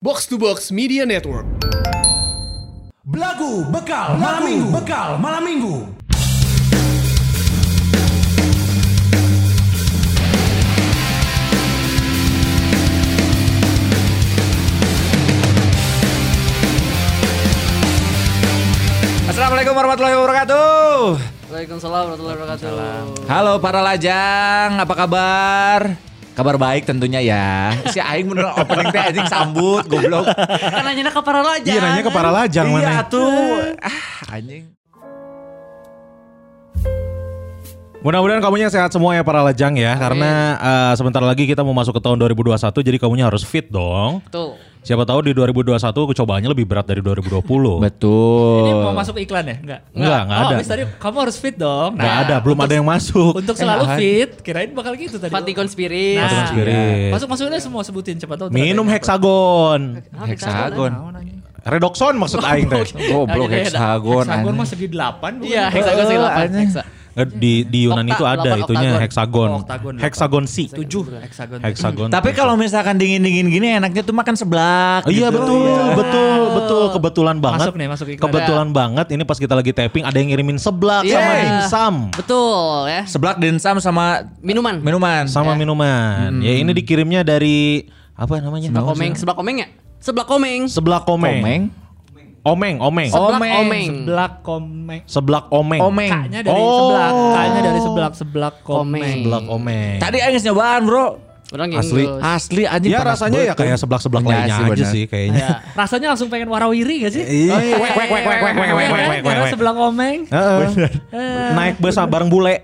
Box to Box Media Network. Belagu bekal malam minggu, bekal malam minggu. Assalamualaikum warahmatullahi wabarakatuh. Waalaikumsalam warahmatullahi wabarakatuh. Halo para lajang, apa kabar? Kabar baik tentunya ya. Si Aing bener opening teh anjing sambut, goblok. Kan nanya ke para kan? lajang. Iya nanya ke para lajang iya mana? tuh. Ah, anjing. Mudah-mudahan kamunya sehat semua ya para lajang ya, karena eh, sebentar lagi kita mau masuk ke tahun 2021, jadi kamunya harus fit dong. Betul. Siapa tahu di 2021 cobaannya lebih berat dari 2020. Betul. Ini mau masuk iklan ya? Enggak. Enggak, enggak oh, ada. habis tadi kamu harus fit dong. Nah, Gak ada, belum ada yang masuk. Untuk selalu Enak. fit, kirain bakal gitu tadi. Fatikon Spirit. Nah, Fatikon Spirit. Masuk masukin aja semua sebutin cepat tahu. Minum heksagon. Hexagon. Redoxon maksud Aing teh. Goblok heksagon. Hexagon anjing. mah segi 8 bukan? Iya, hexagon segi delapan, anjing. hexa. Eh, Di, di Yunan Okta- itu ada delapan itunya oktagon. heksagon. Oh, oktagon delapan. Hexagon C. 7 hexagon. Hexagon. Tapi kalau misalkan dingin-dingin gini enaknya tuh makan seblak. Oh Iya gitu. betul, betul, betul. Kebetulan banget. Masuk nih, masuk iklan. Kebetulan banget ini pas kita lagi tapping ada yang ngirimin seblak Iya. sama dimsum. Betul ya. Seblak densam sama Minuman. minuman. Sama minuman. Ya ini dikirimnya dari apa namanya? Sebelah komeng, sebelah komeng ya? Sebelah komeng. Seblak komeng. Komeng. Omeng, omeng. Seblak Omeng, komeng. Seblak komeng. Seblak omeng. Omeng. Kaknya dari Oh. seblak, kaknya dari seblak seblak komeng. Seblak omeng. Tadi Aing geus nyobaan, Bro. Orang Asli. Inggris. Asli anjing. Ya panas rasanya ya banget. kayak seblak-seblak Iya lainnya sih, aja bener. sih kayaknya. Ya, rasanya langsung pengen warawiri gak sih? Iya kan? Iya. Wek, wek, wek, wek, wek, wek, wek, wek, wek, Karena wek. seblak komeng. Heeh. Naik bus bareng bule.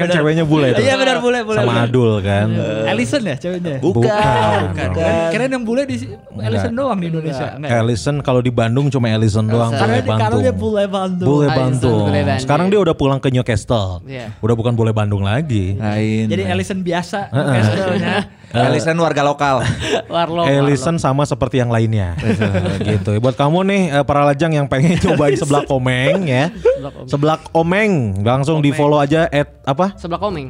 kan ceweknya bule itu. Iya benar boleh boleh. Sama Adul kan. Alison ya ceweknya? Bukan. Keren, keren yang bule di Ellison doang di Indonesia. Enggak. Ellison kalau di Bandung cuma Ellison doang. Karena, Bule di- karena Bantung. dia bule Bandung. Bule Ellison Bantung. bule Bandung. Sekarang dia udah pulang ke Newcastle. Iya. Udah bukan bule Bandung lagi. Eh, Lain. Jadi Ellison biasa castle-nya. Ellison warga lokal. Warlo. Ellison sama seperti yang lainnya. gitu. Buat kamu nih eh, para lajang yang pengen cobain seblak komeng ya. Seblak omeng langsung di follow aja at apa? Warlo. Sebelah komeng.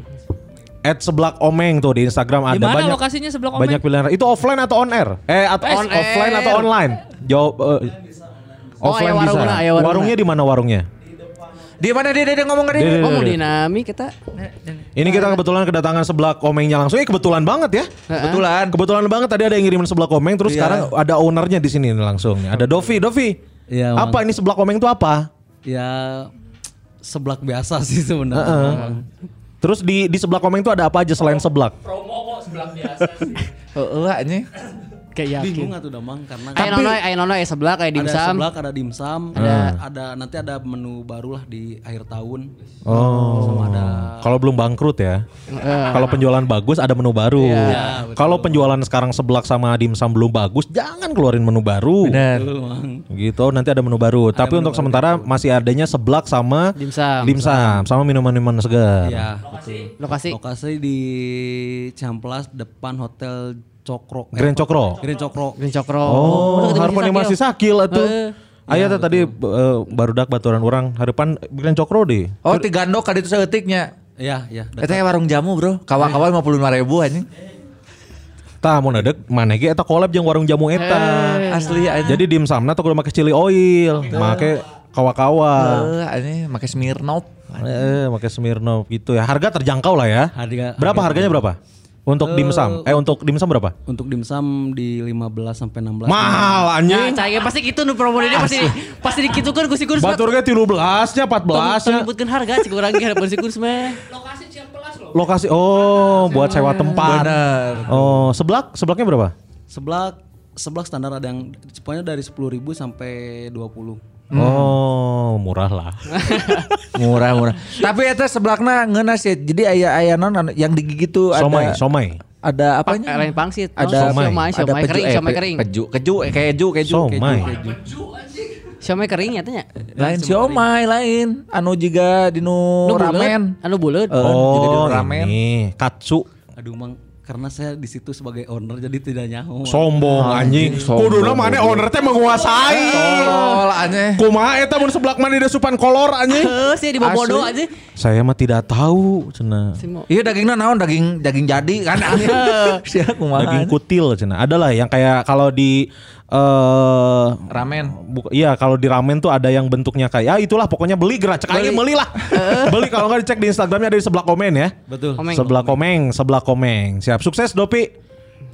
At seblak omeng tuh di Instagram ada Di mana banyak. lokasinya sebelah komeng? Banyak pilihan. Itu offline atau on air? Eh atau Eh, on- on air. offline atau online? Jawab eh, Oh, offline ayo warung bisa. lah, ayo warung warungnya di mana warungnya? Di mana dia dia ngomong ke dia? Di- Oh mau dinami kita. Ini kita kebetulan kedatangan sebelah komengnya langsung. Eh kebetulan banget ya. Kebetulan. Kebetulan banget tadi ada yang ngirimin sebelah komeng terus Iya. sekarang ada ownernya di sini nih langsung. nih. Ada Dovi, Dovi. Iya, Mang. apa ini sebelah komeng itu apa? ya seblak biasa sih sebenarnya. Bang. Terus di di sebelah komeng itu ada apa aja selain seblak? Heeh anjing. Kayak yakin. Bingung atuh Damang karena Ayo nono, ayo nono, ya, ayo sebelah kayak ada dimsum. seblak, ada dimsum, ada ada nanti ada menu baru lah di akhir tahun. Oh. Kalau belum bangkrut ya. Kalau penjualan bagus ada menu baru. Kalau penjualan sekarang seblak sama dimsum belum bagus, jangan keluarin menu baru. Benar. Tuh, Mang. Gitu nanti ada menu baru. Tapi untuk sementara masih adanya seblak sama Dimsum. dimsum sama minuman-minuman segar. Ya, betul. Lokasi. Lokasi di Ciamplas depan Hotel Cokrok. Grand Cokro. Grand Cokrok. Green Cokro. Oh, harapan masih sakil itu. Iya, Heeh. Aya teh tadi eh, baru dak baturan orang harapan Grand Cokro deh. Oh, ti gandok kali itu seutiknya. Ya, ya. dekat. Eta warung jamu, Bro. Kawa-kawa 55 ribu anjing. Tah mau nadek mana ge eta collab jeung warung jamu eta. Asli anjing. Jadi dimsumna tuh kudu make chili oil, make kawa-kawa. Heeh anjing make Smirnoff. Eh, make Smirnoff gitu ya. Harga terjangkau lah ya. Harga- berapa harganya berapa? Untuk dimsum. Eh untuk dimsum berapa? Untuk dimsum di 15 sampai 16. Iya. Mahal Ya, anjing. cahaya pasti gitu nu promo ini pasti pasti dikitu kan gusi kurus. Batur ge 13-nya 14-nya. Menyebutkan harga sih kurang ge harapan si kurus mah. Lokasi oh buat sewa tempat. Bener. Oh, seblak seblaknya berapa? Seblak seblak standar ada yang pokoknya dari 10.000 sampai 20. Hmm. Oh, murah lah. Murah-murah. Tapi eta sebelakna ngeunas ya. Jadi aya-aya non anu- yang digigit tuh ada somai, somai. ada Apa apanya? lain pangsit. Ada ada siomay, siomay Siomay. peju, kering, eh, siomay pe- kering. Peju, keju, eh, keju, keju, Somai. Siomay kering ya tanya. Lain siomay, lain anu juga dinu Oh, bulet, ramen. Anu bulet. Eh, juga di Oh, ramen. ini katsu. Aduh, Mang. karena saya di situ sebagai owner jadi tidak nyaho. Sombong anjing. Ah, sombong. Kuduna mana owner teh menguasai. Iya. Tolol aneh. Kumaha eta mun seblak mana dia supan kolor anjing. Eh, Heeh, sih di bobodo aja. Saya mah tidak tahu cenah. Iya dagingnya naon daging daging jadi kan aneh. Sia kumaha. Daging kutil cenah. Adalah yang kayak kalau di eh ramen. Buka, iya kalau di ramen tuh ada yang bentuknya kayak ya itulah pokoknya beli gerak cek aja belilah beli kalau nggak dicek di instagramnya ada di sebelah komen ya Betul. Komeng. sebelah komeng sebelah komeng siap sukses Dopi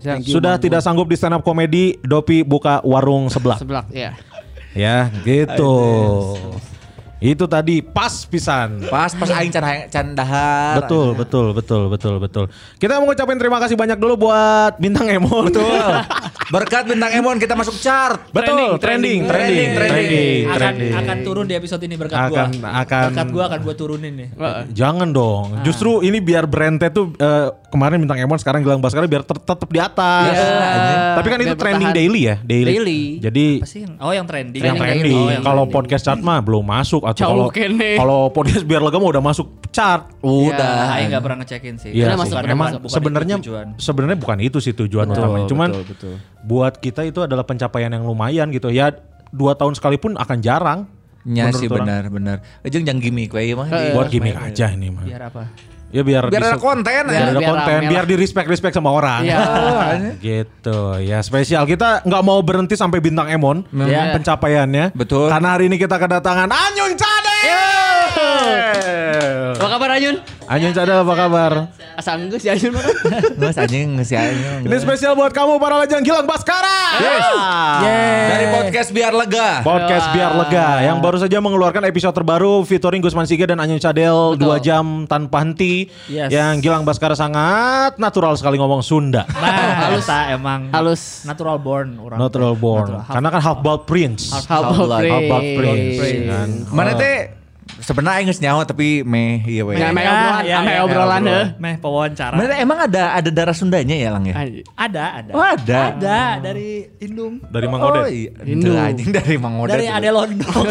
Siap. sudah tidak sanggup di stand up komedi Dopi buka warung sebelah Seblak, ya. ya gitu itu tadi pas pisan Pas pas aing can can dahar. Betul, betul, betul, betul, betul. Kita mau ngucapin terima kasih banyak dulu buat bintang Emon. Betul. Berkat bintang Emon kita masuk chart. betul, trending, trending, trending, trending, akan, trending. akan turun di episode ini berkat Akan- gua. akan- berkat gua akan gua turunin nih. Jangan Ah. dong. Justru ini biar brandnya tuh eh, kemarin bintang Emon sekarang gelang Baskara biar tet- tetap di atas. Iya. Anjing. Tapi kan Biar itu trending bertahan. daily ya, daily. Daily. Jadi Apa sih? yang- Oh yang trending. yang Trending daily. trending. Oh, yang kalau trending. podcast chart mah belum masuk atau Jauh kalau kene. kalau podcast biar lega mah udah masuk chart. Iya. Ya, Udah. Aing nggak pernah ngecekin sih. Iya, Karena sih. masuk, karena emang masuk, bukan sebenarnya itu tujuan. sebenarnya bukan itu sih tujuan utamanya. Cuman buat kita itu adalah pencapaian yang lumayan gitu. Ya dua tahun sekalipun akan jarang. Nya Iya menurut sih orang. benar benar. Ejeng jangan gimmick Iya. we mah. Iya, di- Buat gimmick aja ini mah. Biar apa? Ya biar Biar ada disu- konten biar aja. ada biar konten, rame biar di respect respect sama orang. Iya. gitu. Ya spesial kita nggak mau berhenti sampai bintang Emon ya, Iya. pencapaiannya. Betul. Karena hari ini kita kedatangan Anyun Cade. Iya. Apa kabar Ayun? Anyun Cade apa kabar? Asa enggak sih Ayun? Nges anjing nges si anjing. Ini spesial buat kamu para lajang Gilang Baskara. Yes. Dari podcast biar lega. Podcast biar lega yang baru saja mengeluarkan episode terbaru featuring Gusman Sige dan Anyun Cadel dua jam tanpa henti Yes. yang Gilang Baskara sangat natural sekali ngomong Sunda. Nah, halus emang. Halus. Natural born orang. natural born. Natural. Karena kan half blood prince. Half-blood. Half-blood Half blood prince. Prince. kan. Mana teh sebenarnya aing geus nyawa tapi meh iya we. Meh, meh. Ah, obrolan, iya, ame iya, obrolan, eh. iya, heh. Meh pewawancara. Mana teh emang ada ada darah Sundanya ya Lang ya? Ada, ada. Oh, ada. Ada dari Indung. Dari Mang Odet. Oh iya. Itu anjing dari Mang Odet. Dari Ade Londong.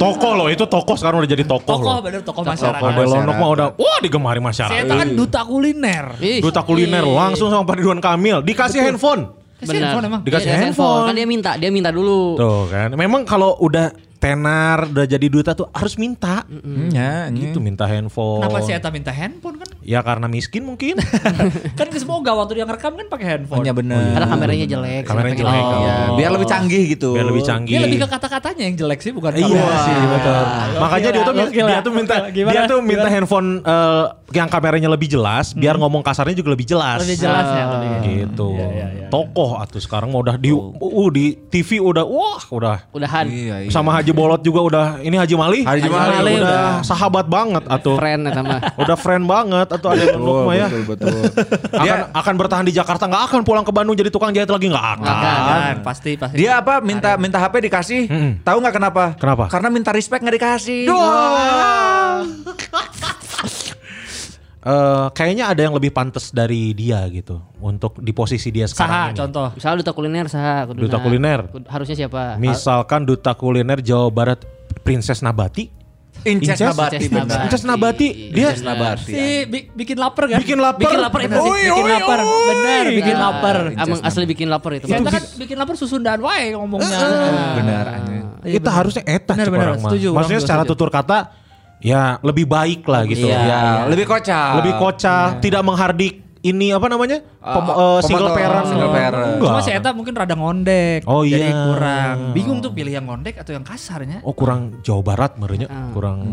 Toko loh itu toko sekarang udah jadi toko tokoh loh. bener tokoh Model masyarakat. masyarakat. Lonok mah udah wah digemari Saya masyarakat. itu kan duta kuliner. Duta kuliner langsung sama Pak Ridwan Kamil dikasih handphone. Kasih handphone emang. Dikasih Iya, handphone. Kan dia minta, dia minta dulu. Tuh kan. Memang kalau udah tenar udah jadi duta tuh harus minta. Ya, Gitu minta handphone. Kenapa si Eta minta handphone kan? Ya karena miskin mungkin. Kan semoga waktu dia ngerekam kan pakai handphone. Punya bener. Karena kameranya jelek. Iya, Kameranya sama jelek, pengen- oh. Iya, biar lebih canggih gitu. Biar lebih canggih. Dia lebih ke kata-katanya yang jelek sih bukan Iya kameranya. sih betul. Makanya dia tuh Gokil lah. dia tuh minta Gokil. iya. Gimana? dia tuh minta Gimana? handphone eh, yang kameranya lebih jelas biar ngomong kasarnya juga lebih jelas. lebih jelas ya Ah. lebih. Iya, gitu. Tokoh atuh sekarang mah udah di uh, di TV udah wah udah Udahan. Iya, iya. sama Haji Bolot juga udah ini Haji Mali. Haji Mali udah, sahabat banget atuh. Friend atau mah. Udah friend banget atau ada yang menurut mah ya. betul. Akan akan bertahan di Jakarta nggak akan pulang ke Bandung jadi tukang jahit lagi nggak akan. Kan, pasti pasti. Dia apa minta minta HP dikasih? Tahu nggak kenapa? Kenapa? Karena minta respect nggak dikasih. Eh, kayaknya ada yang lebih pantas dari dia gitu untuk di posisi dia saha sekarang ini. contoh. Oh, Misalnya duta kuliner sah. kuduna. Duta kuliner. Kud- Harusnya siapa? Misalkan duta kuliner Jawa Barat Princess Nabati. Inces Inces? Nabati. Inces bener. Nabati. Princess Nabati dia Inces Nabati. Si bi- bikin lapar kan? Bikin lapar. Bikin lapar itu sih. Oi, Bikin oi, lapar. oi. Bener, bikin Ah, lapar. Emang asli bikin lapar itu. Ternyata kan bikin lapar susundaan wae ngomongnya. Eh, Nah. Benar. anjing. Iya, kita benar. harusnya eta Benar, cek benar, orang mah. setuju, orang Maksudnya juga secara setuju. tutur kata ya lebih baik lah gitu. Iya, Ya, lebih kocak. lebih kocak, Iya. tidak menghardik ini apa namanya? Pem- Eh, eh, single pemotor, parent. single parent. Enggak. Cuma si Eta mungkin rada ngondek. Oh, jadi iya. kurang. Bingung tuh pilih yang ngondek atau yang kasarnya. Oh kurang Jawa Barat merenya, kurang.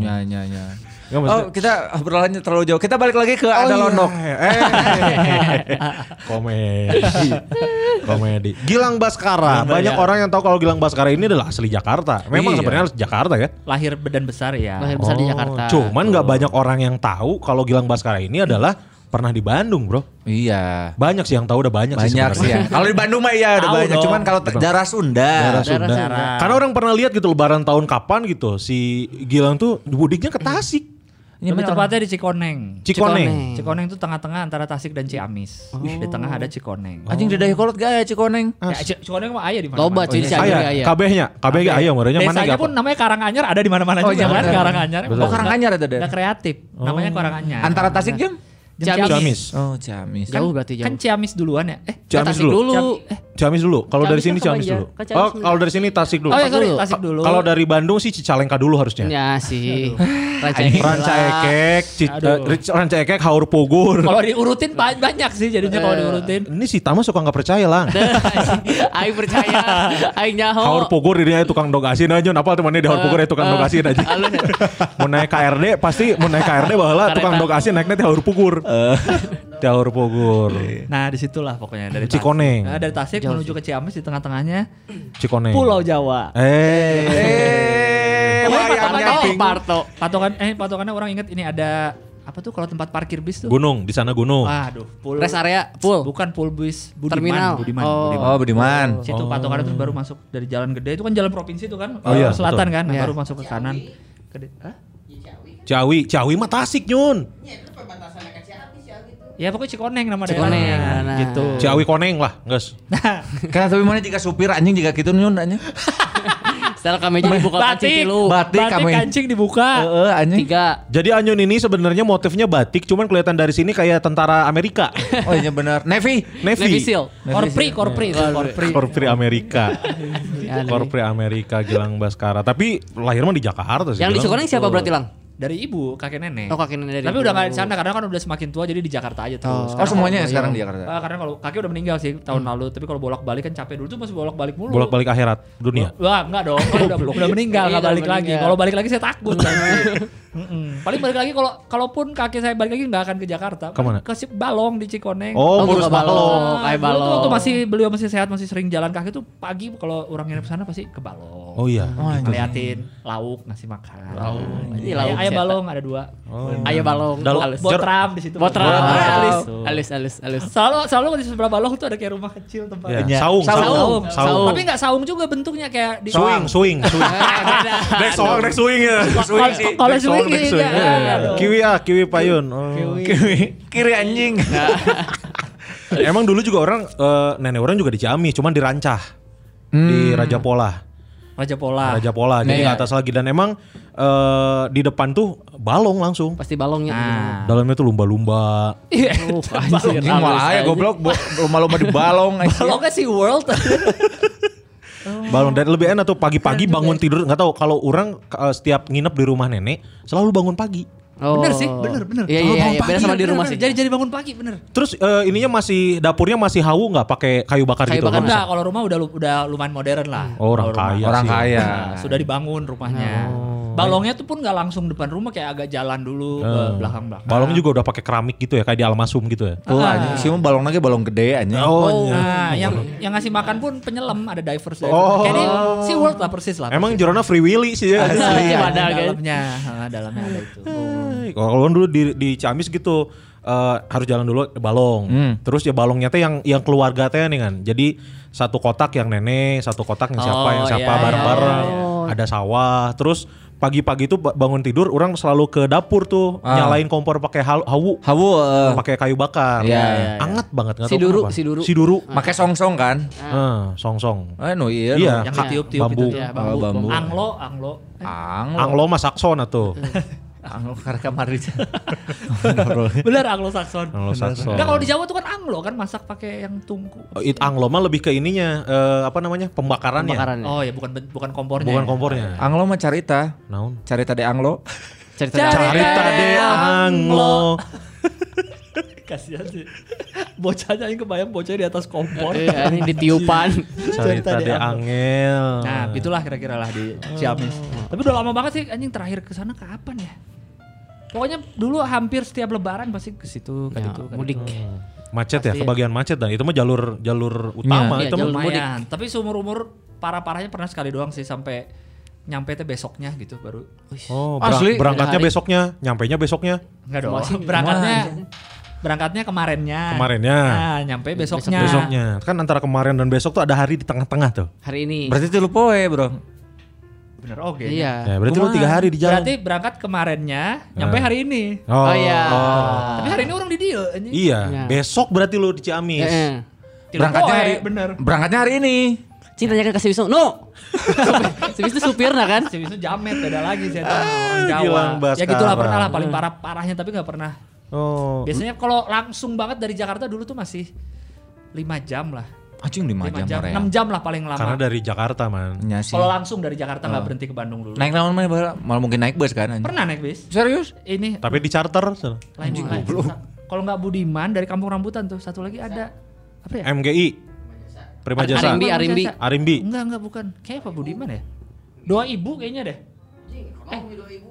Ya, ya, ya. Nggak, maksudnya- Oh kita obrolannya terlalu jauh. Kita balik lagi ke Oh Ada iya. Lonok. Eh. Komedi. Komedi. Gilang Baskara. Banyak orang yang tahu kalau Gilang Baskara ini adalah asli Jakarta. Memang Iya. sebenarnya asli Jakarta ya. Lahir dan besar ya. Lahir besar di Oh, Jakarta. Cuman nggak banyak orang yang tahu kalau Gilang Baskara ini adalah pernah di Bandung, Bro. Iya. Banyak sih yang tahu udah banyak, Banyak sih ya. sebenarnya. Kalau di Bandung mah iya udah Tahu banyak. dong. Cuman kalau te- darah Sunda. Daerah Sunda. Sunda. Karena orang pernah lihat gitu lebaran tahun kapan gitu si Gilang tuh budiknya ke Tasik, Lebih tepatnya di Cikoneng. Cikoneng. Oh. Cikoneng itu tengah-tengah antara Tasik dan Ciamis. Di tengah ada Cikoneng. Anjing dedah kolot gak ya Cikoneng? Ya, Ci- Cikoneng mah ayah di mana? Loba cuy Iya, si Aya, Ayah. kabehnya, kabehnya aya merenya mana gak Desanya pun namanya Karanganyar ada di mana-mana Oh, juga iya, kan bener. Karanganyar. Oh, Karanganyar ada, Den. Udah kreatif. Namanya Karanganyar. Antara Tasik jeung? Ciamis. Ciamis. Oh, Ciamis. Jauh berarti jauh. Kan Ciamis duluan ya? Eh, Ciamis Tasik dulu. dulu. Ciam- eh, Ciamis dulu. Kalau dari Ciamis sini kan sama Ciamis iya. dulu. Kan Ciamis Oh, kalau dari sini Tasik dulu. oh ya sorry, dulu. Tasik dulu. Kalau dari Bandung sih Cicalengka dulu harusnya. Ya sih. Anjing. Rancaekek, Ci- Aduh. eh, Ri- Rancaekek, Haur Pugur. Kalau diurutin ba- banyak sih jadinya Eh. kalau diurutin. Ini si Tama suka nggak percaya lah. Aing percaya. Aing Haur nyaho. Pugur dirinya tukang dog asin aja. Apa temannya di Haur Pugur ya Eh, tukang dog asin aja. Alun. mau naik KRD pasti mau naik KRD bahwa tukang kan- dog asin naiknya di Haur Pugur. Di Haur Pugur. Nah, disitulah pokoknya dari Tasik. Cikoneng. Nah, dari Tasik Jauh menuju ke Ciamis di tengah-tengahnya Cikoneng. Pulau Jawa. Eh. Eh, Pokoknya wayangnya patokannya- Oh, pink. Parto. Patokan eh patokannya orang inget ini ada apa tuh kalau tempat parkir bis tuh? Gunung, di sana gunung. Aduh, pul- Rest area full. Bukan pool bis Budiman, Terminal. Budiman, Oh. Budiman. Oh, Budiman. Situ patokannya terus baru masuk dari jalan gede itu kan jalan provinsi itu kan Oh iya, selatan betul. kan nah, Iya. baru masuk ke kanan. Gede. Hah? Ciawi, Ciawi mah Tasik nyun. Eh. Ya pokoknya Cikoneng nama Cikoneng, daerahnya. nah. gitu. Ciawi Koneng lah, guys. Karena tapi mana jika supir anjing jika gitu nyun anjing. Setelah kami jadi buka kancing Batik, tilu. Batik ya? kami. kancing dibuka. Heeh, Eh, anjing. Tiga. Jadi Anyun ini sebenarnya motifnya batik, cuman kelihatan dari sini kayak tentara Amerika. Oh iya benar. Navy. Navy. Navy Seal. Korpri, korpri, itu korpri. Korpri Amerika. Ya, Navy. Korpri Amerika Gilang Baskara. Tapi lahir mah di Jakarta sih. Yang di Gilang. Cikoneng siapa berarti lang? Dari ibu, kakek nenek. Oh, kakek nenek dari Iya. Tapi ibu. udah gak di sana karena kan udah semakin tua jadi di Jakarta aja terus. Oh. Oh, Sekarang semuanya Oh, sekarang iya. di Jakarta. Hmm. Eh, karena kalau kakek udah meninggal sih tahun lalu, tapi kalau bolak-balik kan capek dulu tuh masih bolak-balik mulu. Bolak-balik akhirat dunia. Wah, enggak dong. Kalau udah, udah meninggal Iya, enggak udah balik lagi. meninggal. Kalau balik lagi saya takut. Iya. Mm-mm. Paling balik lagi kalau kalaupun kakek saya balik lagi enggak akan ke Jakarta. Kemana? Ke Si- Balong di Cikoneng. Ah, Oh, Oh, ngurus buka balong. balong. kayak dulu tuh balong. Waktu masih beliau masih sehat, masih sering jalan kaki tuh pagi kalau orang nginep sana pasti ke Balong. Oh iya. ngeliatin lauk ngasih makan. Lauk. Ini lauk Ayah, ayah siapa? balong ada dua. Oh. Ayo balong. Dalok. Halus. Bot- Botram di situ. Botram. Botram. Halus. Alis. Halus, halus, halus. Selalu selalu di sebelah balong tuh ada kayak rumah kecil tempat. Ya, Saung. Saung, saung, Saung. saung. Tapi nggak saung juga bentuknya kayak di Swing, swing, swing. Dek soang, dek swing ya. Kalau- Kalau Dek soang, swing dek swing. iya, Iya. aduh. Kiwi ah, kiwi payun. Oh. Kiri anjing. Emang dulu juga orang eh, nenek orang juga di Ciamis, cuman di Rancah. Di Raja Pola. Raja Pola. Raja Pola jadi Iya. ke atas lagi dan emang eh, di depan tuh balong langsung. Pasti balongnya. Nah. Dalamnya tuh lumba-lumba. Iya. Oh, anjir. Anjing malah halus, aja goblok bo- lomba-lomba di balong anjing. Balongnya sih world. Balong dan lebih enak tuh pagi-pagi bangun tidur nggak tahu kalau orang eh, setiap nginep di rumah nenek selalu bangun pagi. Oh. Bener sih, bener, bener. Iya, iya, iya. Beda sama di rumah sih. Jadi jadi bangun pagi bener. Terus eh, ininya masih dapurnya masih hawu nggak pakai kayu bakar Kayu gitu? bakar. Nggak Enggak, kalau rumah udah lu- udah lumayan modern lah. Oh, orang Kalau rumah. kaya Orang sih. kaya. Nah, sudah dibangun rumahnya. Balongnya tuh pun nggak langsung depan rumah kayak agak jalan dulu ke belakang-belakang. Oh. Balong Eh. juga udah pakai keramik gitu ya kayak di almasum gitu ya. Tuh anjing, sih mah balong lagi balong gede anjing. Oh, Nah, yang yang ngasih makan pun penyelam ada divers divers. Oh. Jadi si world lah persis lah. emang Jorona free willy sih ya. Asli. Persis. Iya, Nah, ada, kan? dalamnya, nah, dalamnya ada itu. Eh, Kalau kalau dulu di, di Ciamis gitu eh, harus jalan dulu ke balong. Hmm. Terus ya balongnya teh yang yang keluarga teh nih kan. Jadi satu kotak yang nenek, satu kotak yang siapa Oh, yang siapa iya, bareng-bareng. iya, Ada sawah. Terus pagi-pagi tuh ba- bangun tidur orang selalu ke dapur tuh Ah. nyalain kompor pakai hal- hawu, Hawu eh, pakai kayu bakar. Iya, iya, Anget banget nggak tahu Siduru, kenapa. siduru. Siduru. pakai songsong kan? Eh, songsong. Anu iya. Iya, anu. Ah. Yang ka- ditiup-tiup bambu. itu tuh ya, Oh, bambu. Anglo, anglo. Anglo. Anglo mas Saksona tuh. Anglo karena kemarin. Bener anglo Saxon. Anglo Saxon. Enggak kalau di Jawa tuh kan anglo kan masak pakai yang tungku. Oh, it- Anglo mah lebih ke ininya eh, apa namanya? pembakarannya. Bakaran. Oh ya bukan ben- bukan kompornya. Bukan ya. kompornya. Anglo mah carita. Naon? Carita de Anglo. Cerita. Carita de Anglo. Kasihan sih. Bocahnya yang kebayang bocahnya di atas kompor. Iya, ini ditiupan. Carita de Angel. Nah, itulah kira-kira lah di Ciamis. Oh. Tapi udah lama banget sih anjing terakhir ke sana kapan ya? Pokoknya dulu hampir setiap lebaran pasti ke situ, ke Ya, situ, ke mudik. situ. macet ya, kebagian macet dan itu mah jalur jalur utama Iya, itu mah. jalur- Lumayan, tapi seumur-umur parah-parahnya pernah sekali doang sih sampai nyampe teh besoknya gitu baru. Wih, Oh, berang- Asli. berangkatnya Hari. besoknya, nyampainya besoknya. Enggak dong. Masih berangkatnya berangkatnya kemarinnya. Kemarinnya. Nah, nyampe besoknya. Besoknya. Kan antara kemarin dan besok tuh ada hari di tengah-tengah tuh. Hari ini. Berarti Iya. tilu poe, Bro. Bener oke. Ya, Iya. berarti lu Kumaha. tiga hari di jalan. Berarti berangkat kemarinnya, nyampe Nah. hari ini. Oh iya. Tapi hari ini orang di deal anjing. Iya, Iya. besok berarti lu di Ciamis. Heeh. Tidak Berangkatnya poe, hari bener. Berangkatnya hari ini. Cintanya ke Kasih Wisnu. No. Si Wisnu supirna kan? Ah, Si Wisnu jamet beda lagi sih orang Jawa. Gilang Baskara. Ya gitulah pernah lah paling parah parahnya tapi nggak pernah Oh. Biasanya kalau langsung banget dari Jakarta dulu tuh masih 5 jam lah. Anjing 5 jam, 5 ya. jam, Korea. 6 jam lah paling Karena lama. dari Jakarta man. Iya sih. Kalau langsung dari Jakarta nggak berhenti ke Bandung dulu. Ah. Naik naon mana Bara? malah mungkin naik bus kan anjing. Pernah naik bis? Serius? Ini Tapi di charter sana. lain lain. Kalau nggak Budiman dari Kampung Rambutan tuh satu lagi ada apa ya? MGI. Prima Jasa. Arimbi, Bukan Arimbi. Jasa. Arimbi. Enggak, enggak bukan. Kayak apa Budiman ya? Doa ibu kayaknya deh. Eh,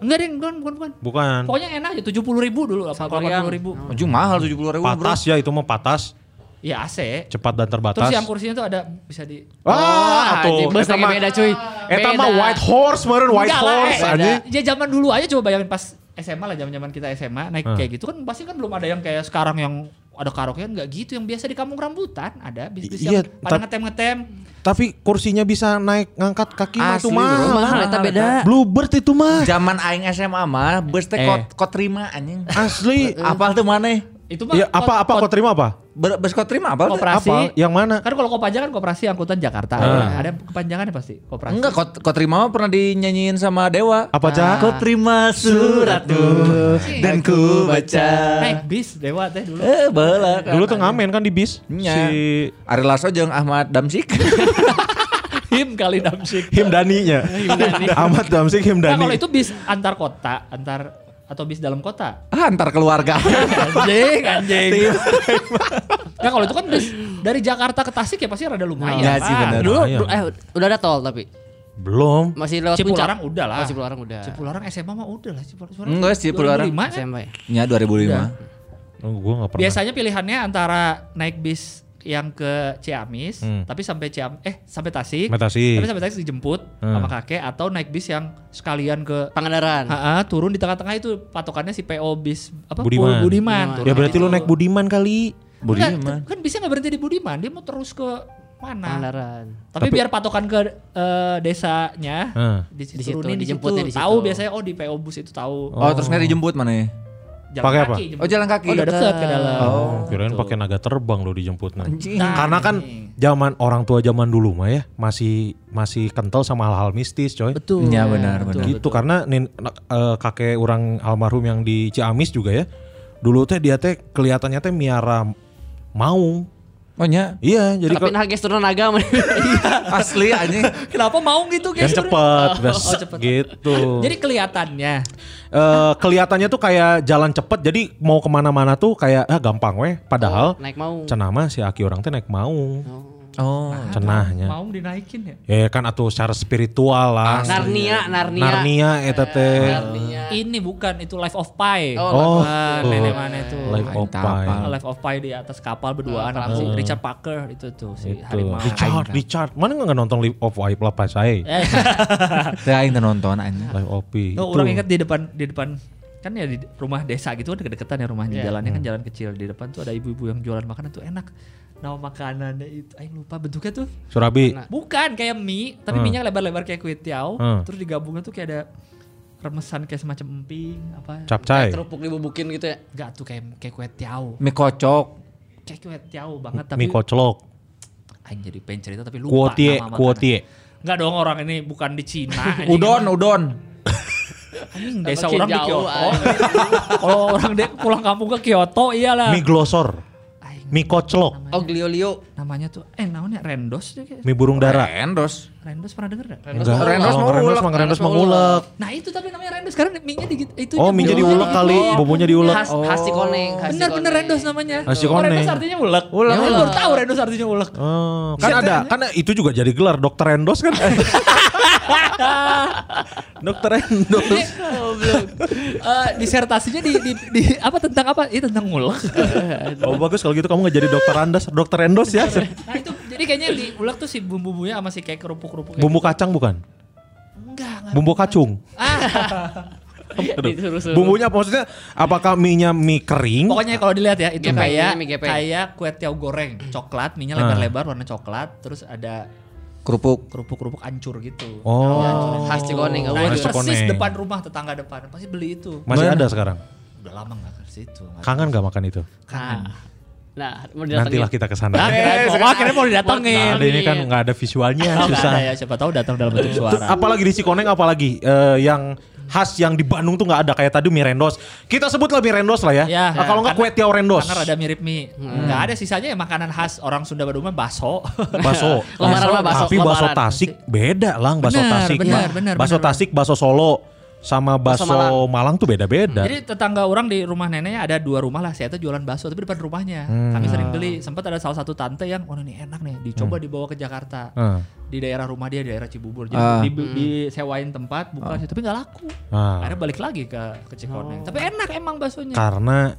enggak deh, bukan, bukan, bukan. Bukan. Pokoknya enak aja, 70 ribu dulu apa, Korea. 80 ribu. Anjing mahal 70 ribu bro. Patas ya itu mah patas. Ya AC. Cepat dan terbatas. Terus yang kursinya tuh ada, bisa di... Wah, anjing, tuh. bus Oh, ah, Ah, Eta lagi mah- beda cuy. Eta Beda. mah white horse meren white Enggak lah, horse eh, anjing. Ya zaman dulu aja coba bayangin pas SMA lah, zaman-zaman kita SMA naik Hmm. kayak gitu kan pasti kan belum ada yang kayak sekarang yang ada karaokean nggak gitu yang biasa di kampung rambutan ada bis-bis Iya, yang pada tat- ngetem-ngetem Tapi kursinya bisa naik ngangkat kaki mah itu Asli, mah. bro. Mahal eta beda. Bluebird itu mah. Zaman aing SMA mah bus teh Eh. kot, kot terima anjing. Asli. Apal tuh mana? itu mah Ya kot- apa apa kau terima apa? Ber- Bus kot terima apal? teh? Koperasi. Apa? Yang mana? Kan kalau kopaja kan koperasi angkutan Jakarta. ya, Ah. Ada kepanjangannya pasti koperasi. Enggak, kot, kot terima mah pernah dinyanyiin sama Dewa. Apa cah? Kau terima suratmu dan ku baca. Eh, Naik bis Dewa teh dulu. Eh, bala. Dulu tuh ngamen kan di bis. Nya. Si Ari Lasso jeung Ahmad Damsik. Him kali Damsik. Himdaninya. Ahmad Damsik Nah, kalau Himdani. itu bis antar kota, antar atau bis dalam kota. Ah, Antar keluarga. Anjing, anjing. Nah, kalau itu kan bis dari Jakarta ke Tasik ya pasti rada lumayan. Iya sih, Pak. bener. Dulu Lumayan. eh udah ada tol tapi Nah, Belum. masih lewat Cipularang puncak. udah lah. Oh, Cipularang udah. Cipularang SMA mah udah lah Cipularang. Enggak, Cipularang. 2005 kan? SMP. Nya 2005. Oh, gua enggak pernah. Biasanya pilihannya antara naik bis yang ke Ciamis, Hmm. tapi sampai Ciam eh sampai Tasik. Metasi. Tapi sampai Tasik dijemput Hmm. sama kakek atau naik bis yang sekalian ke Pangandaran. Ha-ha, turun di tengah-tengah itu patokannya si PO bis apa Budiman. Budiman. Budiman. Ya, Ya berarti lu naik Budiman kali. Budiman. kan bisa nggak berhenti di Budiman, dia mau terus ke mana? Pangandaran. Tapi, Tapi- biar patokan ke eh, desanya Heeh. di situ, diturunin di situ, dijemputnya di situ. Tahu biasanya oh di PO bus itu tahu. Oh, terusnya dijemput mana ya? Jalan Pakai kaki, apa? jemput. Oh, jalan kaki. Oh, udah deket ke dalam. Oh, kirain pakai naga terbang lo dijemputnya. Anjing. Nah, Karena kan zaman orang tua zaman dulu mah ya masih masih kental sama hal-hal mistis, coy. Betul. Iya, benar, benar. gitu karena nin, nak- eh, kakek orang almarhum yang di Ciamis juga ya. Dulu teh dia teh kelihatannya teh miara maung. Oh, nya. Iya, jadi Tapi kalau nah geus turun naga mah. Asli anjing. Kenapa mau gitu yang guys? cepet, bes, oh, cepet. gitu. Jadi kelihatannya Eh, kelihatannya tuh kayak jalan cepet, jadi mau kemana-mana tuh kayak ah gampang weh. Padahal Naik mau. cenah mah si Aki orang teh naik maung, Oh. cenahnya. mau dinaikin ya. Ya kan atau secara spiritual Ah, lah. Narnia, Narnia. Narnia eta teh. Narnia. Ini bukan itu Life of Pi. Oh, Ah, tuh. nenek mana itu? Life of Mantap, Pi. Pak. Life of Pi di atas kapal berduaan Oh, sama si paham. Richard Parker itu tuh si Itu. harimau. Richard, Richard. Mana nggak nonton Life of Pi lah pas saya. Teh aing teu nonton anjing. Life of Pi. Oh, Itu. orang ingat di depan di depan kan ya di rumah desa gitu kan deket-deketan ya Iya. rumahnya jalannya Hmm. kan jalan kecil di depan tuh ada ibu-ibu yang jualan makanan tuh enak nama makanannya itu aing lupa bentuknya tuh Surabi. bukan kayak mie tapi minyak lebar-lebar kayak kue tiaw Hmm. terus digabungnya tuh kayak ada remesan kayak semacam emping apa Capcay. Kerupuk dibubukin gitu ya. enggak tuh kayak kayak kue tiaw Mie kocok. kayak kue tiaw banget tapi Mie koclok. Anjing jadi pengen cerita tapi lupa Kuotie, nama makanan. kuotie. Enggak dong orang ini bukan di Cina. anjing. Udon, udon. Anjing, desa Makin orang di jauh, Kyoto. Kalau orang de- pulang kampung ke Kyoto iyalah. Mie glosor. Aing, Mie koclok. Oh, glio-lio. namanya tuh eh namanya Rendos deh kayak. Mie burung dara. Rendos. Rendos pernah denger enggak? Enggak. Eh. Rendos Oh, mau ulek. Rendos mah Rendos Rendos mau mengulek. Nah, itu tapi namanya Rendos sekarang mie-nya digit itu Oh, mie jadi ulek kali, bumbunya diulek. Khas khas si koneng, khas si Bener bener koneng. Rendos namanya. Hasi Oh, koneng. Rendos artinya ulek. Ulek. Ya, Baru tahu Rendos artinya ulek. Oh, kan ada, kan itu juga jadi gelar dokter Rendos kan. dokter Rendos. Eh, disertasinya di, di, di apa tentang apa? Ini tentang ulek. Oh bagus kalau gitu kamu nggak jadi dokter Rendos, dokter Rendos ya. nah, itu jadi kayaknya di ulek tuh si bumbu-bumbunya sama si kayak kerupuk-kerupuk kayak Bumbu kacang bukan? Enggak, enggak. Bumbu kacung. Aduh. Disuruh-suruh. Bumbunya maksudnya apakah mie-nya mie kering? Pokoknya kalau dilihat ya itu Gepeng, kayak mie gepeng. kayak kue tiaw goreng, coklat, minyak Ah. lebar-lebar warna coklat, terus ada Kerupuk. kerupuk-kerupuk ancur gitu. Oh. Khas Oh. Cikoneng, Nah, eueuh. itu Masuk persis koneng. depan rumah tetangga depan. Pasti beli itu. Masih ada sekarang. Udah lama gak ke situ. nggak- Kangen gak makan itu? Kan. Nah, mau Nantilah didatengin. kita ke Nah, sana. kirain- pokoknya akhirnya mau Nah, didatengin. ada ini kan nggak ada visualnya, Oh, nggak susah. ada ya, siapa tahu datang dalam bentuk Terus suara. apalagi di Cikoneng apalagi Eh, yang khas yang di Bandung tuh nggak ada kayak tadi mie rendos. Kita sebutlah mie rendos lah ya. Ya, Nah, kalau nggak karena- kue tiaw rendos. Karena rada mirip mie. Enggak ada sisanya ya makanan khas orang Sunda Bandung mah baso. Baso. Lamaran mah baso, Tapi baso lamaran. Tasik beda lang baso Benar, Tasik. benar, Ba- benar, baso benar. Tasik, baso Solo sama baso, Malang. tuh beda-beda. Jadi tetangga orang di rumah neneknya ada dua rumah lah. Saya tuh jualan bakso tapi depan rumahnya. Kami sering beli. Sempat ada salah satu tante yang, wah ini enak nih. Dicoba dibawa ke Jakarta. Hmm. Di daerah rumah dia, di daerah Cibubur. Jadi Ah. di, disewain tempat, buka tapi nggak laku. Ah. Akhirnya balik lagi ke ke Cikoneng. Tapi enak emang baksonya. Karena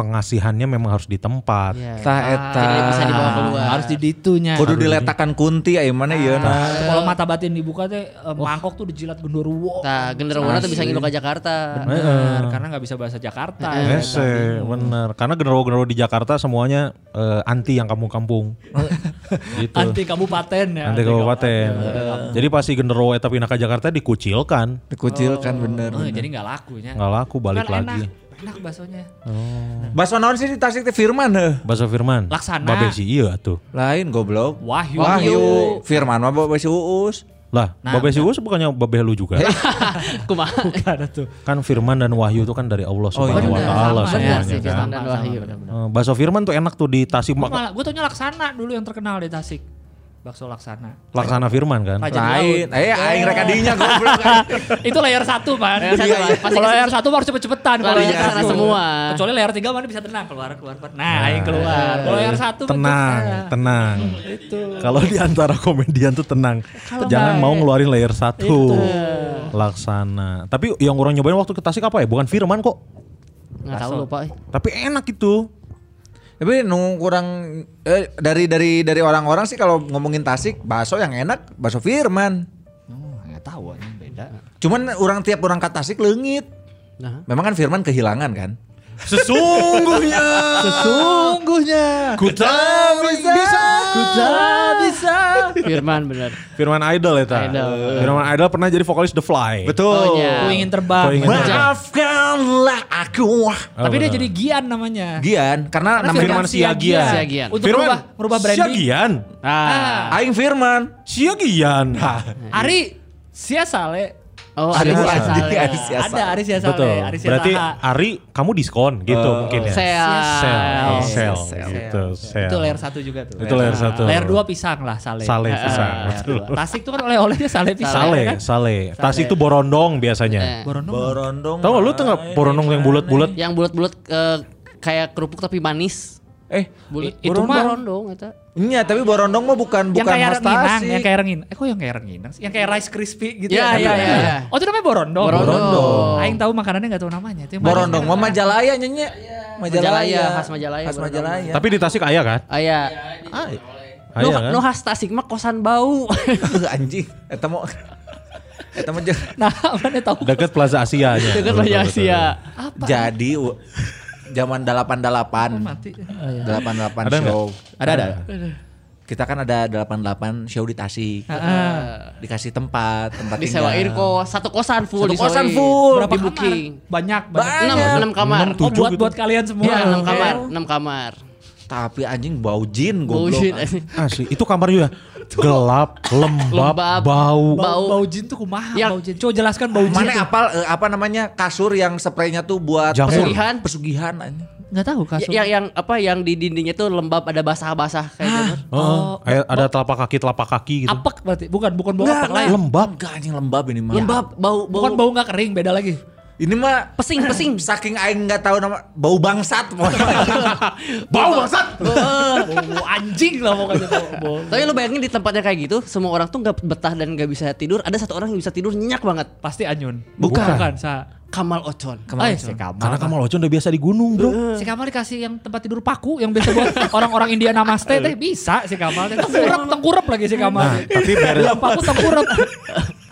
pengasihannya memang harus di tempat. Tah eta. Jadi bisa Ah. dibawa keluar. Harus di ditunya. Kudu diletakkan kunti ya mana ya nah. Kalau mata batin dibuka teh eh, Oh. mangkok tuh dijilat genderuwo. Nah, genderwana tuh bisa ngilu ke Jakarta. Eh, Bener, karena nggak bisa bahasa Jakarta. ya. Ese, bener. Karena genderuwo-genderuwo di Jakarta semuanya eh, anti yang kampung-kampung. gitu. Anti kabupaten ya. Anti kabupaten. Jadi pasti genderuwo eta pindah ke Jakarta dikucilkan. Dikucilkan bener. Oh, jadi nggak lakunya. Nggak laku balik Kan lagi. Enak, enak baksonya. Baso naon sih di Tasik teh Firman heh. Baso Firman. Laksana. Babesi iya tuh. Lain goblok. Wahyu. Firman mah Babesi Uus. Lah, Nah, Babesi Uus bukannya Babeh lu juga. Kumaha? kan firman dan wahyu itu kan dari Allah Oh, iya. Subhanahu wa Bener, taala sama, ya, semuanya pasti, kan. Firman dan Wahyu. iya, Bener-bener. Eh, bakso firman tuh enak tuh di Tasik Gue mak- malah, gue taunya laksana dulu yang terkenal di Tasik. Bakso laksana. laksana firman kan. Raja di Lain. laut. Eh aing rek adinya goblok. Itu layar satu, Pan. Layar satu, Pan. Pasti Kalau kesana- layar satu mah harus cepet-cepetan. Kalau Larinya layar ke sana satu. semua. Kecuali layar tiga mana bisa tenang. Keluar, keluar, keluar. Nah, yang keluar. Kalau layar satu. Iya. mah tenang, terserah. tenang. Kalau di antara komedian tuh tenang. Jangan nggak- mau ngeluarin layer satu. Laksana. Tapi yang orang nyobain waktu ke Tasik apa ya? Bukan firman kok. Nggak tahu Bakso. lupa. eh. Tapi enak itu. Tapi nung kurang eh, dari dari dari orang-orang sih kalau ngomongin Tasik, bakso yang enak bakso Firman. Oh, nggak tahu anjing beda. Cuman orang tiap orang ke Tasik leungit. Nah. Memang kan Firman kehilangan kan? Sesungguhnya. Sesungguhnya. Ku tak bisa. Ku tak bisa. Firman bener. Firman Idol ya Ta? Idol. Firman Idol pernah jadi vokalis The Fly. Oh, iya. Ku ingin terbang. Ku ingin terbang. Oh, Maafkanlah aku. Tapi dia benar. jadi Gian namanya. Gian, karena nama Firman Siagian. Siagian. Untuk merubah, merubah branding. Siagian. Ah. Aing Firman. Siagian. Ari Siasale. Oh, Ada ada Ari Siasale. Adi, Adi Siasale. Ada Ari Siasale. Betul. Ari Siasale. Berarti Ari kamu diskon gitu Eh, mungkin ya. Sel. Sel. Sel. Sel. ya. Gitu. Sel. Itu layer satu juga tuh. Itu layer satu. Layer dua pisang lah sale. Sale pisang, Ah, layer betul. dua. Tasik tuh kan oleh-olehnya sale pisang. Sale, ya kan? sale. Tasik itu borondong biasanya. Borondong. Borondong. Tahu nggak lu tuh nggak borondong yang bulat-bulat? Yang bulat-bulat eh, kayak kerupuk tapi manis. Eh, Bulat. Itu Itu mah- mah rondong eta. Iya, tapi borondong mah bukan Yang bukan kayak khas renginang, yang Tasik. kayak renginang. Eh kok yang kayak renginang sih? Yang kayak rice crispy gitu Iya, tapi- iya, iya, iya. Oh itu namanya borondong. Borondong. Borondong. Aing tahu makanannya nggak tahu namanya. Itu yang manis. Borondong mah Majalaya nyenye. Majalaya, Majalaya, khas Majalaya, Khas Borondong. Majalaya. Tapi di Tasik ayah kan? Ah, Aya. Ayah Nu, kan? nu khas Tasik mah kosan bau. Eh, anjing, eta mau eta mah jeung- Nah, mana tahu. Deket Plaza Asia aja. Dekat Raja Asia. jadi u- zaman 88. Mati. 88 Ada nggak? show. Ada, ada. Kita kan ada 88 show di Tasik. Dikasih tempat, tempat Disewain tinggal. kos, satu kosan full Iya. Satu kosan disewain. full. Berapa Di booking? Banyak, banyak. Enam, enam kamar. Enam, Oh tujuh buat gitu. buat kalian semua. Iya, enam Oke. kamar, enam kamar. Tapi anjing bau jin Bau goblok. shit. Asli, Ah, itu kamar juga gelap, lembab, Lembab. bau. Bau, Bau. bau jin tuh kumaha Ya. bau jin. Coba jelaskan bau jin. Mana apal eh, apa namanya kasur yang spraynya tuh buat Jamur. pesugihan, pesugihan anjing. Enggak tahu Ya- kasur. yang yang apa yang di dindingnya tuh lembab ada basah-basah kayak gitu. Oh, ada ada telapak kaki, telapak kaki gitu. Apek berarti. Bukan, bukan bau apek lain. Lembab. Enggak anjing lembab ini mah. Lembab, bau bau. Bukan bau nggak kering, beda lagi. Ini mah Pesing, pesing. saking aing nggak tahu nama bau bangsat. bau bangsat. Bau anjing lah pokoknya bau. bau. Tapi lu bayangin di tempatnya kayak gitu, semua orang tuh nggak betah dan nggak bisa tidur. Ada satu orang yang bisa tidur nyenyak banget. Pasti anyun. Bukan. Bukan, sa. Eh, Kamal Ocon. Ay, si Kamal. Karena Kamal Ocon udah biasa di gunung, Bro. Si Kamal dikasih yang tempat tidur paku yang biasa buat orang-orang Eh. India namaste teh bisa si Kamal. teh. Tengkurep, tengkurep lagi si Kamal. Nah, Tapi beres Yang paku tengkurep.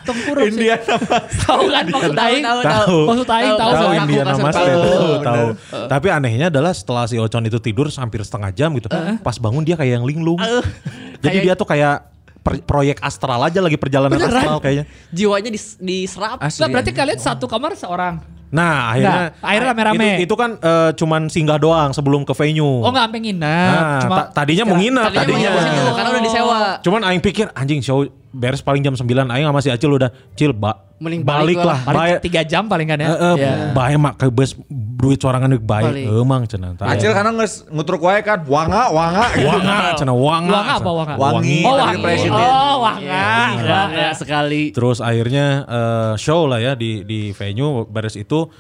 Tengkurep sih. India Tahu kan maksud aing? Tahu. Maksud aing tahu. tahu Kasur kaku, India kasur Namaste Oh, kaku. tahu tahu. Tapi anehnya adalah setelah si Ocon itu tidur hampir setengah jam gitu. Pas bangun dia kayak yang linglung. Jadi Kayak- dia tuh kayak per- proyek astral aja lagi perjalanan Beneran? astral kayaknya. Jiwanya dis- diserap. Nah, berarti kalian satu kamar seorang. Nah, akhirnya Nah, akhirnya rame-rame. Itu, itu kan eh, cuman singgah doang sebelum ke venue. Oh nggak sampai nginep. Nah, ta- tadinya mau nginep, Tadinya tadinya. mau nginep di situ, karena udah disewa. Enggak. Cuman aing pikir anjing show beres paling jam 9 aing sama si Acil udah Cil ba Mending balik, balik lah. Paling Baik. tiga jam paling kan ya. Iya. Bae mak ke bus duit sorangan deuk bae. Balik. Emang cenah. tah. Acil karena nges ngutruk wae kan wanga wanga gitu. wanga cenah wanga. Wanga apa cenah. wanga? Wangi. Oh, Tadi wangi. presiden. Oh, Iya, wanga. Enggak, enggak sekali. Terus akhirnya eh, show lah ya di di venue beres itu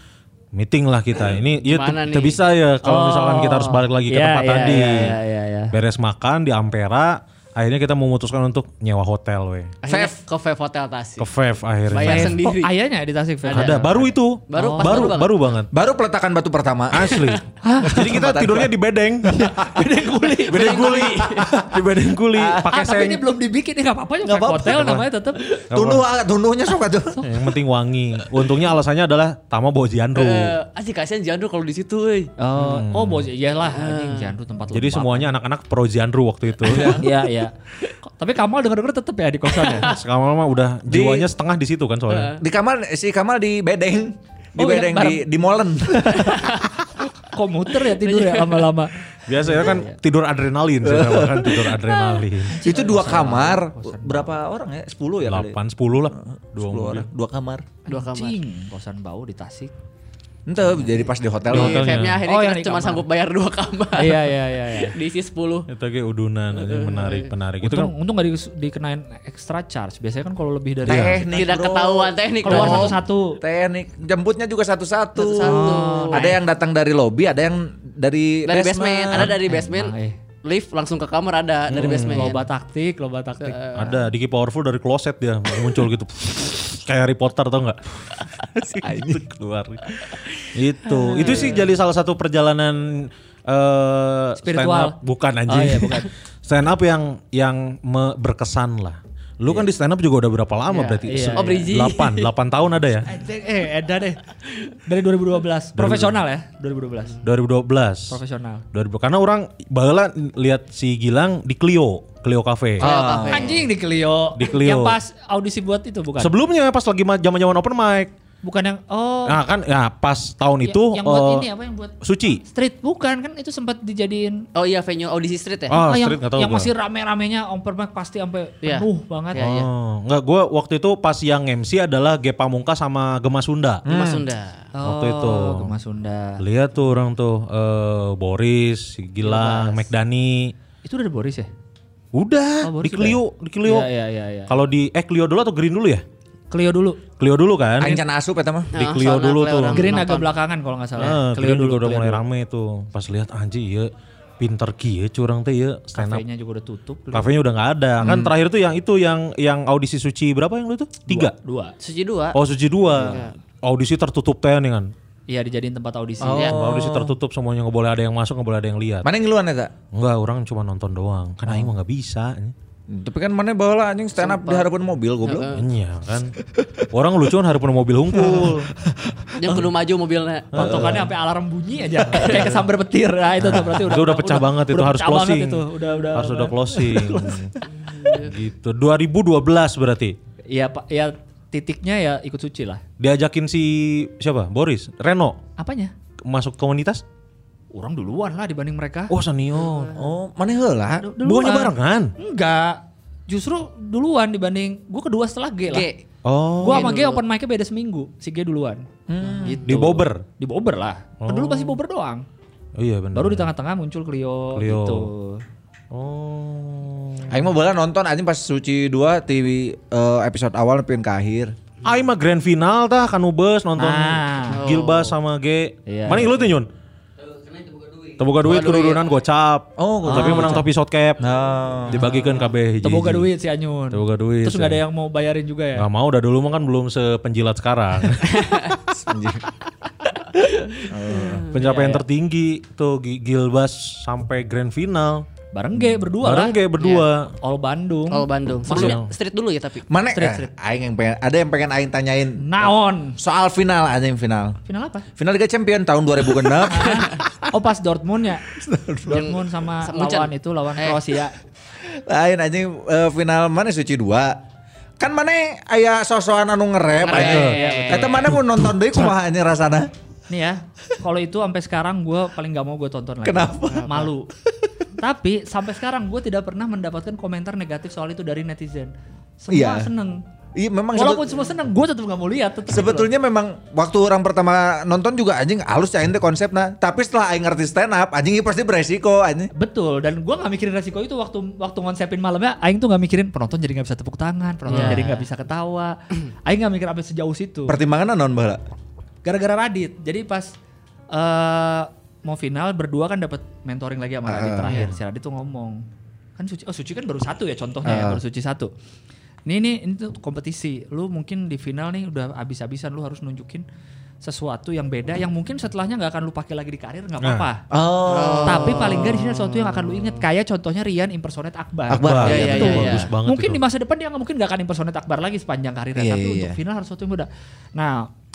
meeting lah kita. Ini ya Gimana te- nih? te bisa ya kalau Oh. misalkan kita harus balik lagi ke Iya, tempat iya, tadi. iya, iya, iya. Beres makan di Ampera, akhirnya kita memutuskan untuk nyewa hotel we. Akhirnya ke Fev Hotel Tasik. Ke Fev akhirnya. Bayar Ada, sendiri. Oh, ayahnya di Tasik Feb. baru itu. Baru- pas baru baru banget. baru banget. Baru peletakan batu pertama. Asli. Jadi kita Kesempatan tidurnya di bedeng. bedeng guli. Bedeng guli. di bedeng guli. Pakai Ah, tapi seng. ini belum dibikin ya enggak apa-apa ya Nggak Feb apa-apa. hotel namanya tetap. Tunduh ah, tunduhnya suka tuh. Yang penting wangi. Untungnya alasannya adalah Tama bawa Jiandro. Eh, asik kasihan Jandro kalau di situ, euy. Oh, oh bos iyalah anjing Jandru tempat Jadi lembab. semuanya anak-anak pro Jiandro waktu itu. Iya, iya. Kok- Tapi Kamal denger-denger tetap ya di kosannya. Kamal mah udah jiwanya setengah di situ kan soalnya. Di kamar si Kamal di bedeng. Di Oh, bedeng iya, di di molen. Kok muter ya tidur ya lama-lama. Biasanya kan tidur adrenalin, sebenarnya kan tidur adrenalin. Itu dua kamar. Berapa orang ya? 10 ya kali. 8 10 lah. 10 Dua orang. Dua kamar. Dua kamar. Cing, kosan bau di Tasik. Entah jadi pas di hotel. Di Di hotel. hotelnya. Fevnya akhirnya Oh, yang kita di cuma kamar. sanggup bayar dua kamar. Iya, iya, iya, iya. Diisi 10. Itu kayak udunan aja menarik, menarik. Itu eh. Untung, kan untung gak di, dikenain extra charge. Biasanya kan kalau lebih dari Iya. iya. Teknik Tidak bro. ketahuan teknik keluar dong. satu-satu. Teknik jemputnya juga satu-satu. Oh. Satu-satu. Oh, Ada yang datang dari lobby, ada yang dari, Dari basement, ada dari Emang, basement. eh. Hmm, Lift langsung ke kamar ada dari basement. Loba taktik, loba taktik. ada Diki powerful dari kloset dia muncul gitu. kayak Harry Potter tau nggak? itu keluar. itu. Itu sih jadi salah satu perjalanan eh stand Spiritual. up. bukan anjing. Oh, iya, bukan. stand up yang yang me- berkesan lah. Lu kan di stand up juga udah berapa lama Iya, berarti? iya, Se- iya. Oh, Brigi. 8, 8 tahun ada ya? Eh, ada deh. Dari 2012. Profesional ya, 2012. 2012. Profesional. 2000 karena orang baheula lihat si Gilang di Clio, Clio Cafe. Oh, Anjing di Clio. Di Clio. Yang pas audisi buat itu bukan? Sebelumnya pas lagi ma- zaman-zaman open mic. bukan yang oh Nah, kan ya pas tahun ya- itu yang buat eh, ini apa yang buat Suci. street bukan kan itu sempat dijadiin Oh iya venue audisi street ya? Oh, Ah, yang, street nggak tahu yang gua. masih rame-ramenya open mic pasti sampai Iya. penuh Iya, banget. iya. Oh, enggak gua waktu itu pas yang MC adalah Ge Pamungkas sama Gema Sunda. Di Mas Sunda. Waktu itu. Mas Hmm. Oh, Sunda. Lihat tuh orang tuh eh, Boris, si Gilang, McDani. Itu dari Boris ya? Udah Oh, Boris di Clio, di Clio. Iya, iya, iya, iya. Kalau di eh Clio dulu atau Green dulu ya? Clio dulu. Clio dulu kan? Ancan asup ya teman. Nah. Di Ah, Clio soalnya dulu Clio tuh. orang- Green Nonton. agak belakangan kalau nggak salah. Heeh, ya. Clio dulu juga udah Clio mulai dulu. rame tuh. Pas lihat anjing ya pinter ki ya curang teh ya stand up. Kafenya juga udah tutup. Clio. Kafenya udah nggak ada. Kan terakhir tuh yang itu yang yang audisi suci berapa yang itu? Tiga. Dua. Suci dua. Oh suci dua. Audisi tertutup teh nih kan. Iya dijadiin tempat audisi. Oh. Iya. Audisi Oh. tertutup semuanya nggak boleh ada yang masuk nggak boleh ada yang lihat. Mana yang ngiluan eta? Enggak, orang cuma nonton doang. Kan Oh. aing mah nggak bisa. Eh. Tapi kan mana bawa anjing stand up di harapan mobil goblok. Iya kan. Orang lucuan harapan mobil hungkul. Dia kudu maju mobilnya. Patokannya sampai alarm bunyi aja. Kayak kesambar petir. Nah, itu tuh berarti udah itu udah pecah banget itu udah harus pecah banget closing. itu. Udah udah. harus udah closing. gitu. 2012 berarti. Iya, Pak. Ya titiknya ya ikut suci lah. Diajakin si siapa? Boris, Reno Apanya? masuk komunitas? Orang duluan lah dibanding mereka. Oh, senior. Oh, mana heula? Du- duluan. Bukannya barengan. Enggak. Justru duluan dibanding gue kedua setelah G lah. G. Oh. Hmm. Gue sama G open mic-nya beda seminggu. Si G duluan. Gitu. Di Bobber. Di Bobber lah. Kan Dulu pasti Bobber doang. Oh iya benar. Baru di tengah-tengah muncul Clio, Clio. gitu. Oh. Aing mah bawa nonton anjing pas suci dua TV episode awal pin ke akhir. Ai mah grand final tah kan ubes nonton Ah. Gilbas sama G. Iya. Mana yang lu tuh Nyun? Teboga duit kududunan gocap. Oh, gocap. tapi menang topi shot cap. Nah. Dibagikan KB hiji. Teboga duit si Anyun. Teboga Iya, duit, Terus nggak ya. ada yang mau bayarin juga ya. Gak mau dah dulu mah kan belum sepenjilat sekarang. Pencapaian tertinggi tuh Gi- Gilbas sampai grand final. Bareng G berdua Bareng lah. kayak berdua. All Bandung. Oh Bandung. Sebelumnya street dulu ya tapi. Mana eh, aing yang pengen ada yang pengen aing tanyain Naon. soal final anjing final. Final apa? Final Liga Champion tahun 2006. Oh pas Dortmund ya. Dortmund sama Sa- Munchen. lawan itu lawan Eh. Kroasia. Lain anjing eh, final mana suci dua. Kan mana aya sosokan anu nge-rap Nge-rap, anjing. iya, Eta mana mun nonton deui kumaha anjing rasana? Nih ya, kalau itu sampai sekarang gue paling gak mau gue tonton lagi. Kenapa? Malu. Tapi sampai sekarang gue tidak pernah mendapatkan komentar negatif soal itu dari netizen. Semua Iya. seneng. Iya memang Walaupun sebet- semua seneng, gue tetap gak mau lihat. tetep gitu loh. sebetulnya memang waktu orang pertama nonton juga anjing halus ya ente konsepnya. Tapi setelah aing ngerti stand up, anjing ini pasti beresiko anjing. Betul dan gua nggak mikirin resiko itu waktu waktu konsepin malamnya aing tuh nggak mikirin penonton jadi nggak bisa tepuk tangan, penonton Iya. jadi nggak bisa ketawa. aing nggak mikir sampai sejauh situ. Pertimbangan non bala. Gara-gara Radit. Jadi pas eh mau final berdua kan dapat mentoring lagi sama Ah, Radit terakhir. iya. Si Radit tuh ngomong. Kan Suci oh Suci kan baru satu ya contohnya ya, Ah. baru Suci satu. Ini ini ini tuh kompetisi. Lu mungkin di final nih udah abis-abisan lu harus nunjukin sesuatu yang beda yang mungkin setelahnya nggak akan lu pakai lagi di karir nggak apa-apa. Ah. Oh. Tapi paling nggak di sini ada sesuatu yang akan lu inget. Kayak contohnya Rian impersonate Akbar. Akbar. Wah, Iya, iya, iya, betul, iya. bagus banget mungkin itu. di masa depan dia nggak mungkin nggak akan impersonate Akbar lagi sepanjang karirnya. Iya, Tapi iya, untuk iya. final harus sesuatu yang beda. Nah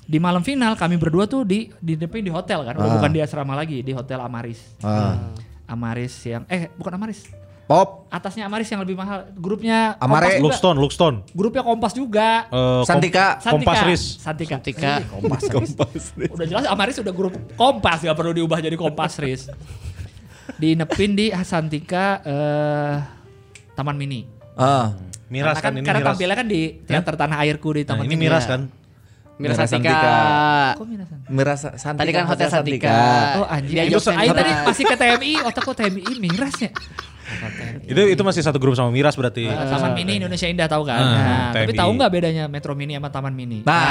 di malam final kami berdua tuh di di depan di hotel kan, Udah Ah. bukan di asrama lagi di hotel Amaris. Ah. Amaris yang eh bukan Amaris, Pop atasnya Amaris yang lebih mahal. Grupnya Amare. Kompas juga. Lookstone, Lookstone. Grupnya Kompas juga. Eh, kom- Santika. Kompas Ris. Santika. Santika. Eh, Kompas Ris. Kompas Ris. Udah jelas Amaris udah grup Kompas gak perlu diubah jadi Kompas Ris. Dinepin di Santika eh Taman Mini. Ah. Miras karena kan, ini karena miras. tampilnya kan di teater tanah airku di Nah, Taman ini Mini. miras Iya. kan. Mira Mira Santika. Santika. Kok Mirasan? Merasa Santika. Tadi kan Hotel Santika. Oh anjing. Dia Itu jokesnya Aing tadi Miras. masih ke TMI, otak kok TMI miras ya? Itu Iya. itu masih satu grup sama miras berarti. Eh, Taman Mini Indonesia Indah tahu kan? Iya. Ah, Nah, tapi TMI. tahu nggak bedanya Metro Mini sama Taman Mini? Nah,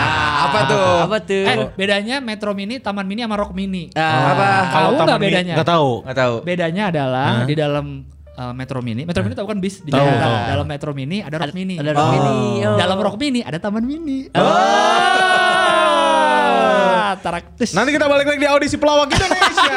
apa tuh? Oh. Apa tuh? Eh, bedanya Metro Mini, Taman Mini sama Rock Mini. Ah. Apa? Tahu nggak Mini- bedanya? Ah. Nggak tahu. Nggak tahu. Bedanya adalah di dalam uh, Metro Mini. Metro Mini tahu kan bis di Ah. Tahu, Jakarta. tahu. Dalam Metro Mini ada Rock Mini. Ada Rock Mini. oh. Dalam Rock Mini ada Taman Mini. Oh. Ah, tarak tes. Nanti kita balik lagi di audisi pelawak Indonesia.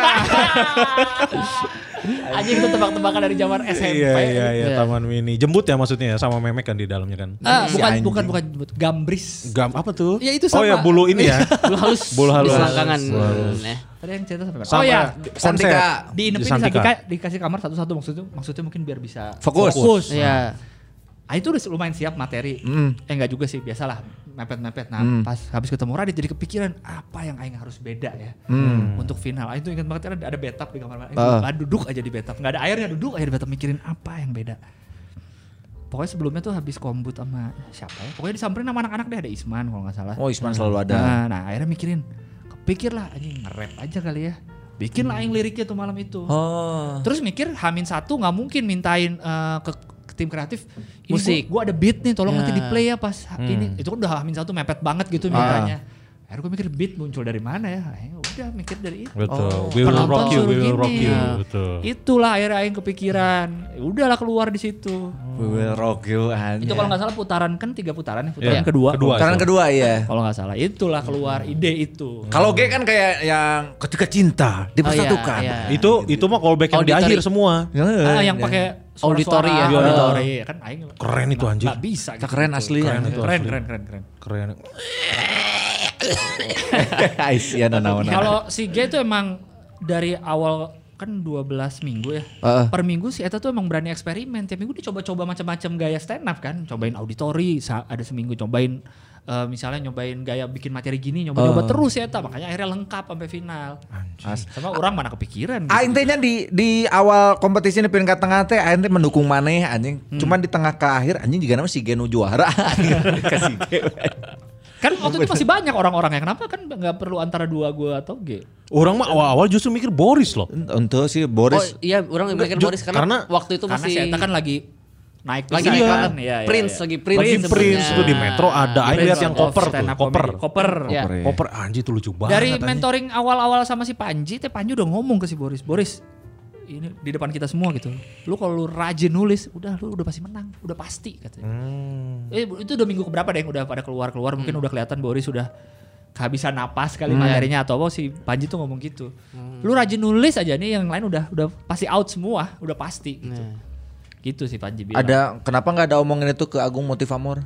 Anjing itu tebak-tebakan dari zaman SMP. Iya iya iya Iya. Taman Mini. Jembut ya maksudnya ya sama memek kan di dalamnya kan. Ah, Si bukan, anjing. bukan bukan bukan gambris. Gam apa tuh? Ya, itu sama. Oh ya bulu ini ya. Bulu halus. Bulu halus. Di selangkangan. Bulu halus. Nah. Tadi yang cerita sampai mana? Sama Oh ya, Santika. di Di inepin Santika. dikasih kamar satu-satu maksudnya maksudnya mungkin biar bisa Fokus. Iya. Ah itu udah lumayan siap materi. Eh enggak juga sih, biasalah mepet-mepet. Nah, Mm. pas habis ketemu Radit jadi kepikiran apa yang aing harus beda ya untuk final. Aing tuh ingat banget ada ada bathtub di kamar mandi. Mm. Ah. Aing duduk aja di bathtub, nggak ada airnya duduk aja di bathtub mikirin apa yang beda. Pokoknya sebelumnya tuh habis kombut sama siapa ya? Pokoknya disamperin sama anak-anak deh ada Isman kalau nggak salah. Oh Isman selalu ada. Nah, nah akhirnya mikirin, kepikirlah anjing nge-rap aja kali ya. Bikin lah aing liriknya tuh malam itu. Oh. Terus mikir Hamin satu nggak mungkin mintain eh, ke, ke tim kreatif ini Musik. Gue ada beat nih, tolong Ya. nanti di play ya pas ha- ini. Itu kan udah Hamin satu mepet banget gitu mintanya. Akhirnya gue mikir beat muncul dari mana ya? Akhirnya udah mikir dari itu. Betul. We will Oh, Penonton rock you, suruh we will gini. rock you. Iya. Betul. Itulah akhirnya Aing kepikiran. Ya Udahlah keluar di situ. We will rock you anjing. Itu kalau nggak salah putaran kan tiga putaran ya, Iya. putaran kedua. Kedua. Putaran Iya. kedua ya. Kalau nggak salah itulah keluar ide itu. Kalau G kan kayak yang ketika cinta dipersatukan. iya. Itu itu mah callback yang di Auditory. akhir semua. Ah, yang pakai suara-suara. Auditori ya. Auditori. kan aing iya. Keren itu, anjir. Nggak bisa gitu. Keren Ah. asli ya. Keren, keren, keren, keren, keren. Keren. Aisyah Kalau si G itu emang dari awal kan 12 minggu ya. Heeh. Per minggu si Eta tuh emang berani eksperimen. Tiap minggu dicoba-coba macam-macam gaya stand up kan. Cobain auditori, sa- ada seminggu cobain eh, misalnya nyobain gaya bikin materi gini, nyoba-nyoba terus si Eta. Makanya akhirnya lengkap sampai final. Sama orang mana kepikiran. gitu. Aing tehnya di di awal kompetisi ini peringkat tengah teh aing teh mendukung maneh anjing. Cuman di tengah ke akhir anjing juga nama si Geno juara. Kasih Kan waktu itu masih banyak orang-orangnya. Kenapa kan nggak perlu antara dua gua atau G? Orang mah awal-awal justru mikir Boris loh. Untuk si Oh Boris iya, orang yang mikir Ju- Boris karena, karena- waktu itu Karena masih si Eta kan lagi naik lagi naik naik banget. banget. Iya, iya, Prince iya. lagi Prince. Lagi sebenarnya. Prince tuh di Metro Oh, ada. Aing Prince lihat yang of koper stand tuh. up Koper. comedy. Koper. Iya. Koper ya. Koper anjir itu lucu banget. Dari anjing. mentoring awal-awal sama si Panji, teh Panji udah ngomong ke si Boris, Boris ini di depan kita semua gitu. Lu kalau lu rajin nulis, udah lu udah pasti menang, udah pasti katanya. Hmm. Eh, bu- itu udah minggu keberapa deh yang udah pada keluar-keluar, mungkin udah kelihatan Boris udah kehabisan napas Hmm. kali materinya atau apa si Panji tuh ngomong gitu. Lu rajin nulis aja nih, yang lain udah udah pasti out semua, udah pasti gitu. Nah. Gitu sih Panji bilang. ada kenapa nggak ada omongin itu ke Agung Motif Amor?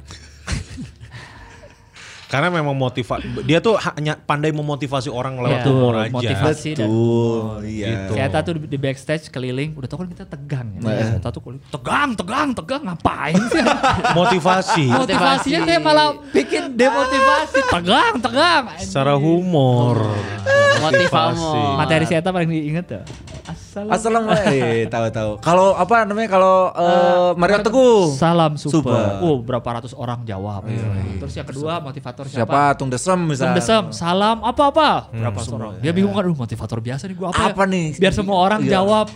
Karena memang motiva dia tuh hanya pandai memotivasi orang lewat Iya. humor Betul, aja. motivasi. Pasti dan- Betul, Nah, iya. iya. Gitu. Si Eta tuh di, di backstage keliling, udah tau kan kita tegang ya. Si Eta tuh keliling, tegang, tegang, tegang, ngapain sih? Motivasi Iya. Motivasinya saya malah bikin demotivasi, tegang, tegang. secara humor. Motivasi. Materi si Eta paling diinget tuh. Assalamualaikum. Eh, tahu tahu. Kalau apa namanya kalau eh, Mario Teguh. Salam super. Super. Iya, Wow, berapa ratus orang jawab. Terus yang kedua motivator Siapa? siapa? Tung Desem misalnya. Mendesem, salam apa-apa. Berapa orang? Dia bingung kan, "Aduh, motivator biasa nih gua apa, ya?" Apa nih? Biar semua orang Iya. jawab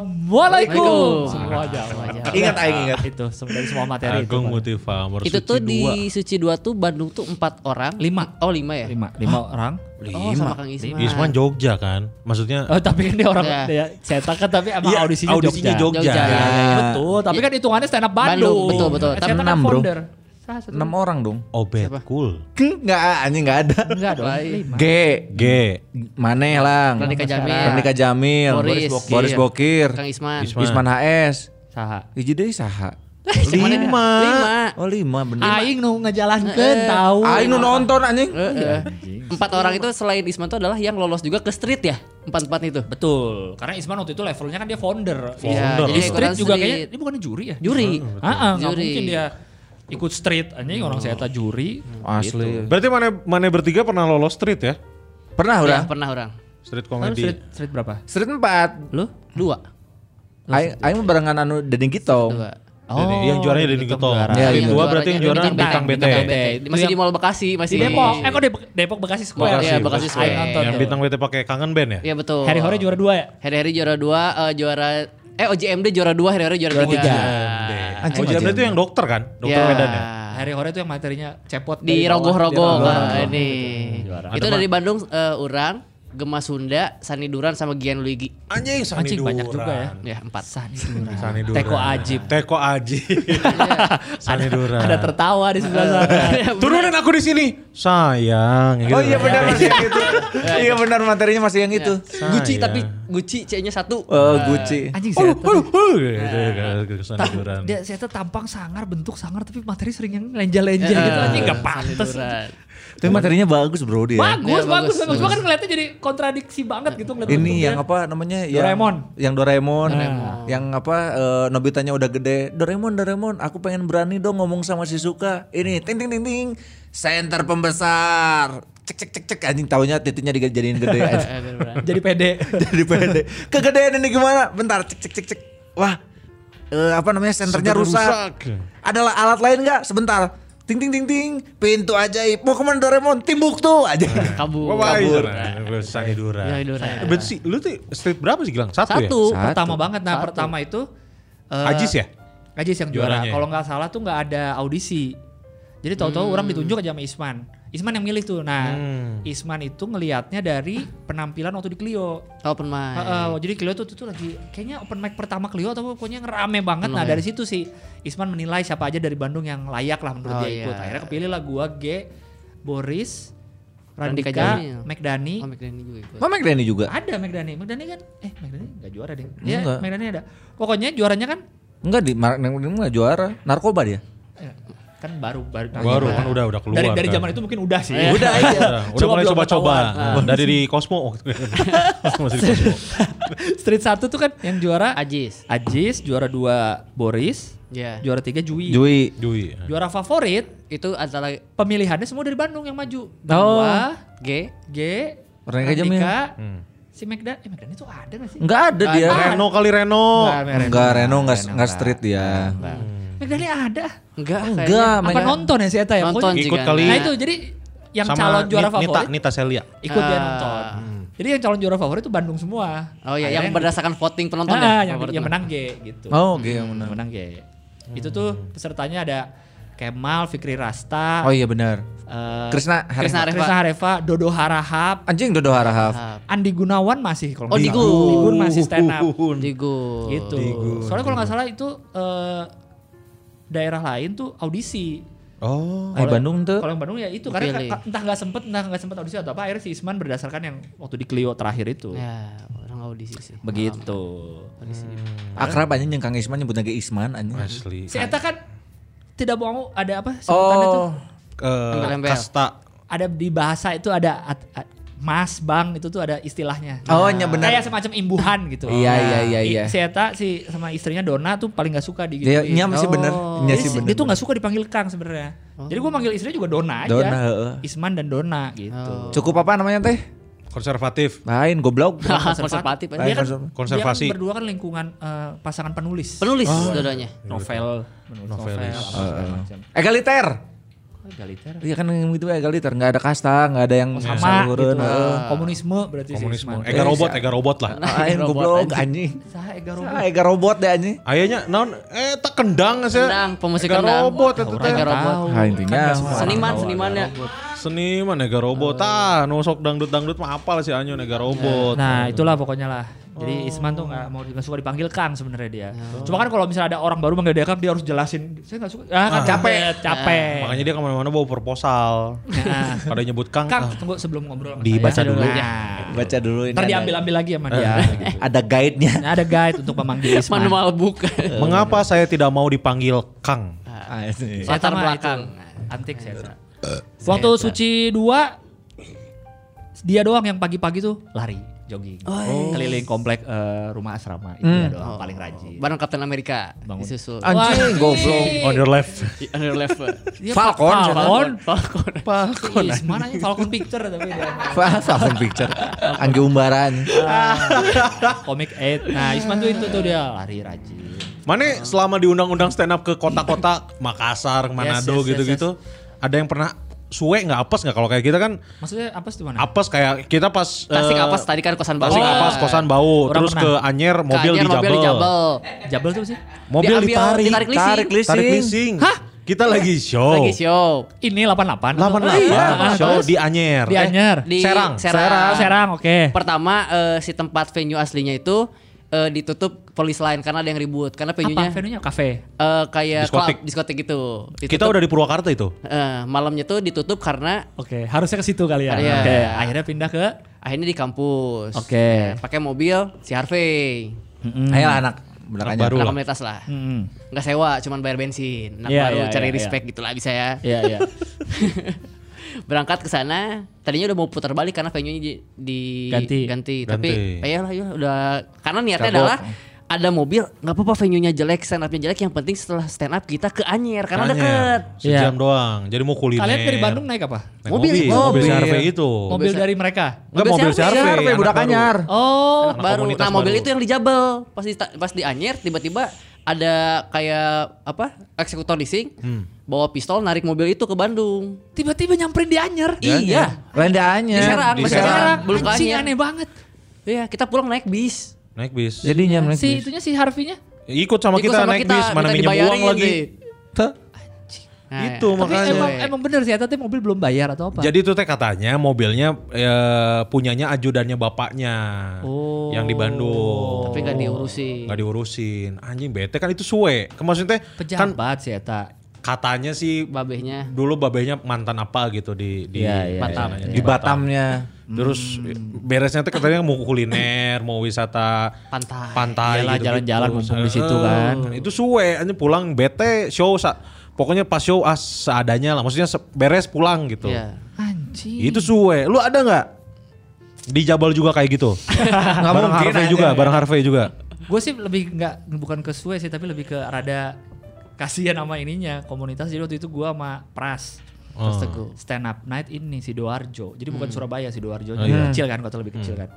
Assalamualaikum. Semua jawab. Ingat, Aing, ingat. Itu sem- dari semua materi itu. Agung Multifarmer Itu tuh Suci di dua. Suci 2 tuh Bandung tuh 4 orang. Lima. Oh 5 ya? Lima, lima orang. Oh sama Kang Isman. Isman Jogja kan. Maksudnya Oh, tapi kan dia orang Iya. dia cetak kan tapi emang Iya, audisinya, audisinya Jogja. Ya, Jogja. kan? Jogja, iya, iya, iya. Betul, tapi kan hitungannya stand up Bandung. Bandung, betul, betul. Kan cetak kan Enam, bro. founder. Salah satu. Enam orang dong. Obet Cool. Enggak, anjing enggak ada. Enggak dong, Baik. lima. G. G. Maneh lang. Radika Jamil. Radika Jamil. Boris. Boris Bokir. Kang Isman. Isman. Isman HS. Saha. Hiji deui saha? Isman ada Lima. Lima. Oh lima bener. Aing nu ngejalankeun Ah. Eh, tahu. Aing nu nonton anjing. Heeh. Empat orang itu selain Isman tuh adalah yang lolos juga ke street ya? Empat-empat itu. Betul, karena Isman waktu itu levelnya kan dia founder. Iya, Founder. Jadi jadi street ikutan juga street. kayaknya, dia bukan juri ya? Juri. Ah, ah, nggak Juri. mungkin dia ikut street anjing orang saya tak juri. Gitu. Asli. Berarti mana mana bertiga pernah lolos street ya? Pernah Ya, udah? pernah orang. Street Lalu street, comedy. street berapa? Street empat. Lu? Dua. Aing aing barengan anu Dedeng Gitong. Dua. Jadi yang juaranya Deddy Getong. Iya, Street iya. dua berarti Nah, yang juara Bintang Bintang BT. Bintang BT. Masih Yang- di Mall Bekasi, masih Di Depok, eh kok Depok, Depok Bekasi Square. Bekasi, Iya, Bekasi Square. Aing nonton Yang tuh. Bintang BT pakai kangen band ya? Iya betul. Harry Hore juara dua ya? Hari-hari juara dua, eh, juara eh OJMD juara dua, hari-hari juara tiga. Iya. Oh, Jamil itu yang dokter kan? Dokter Ya. Medan ya? Harry Hore tuh yang materinya cepot Di dari bawah, rogoh-rogoh di rogoh-rogoh. Pak, ini. Itu dari Bandung eh, orang, Gema Sunda, Sani Duran sama Gian Luigi. Anjing, Sani Anjing banyak juga Ya ya. empat. Sani Duran. Sani Duran. Teko Ajib. Teko Aji. Iya. Sani Duran. Ada tertawa di sebelah sana. Turunin aku di sini. Sayang. gitu. Oh iya benar masih yang itu. Iya benar materinya masih yang itu. Iya. Gucci tapi Gucci C-nya satu. Eh Gucci. Anjing Oh, saya tuh. gitu ya, ke- ke Sani tam- Duran. dia saya tuh tampang sangar, bentuk sangar tapi materi sering yang lenja-lenja Eh, gitu anjing enggak pantas. Duran. Tapi materinya bagus bro dia. Iya, Bagus, bagus, bagus. Iya. ya. bagus. Cuma kan ngeliatnya jadi kontradiksi banget gitu ngeliat bentuknya. Ini yang apa namanya? yang- Doraemon. Yang Doraemon. Yang apa eh, Nobitanya udah gede. Doraemon, Doraemon, aku pengen berani dong ngomong sama si Suka. Ini ting ting ting ting. Center pembesar. Cek cek cek cek anjing taunya titiknya dijadiin gede. anjing. jadi pede. Jadi pede. Kegedean ini gimana? Bentar cek cek cek cek. Wah. eh, apa namanya? Senternya rusak. Adalah alat lain nggak? Sebentar. Ting ting ting ting. Pintu ajaib. Mau kemana Doraemon? Timbuk tuh aja. Kabur. Kabur. Sani Duran. Eh, Sani Duran. Berarti sih, lu tuh street berapa sih Gilang? Satu, Satu. ya? Pertama banget nah pertama itu eh, Ajis ya? Ajis yang juara. Juaranya ya? Kalau nggak salah tuh nggak ada audisi. Jadi Hmm. tahu-tahu orang ditunjuk aja sama Isman. Isman yang milih tuh. Nah, Isman itu ngelihatnya dari penampilan waktu di Clio. Open mic. Heeh, jadi Clio tuh, tuh, tuh lagi kayaknya open mic pertama Clio atau pokoknya ngerame banget. Nah, dari situ sih Isman menilai siapa aja dari Bandung yang layak lah menurut Oh, dia ikut. iya. Akhirnya kepilih lah gua G, Boris, Radika Radika, Jamil. McDani. Oh, McDani juga ikut. Mama Granny juga. Ada McDani. McDani kan eh McDani enggak juara deh. Iya, Enggak. McDani ada. Pokoknya juaranya kan Enggak di Mark enggak juara. Narkoba dia. Eh, kan baru baru Baru kan udah udah keluar. dari dari kan. zaman itu mungkin udah sih Udah, Iya. udah Cuma mulai belum coba-coba. ketahuan. Nah, Dari di Cosmo waktu itu. Masih di Cosmo. street satu tuh kan yang juara Ajis. Ajis juara dua Boris Ya. juara tiga Jui. Jui. Dui. juara favorit Itu antara pemilihannya semua dari Bandung yang maju Dua G. G Mereka aja, Mil. Radika, Hmm. si Megdan eh Megdan itu ada gak sih Enggak ada dia. Reno kali Reno. Enggak, Reno enggak enggak street dia. Megdannya ada Enggak. Enggak, kayaknya. apa mainnya- nonton ya si Eta ya Nonton Pokoknya- Ikut juga. kali. nah itu jadi yang Sama calon juara Ni- favorit Nita, Nita Celia. ikut dia Ah. nonton jadi yang calon juara favorit itu Bandung semua Oh iya, yang Akhirnya- berdasarkan voting penonton Ah, ya. yang, favorit yang lu. menang G gitu. Oh, G yang yang menang. Menang G. Itu tuh pesertanya ada Kemal, Fikri Rasta, Oh iya benar. eh, Krisna Krisna Haref. Haref. Krisna Hareva, Dodo Harahap, Anjing Dodo Harahap. Ah, Andi Gunawan masih kalau Oh, nggak Digun. salah. Digun masih stand up. Digo. Gitu. Soalnya kalau nggak salah itu eh, daerah lain tuh audisi. Oh. Eh Bandung tuh. Kalau yang Bandung ya itu karena Dipilih. ka- entah nggak sempet, entah nggak sempet audisi atau apa. Akhirnya si Isman berdasarkan yang waktu di Clio terakhir itu. Ya, orang audisi sih. Begitu. Akrab anjing yang Kang Isman nyebutnya ge Isman anjing. Asli. Si Eta kan tidak mau ada apa sebutannya tuh Oh. Eh, Nempel. Kasta. ada di bahasa itu ada at- at- mas bang itu tuh ada istilahnya. Oh, iya benar. Kayak semacam imbuhan gitu. Iya, iya, iya, I- iya. Si Eta si sama istrinya Dona tuh paling gak suka di Dia nyam sih bener. Nya Jadi sih si- bener. dia tuh gak suka dipanggil Kang sebenarnya. Jadi gua manggil istrinya juga Dona aja. Dona, Oh. heeh. Oh. Isman dan Dona gitu. Cukup apa namanya teh? Konservatif. Lain goblok. konservatif. Dia kan Konser- Konservasi. Dia kan berdua kan lingkungan eh, pasangan penulis. penulis dua-duanya. Novel, penulis novel, Novelis. Ah. apa segala macam. Egaliter. Oh, Egaliter. Iya kan yang gitu egaliter, nggak ada kasta, nggak ada yang Sama saluran, gitu. heeh. Komunisme Eh. berarti sih, Komunisme. Isman. Ega robot, ega robot lah. Nah. Ah, Lain goblok anjing. Saha Ega Ah, Robot. Ega robot deh anjing. Ayahnya naon eh tak kendang saya. Kendang, pemusik Ega kendang. robot itu teh. Ega robot. Nah, Ah, intinya Kan Seniman, ya. senimannya. Seniman ega robot. Oh. Ah, nusok dangdut-dangdut mah apal sih anjun ega robot. Nah itulah pokoknya lah. Jadi Isman tuh nggak mau nggak suka dipanggil Kang sebenarnya dia. Cuma kan kalau misalnya ada orang baru manggil dia Kang dia harus jelasin. Saya nggak suka. Ah, kan capek, Nah, capek. Makanya dia kemana-mana bawa proposal. Pada nyebut Kang. ah, Kang tunggu sebelum ngobrol. sama Dibaca saya. dulu. Nah, baca dulu ini. Ntar ada- diambil-ambil lagi sama dia. gitu. Ada guide-nya. Nah, ada guide untuk memanggil Isman. Manual book. Ah. Mengapa saya tidak mau dipanggil Kang? Anjing. Latar mah belakang. itu Antik saya. kira. Waktu suci dua dia doang yang pagi-pagi tuh lari jogging keliling komplek eh, rumah asrama itu dia doang paling rajin. Barang Kapten Amerika disusul. Ah. Anjing goblok. On your left. Under level. Dia Falcon, Falcon. Falcon. Falcon. Is, mana aja Falcon Picture tapi dia. Falcon Picture. Anggi Umbaran. Komik 8. Nah, Isman tuh itu tuh dia lari rajin. Mana selama diundang-undang stand up ke kota-kota Makassar, Manado yes, yes, gitu-gitu, ada yang pernah suwe nggak apes nggak kalau kayak kita kan Maksudnya apa sih mana? apes kayak kita pas Tasik eh, apas tadi kan kosan bawah. Tasik Apas kosan bau, Iya. Orang terus pernah. ke Anyer mobil Mobil dijabel. mobil dijabel. Jabel tuh apa sih? Mobil Diambil, ditarik, ditarik leasing. Tarik tarik lising. leasing. Kita lagi show. Lagi show. Ini 88. 88 show di Anyer. Iya. Di Eh, Anyer. Di Serang. Serang, Serang. Serang, oke. Pertama eh, si tempat venue aslinya itu eh, ditutup polis lain karena ada yang ribut karena Apa venue-nya venue-nya? Kafe. eh, kayak Diskotik. club, diskotik gitu. Kita udah di Purwakarta itu. Eh, malamnya tuh ditutup karena Oke, harusnya ke situ kali ya. Iya. Oke, akhirnya pindah ke akhirnya di kampus. Oke. Nah, Pakai mobil si Harvey. Ayolah anak. Anak Belakangnya. baru Anak lah. komunitas lah. Hmm. Nggak sewa, cuman bayar bensin. Anak Iya, baru iya, cari iya, respect gitu lah bisa ya. Iya, iya. Berangkat ke sana, tadinya udah mau putar balik karena venue-nya di, di- Ganti. tapi Ganti. ayolah ayolah udah karena niatnya adalah ada mobil nggak apa-apa venue-nya jelek, stand up-nya jelek, yang penting setelah stand up kita ke Anyer karena Anyer. deket. Sejam Iya. doang. Jadi mau kuliner. Kalian dari Bandung naik apa? Naik mobil, mobil, mobil. si Harvey itu. Mobil dari mereka. Enggak mobil si Harvey, Siapa anak budak baru. anyar? Oh, Anak baru. komunitas Nah mobil baru. itu yang dijabel pas di pas di Anyer tiba-tiba ada kayak apa eksekutor leasing Hmm. bawa pistol narik mobil itu ke Bandung. tiba-tiba nyamperin di Anyer. Iya. Lendaannya. Di Serang, Di masih Serang. Serang, belum ke Anjing Anyer. aneh banget. Iya kita pulang naik bis. Naik bis. Jadi nyampe. Si itunya si Harvey-nya. Ikut sama Ikut kita naik bis, minta mana minjem dibayarin uang lagi. sih. Tuh. Nah, Itu ya. Tapi makanya. emang emang bener sih, tapi mobil belum bayar atau apa? Jadi itu teh katanya mobilnya eh, punyanya ajudannya bapaknya Oh. yang di Bandung. Tapi nggak diurusin. Nggak diurusin. Anjing bete kan itu suwe. Kan Maksudnya teh kan pejabat sih eta. katanya sih babehnya dulu babehnya mantan apa gitu di di Iya, iya, Batam. iya, Di Hmm. Di Batam. Batamnya. Terus beresnya teh katanya mau kuliner, mau wisata Pantai. pantai Ah, Iyalah, gitu-gitu. jalan-jalan mumpung di situ Eh, kan. Itu suwe, anjing pulang bete show sa- pokoknya pas show as seadanya lah. Maksudnya se- beres pulang gitu. Iya. Anjing. Itu suwe. Lu ada nggak? Di Jabal juga kayak gitu. Nggak barang mungkin ada. Harvey ya. juga, barang Harvey juga. Gue sih lebih nggak bukan ke Sue sih, tapi lebih ke rada kasihan sama ininya komunitas. Jadi waktu itu gue sama Pras. Oh. Stand up night ini Sidoarjo. Jadi bukan Surabaya Sidoarjo. Oh, iya. Kecil kan, kota lebih kecil kan.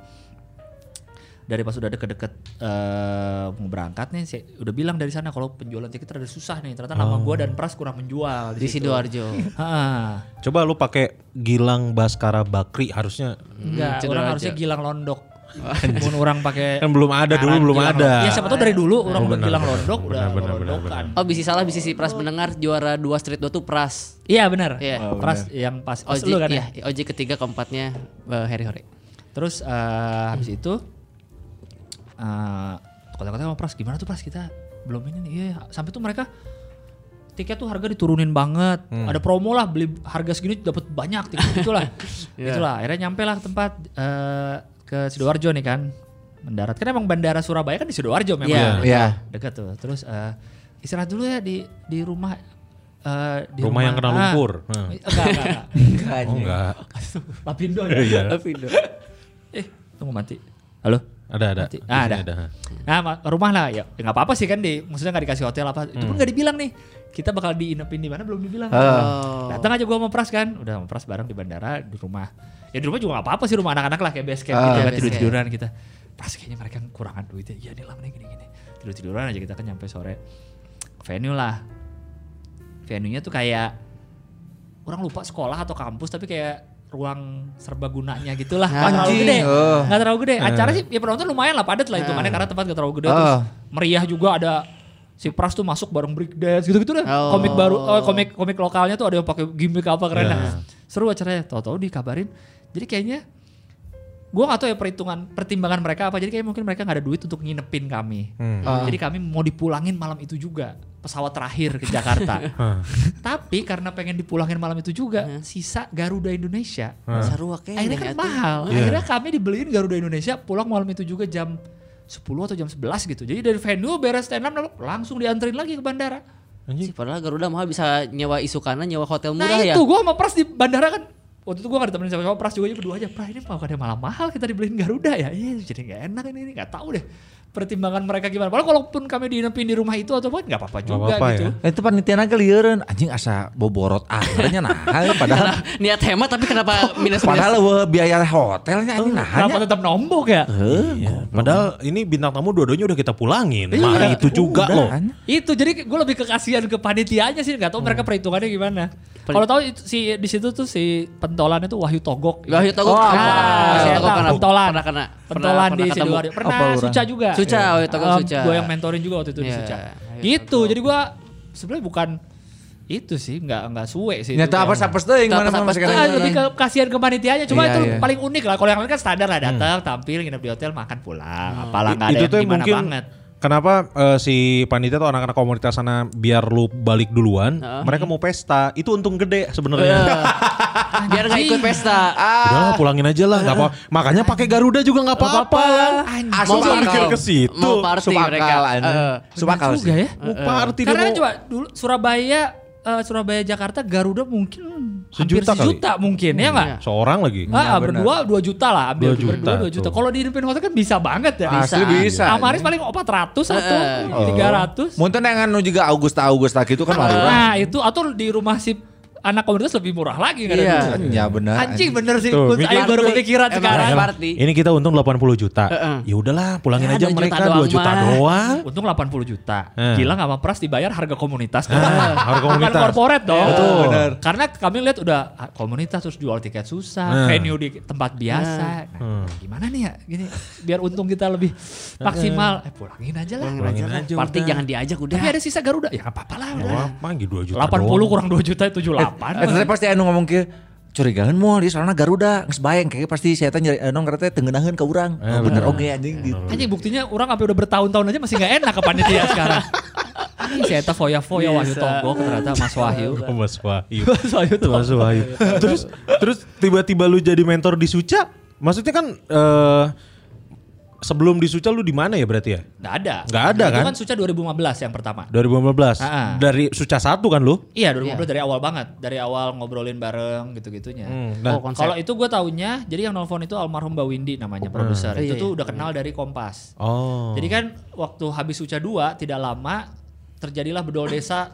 Dari pas udah deket-deket eh, mau berangkat nih, saya udah bilang dari sana kalau penjualan tiket rada susah nih. Ternyata nama Oh. gue dan Pras kurang menjual di situ. Sidoarjo. Heeh. Coba lu pakai Gilang Baskara Bakri harusnya Enggak, cedera orang aja. harusnya gilang londok. Mun orang pakai Kan belum ada, dulu Karan belum gilang ada. londok. Ya siapa tahu dari dulu orang Oh, udah benar, gilang benar, londok kan. benar, udah benar, benar, londokan. Oh bisa salah bisa si Pras mendengar juara dua street 2 tuh Pras. Iya benar. Iya. Oh, Pras yang pas pas Oji lu kan ya. iya, Oji ketiga keempatnya eh, Harry Hore. Terus eh, habis itu eh kata-kata sama Pras gimana tuh Pras kita belum ini nih. Iya, iya. sampai tuh mereka tiket tuh harga diturunin banget. Hmm. Ada promo lah beli harga segini dapat banyak tiket gitulah. Iya. Itulah akhirnya nyampe lah ke tempat eh, ke Sidoarjo nih kan. Mendarat kan emang bandara Surabaya kan di Sidoarjo Iya. memang. Iya. dekat tuh. Terus eh, istirahat dulu ya di di rumah eh, di Rumah yang kena lumpur. Ah, Nah. enggak, enggak, enggak. Oh enggak. Lapindo ya. Iya. Eh, tunggu mati. Halo. Ada ada. Mati. Di Ah, sini Hmm. ada. Nah, ma- rumah lah ya. Ya, nggak apa-apa sih kan di maksudnya nggak dikasih hotel apa. Itu pun nggak dibilang nih. kita bakal diinepin di mana belum dibilang. Datang aja gua sama Pras kan, udah sama Pras bareng di bandara di rumah. Ya di rumah juga gak apa-apa sih rumah anak-anak lah kayak base camp gitu Ah. kan Base tidur-tiduran kita. Pras kayaknya mereka kekurangan duitnya. Ya nih lah mending gini-gini. Tidur-tiduran aja kita kan nyampe sore. Ke venue lah. Venue-nya tuh kayak orang lupa sekolah atau kampus tapi kayak ruang serbagunanya gitulah nggak terlalu Anjing, gede eh. nggak terlalu gede acara sih ya penonton lumayan lah padat lah itu mana karena tempat nggak terlalu gede terus Ah. meriah juga ada si Pras tuh masuk bareng break dance gitu-gitu deh Oh. komik baru oh, komik komik lokalnya tuh ada yang pakai gimmick apa keren dah. seru acaranya tahu-tahu dikabarin jadi kayaknya gua nggak tahu ya perhitungan pertimbangan mereka apa jadi kayak mungkin mereka nggak ada duit untuk nginepin kami jadi kami mau dipulangin malam itu juga pesawat terakhir ke Jakarta tapi karena pengen dipulangin malam itu juga sisa Garuda Indonesia Sarua kayaknya akhirnya kan atuh. mahal Iya. akhirnya kami dibeliin Garuda Indonesia pulang malam itu juga jam 10 atau jam 11 gitu jadi dari venue beres stand up langsung dianterin lagi ke bandara Sih, padahal Garuda mahal bisa nyewa isukana, nyewa hotel nah murah ya. itu gua sama Pras di bandara kan waktu itu gua gak ditemenin sama-sama Pras juga aja berdua aja Pras ini bukannya malah mahal kita dibeliin Garuda ya iya jadi gak enak ini, ini gak tahu deh pertimbangan mereka gimana padahal kalaupun kami diinepin di rumah itu atau apa gak apa-apa juga apa-apa gitu ya. Eh, Itu panitia naga lieureun anjing asa boborot akhirnya nah eh, padahal Niat hemat tapi kenapa minus padahal eueuh biaya hotelnya anjing nah kenapa tetap nombok ya Iya. Padahal ini bintang tamu dua-duanya udah kita pulangin. Nah, Mari itu juga Iya. Udah, loh. anjing. Itu jadi gue lebih ke kasihan ke panitianya sih, nggak tahu Hmm. mereka perhitungannya gimana. Kalau tahu itu- si di situ tuh si pentolannya tuh Wahyu Togok. Wah, itu aku Ah, si Wahyu Togok Eta, kena pentolan. pernah kena Pentolan di pernah ketemu. Sidoarjo. Pernah Oh, Palura. Suca juga. Suca, Wahyu Togok Suca. Gue yang mentorin juga waktu itu di Iya, Suca. Wahyu Gitu. Togok. Jadi gue sebenarnya bukan itu sih, nggak nggak suwe sih. itu Nyata kayak- apa sapes teuing Nyata mana apa mana sapes sekarang. Ah, lebih ke kasihan ke panitianya, cuma Iya, itu iya. Hmm. paling unik lah. Kalau yang lain kan standar lah datang, tampil, nginep di hotel, makan pulang. Hmm. Apalah nggak ada itu yang tuh yang gimana mungkin banget. kenapa eh, si panitia atau anak-anak komunitas sana biar lu balik duluan, mereka mau pesta, itu untung gede sebenarnya. Ah, Biar nggak ikut pesta. Udah lah, pulangin aja lah, nggak apa. Makanya pakai Garuda juga nggak apa-apa lah. Asal Mau party. mikir ke situ. Mau Ah, party mereka. Subakal Eh, anjing. Heeh. Subakal juga sih. ya. Mau party dia Karena mau- coba dulu Surabaya eh, Surabaya Jakarta Garuda mungkin hampir Sejuta kali. sejuta mungkin ya Iya. nggak? seorang lagi. Ah, berdua dua juta lah ambil Dua juta, berdua dua juta. tuh. Kalau di Irvin Hotel kan bisa banget ya. Asli bisa. Amaris paling 400 atau Oh. 300. Mungkin Oh. yang anu juga Augusta Augusta gitu kan Madura. Nah, itu atau di rumah si anak komunitas lebih murah lagi kan. Iya. Ya benar. Anjing bener sih. Tuh, Kun, Ayo Nah, mikir. baru kepikiran Emang sekarang. emang. party. Iya, Ini kita untung 80 juta. Ya udahlah, pulangin Ya, aja dua juta mereka doang 2 juta mah. doang. Untung 80 juta. Eh. Gila gak sama Pras dibayar harga komunitas. Ah, harga komunitas. Iya, Bukan korporat dong. Betul. Bener. Karena kami lihat udah ah, komunitas terus jual tiket susah, Eh. venue di tempat biasa. Nah, Gimana nih ya gini biar untung kita Eh, lebih maksimal. Eh pulangin aja lah. Pulangin Ya aja Party udah. jangan diajak udah. Tapi ada sisa Garuda. Ya gak apa-apa lah udah. Wah, manggil 2 gitu, juta 80 doang. kurang 2 juta itu 78. Eh, tadi pasti anu ngomong ke curigaan mau di sana Garuda geus bayang kayak pasti saya tanya "Eh, non kereta tengenaheun ke urang. Eh, Oh, bener oke anjing gitu. Anjing buktinya orang sampai udah bertahun-tahun aja masih gak enak ke panitia sekarang. Anjing saya eta foya-foya Wahyu Tonggok ternyata Mas Wahyu. Mas Wahyu. Mas Wahyu tuh. Mas Wahyu. terus terus tiba-tiba lu jadi mentor di Suca? Maksudnya kan eh sebelum di Suca lu di mana ya berarti ya? Nggak ada. Nggak ada, Itu kan? kan Suca 2015 yang pertama. 2015. Ah. Dari Suca 1 kan lu? Iya 2015 dari awal banget. Dari awal ngobrolin bareng gitu-gitunya. Nah, Oh, konsep. Kalau itu gue taunya, jadi yang nelfon itu almarhum Mbak Windy namanya produser. Iya, Itu tuh udah kenal dari Kompas. Hmm. oh. Jadi kan waktu habis Suca 2 tidak lama terjadilah bedol desa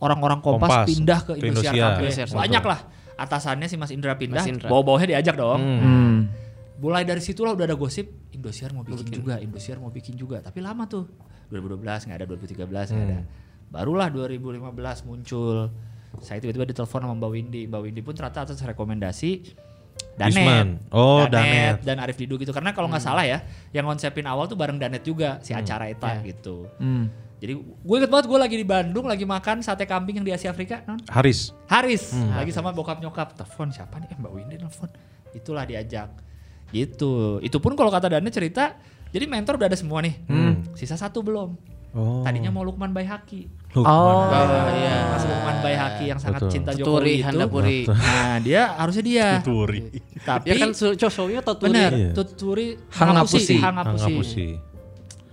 orang-orang Kompas, Kompas, pindah ke ke Indosiar Indosiar. Cafe. Indosiar, Banyak lah. Atasannya si Mas Indra pindah, Mas Indra. bawah-bawahnya diajak dong. Hmm. Hmm. Mulai dari situlah udah ada gosip Indosiar mau bikin, juga, Indosiar mau bikin juga. Tapi lama tuh. 2012 nggak ada, 2013 nggak ada. Hmm. Barulah 2015 muncul. Saya tiba-tiba ditelepon sama Mbak Windy. Mbak Windy pun ternyata atas rekomendasi Wisman. Danet. Oh, Danet. Hmm. dan Arif Didu gitu. Karena kalau nggak salah ya, yang konsepin awal tuh bareng Danet juga si acara eta Ya. gitu. Jadi gue inget banget gue lagi di Bandung lagi makan sate kambing yang di Asia Afrika, non? Haris. Haris Hmm. lagi sama bokap nyokap telepon siapa nih Eh, Mbak Windy telepon itulah diajak gitu itu pun kalau kata Dana cerita jadi mentor udah ada semua nih sisa satu belum Hmm. Oh. tadinya mau Lukman Baihaki Lu Oh. iya. Mas Lukman Baihaki yang sangat Betul. cinta Tuturi, Jokowi itu Handapuri. nah dia harusnya dia kemana? Turi. tapi Ya kan su- cowoknya Tuturi. benar Iya. tuturi Hangapusi. hangapusi. Hangapusi.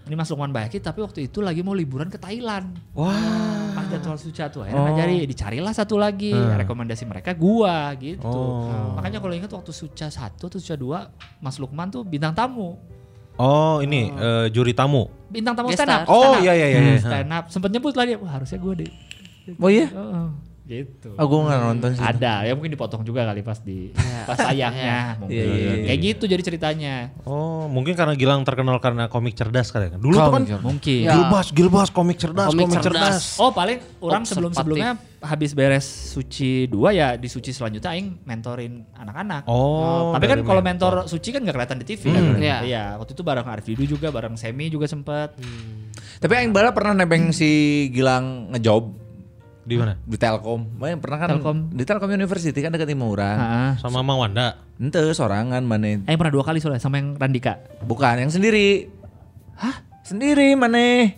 ini Mas Lukman Baihaki tapi waktu itu lagi mau liburan ke Thailand Wah. Oh. Hmm. pas jadwal suca tuh akhirnya ngajari dicarilah satu lagi rekomendasi mereka gua gitu Oh. makanya kalau ingat waktu suca satu atau suca dua Mas Lukman tuh bintang tamu Oh, ini eh, juri tamu. bintang tamu Guest stand star. up Oh, stand up. iya, iya, iya, iya. stand up sempet nyebut lah dia wah harusnya gua deh Oh iya? Heeh, gitu. Aku Ah, nggak nonton sih. Ada, ya mungkin dipotong juga kali pas di pas sayangnya mungkin. Iya, iya, iya. Kayak gitu jadi ceritanya. Oh, mungkin karena Gilang terkenal karena komik cerdas kali ya. Dulu Komik tuh kan cerdas. Mungkin. Ya. Gilbas, Gilbas komik cerdas, Komik komik, cerdas. cerdas. Oh paling orang Observatif. sebelum-sebelumnya habis beres suci dua ya di suci selanjutnya aing mentorin anak-anak. Oh, tapi kan dari kalau mentor suci kan gak kelihatan di TV kan. Hmm. Iya. Iya. waktu itu bareng Arvidu juga, bareng Semi juga sempat. Tapi Aing Bala pernah nebeng si Gilang ngejob Di mana? di Telkom. Aing pernah kan Telkom. di Telkom University kan dekat Imura. Heeh. Sama Mang Wanda. Ente sorangan mana? Aing pernah dua kali soalnya sama yang Randika. Bukan yang sendiri. Hah? Sendiri mana?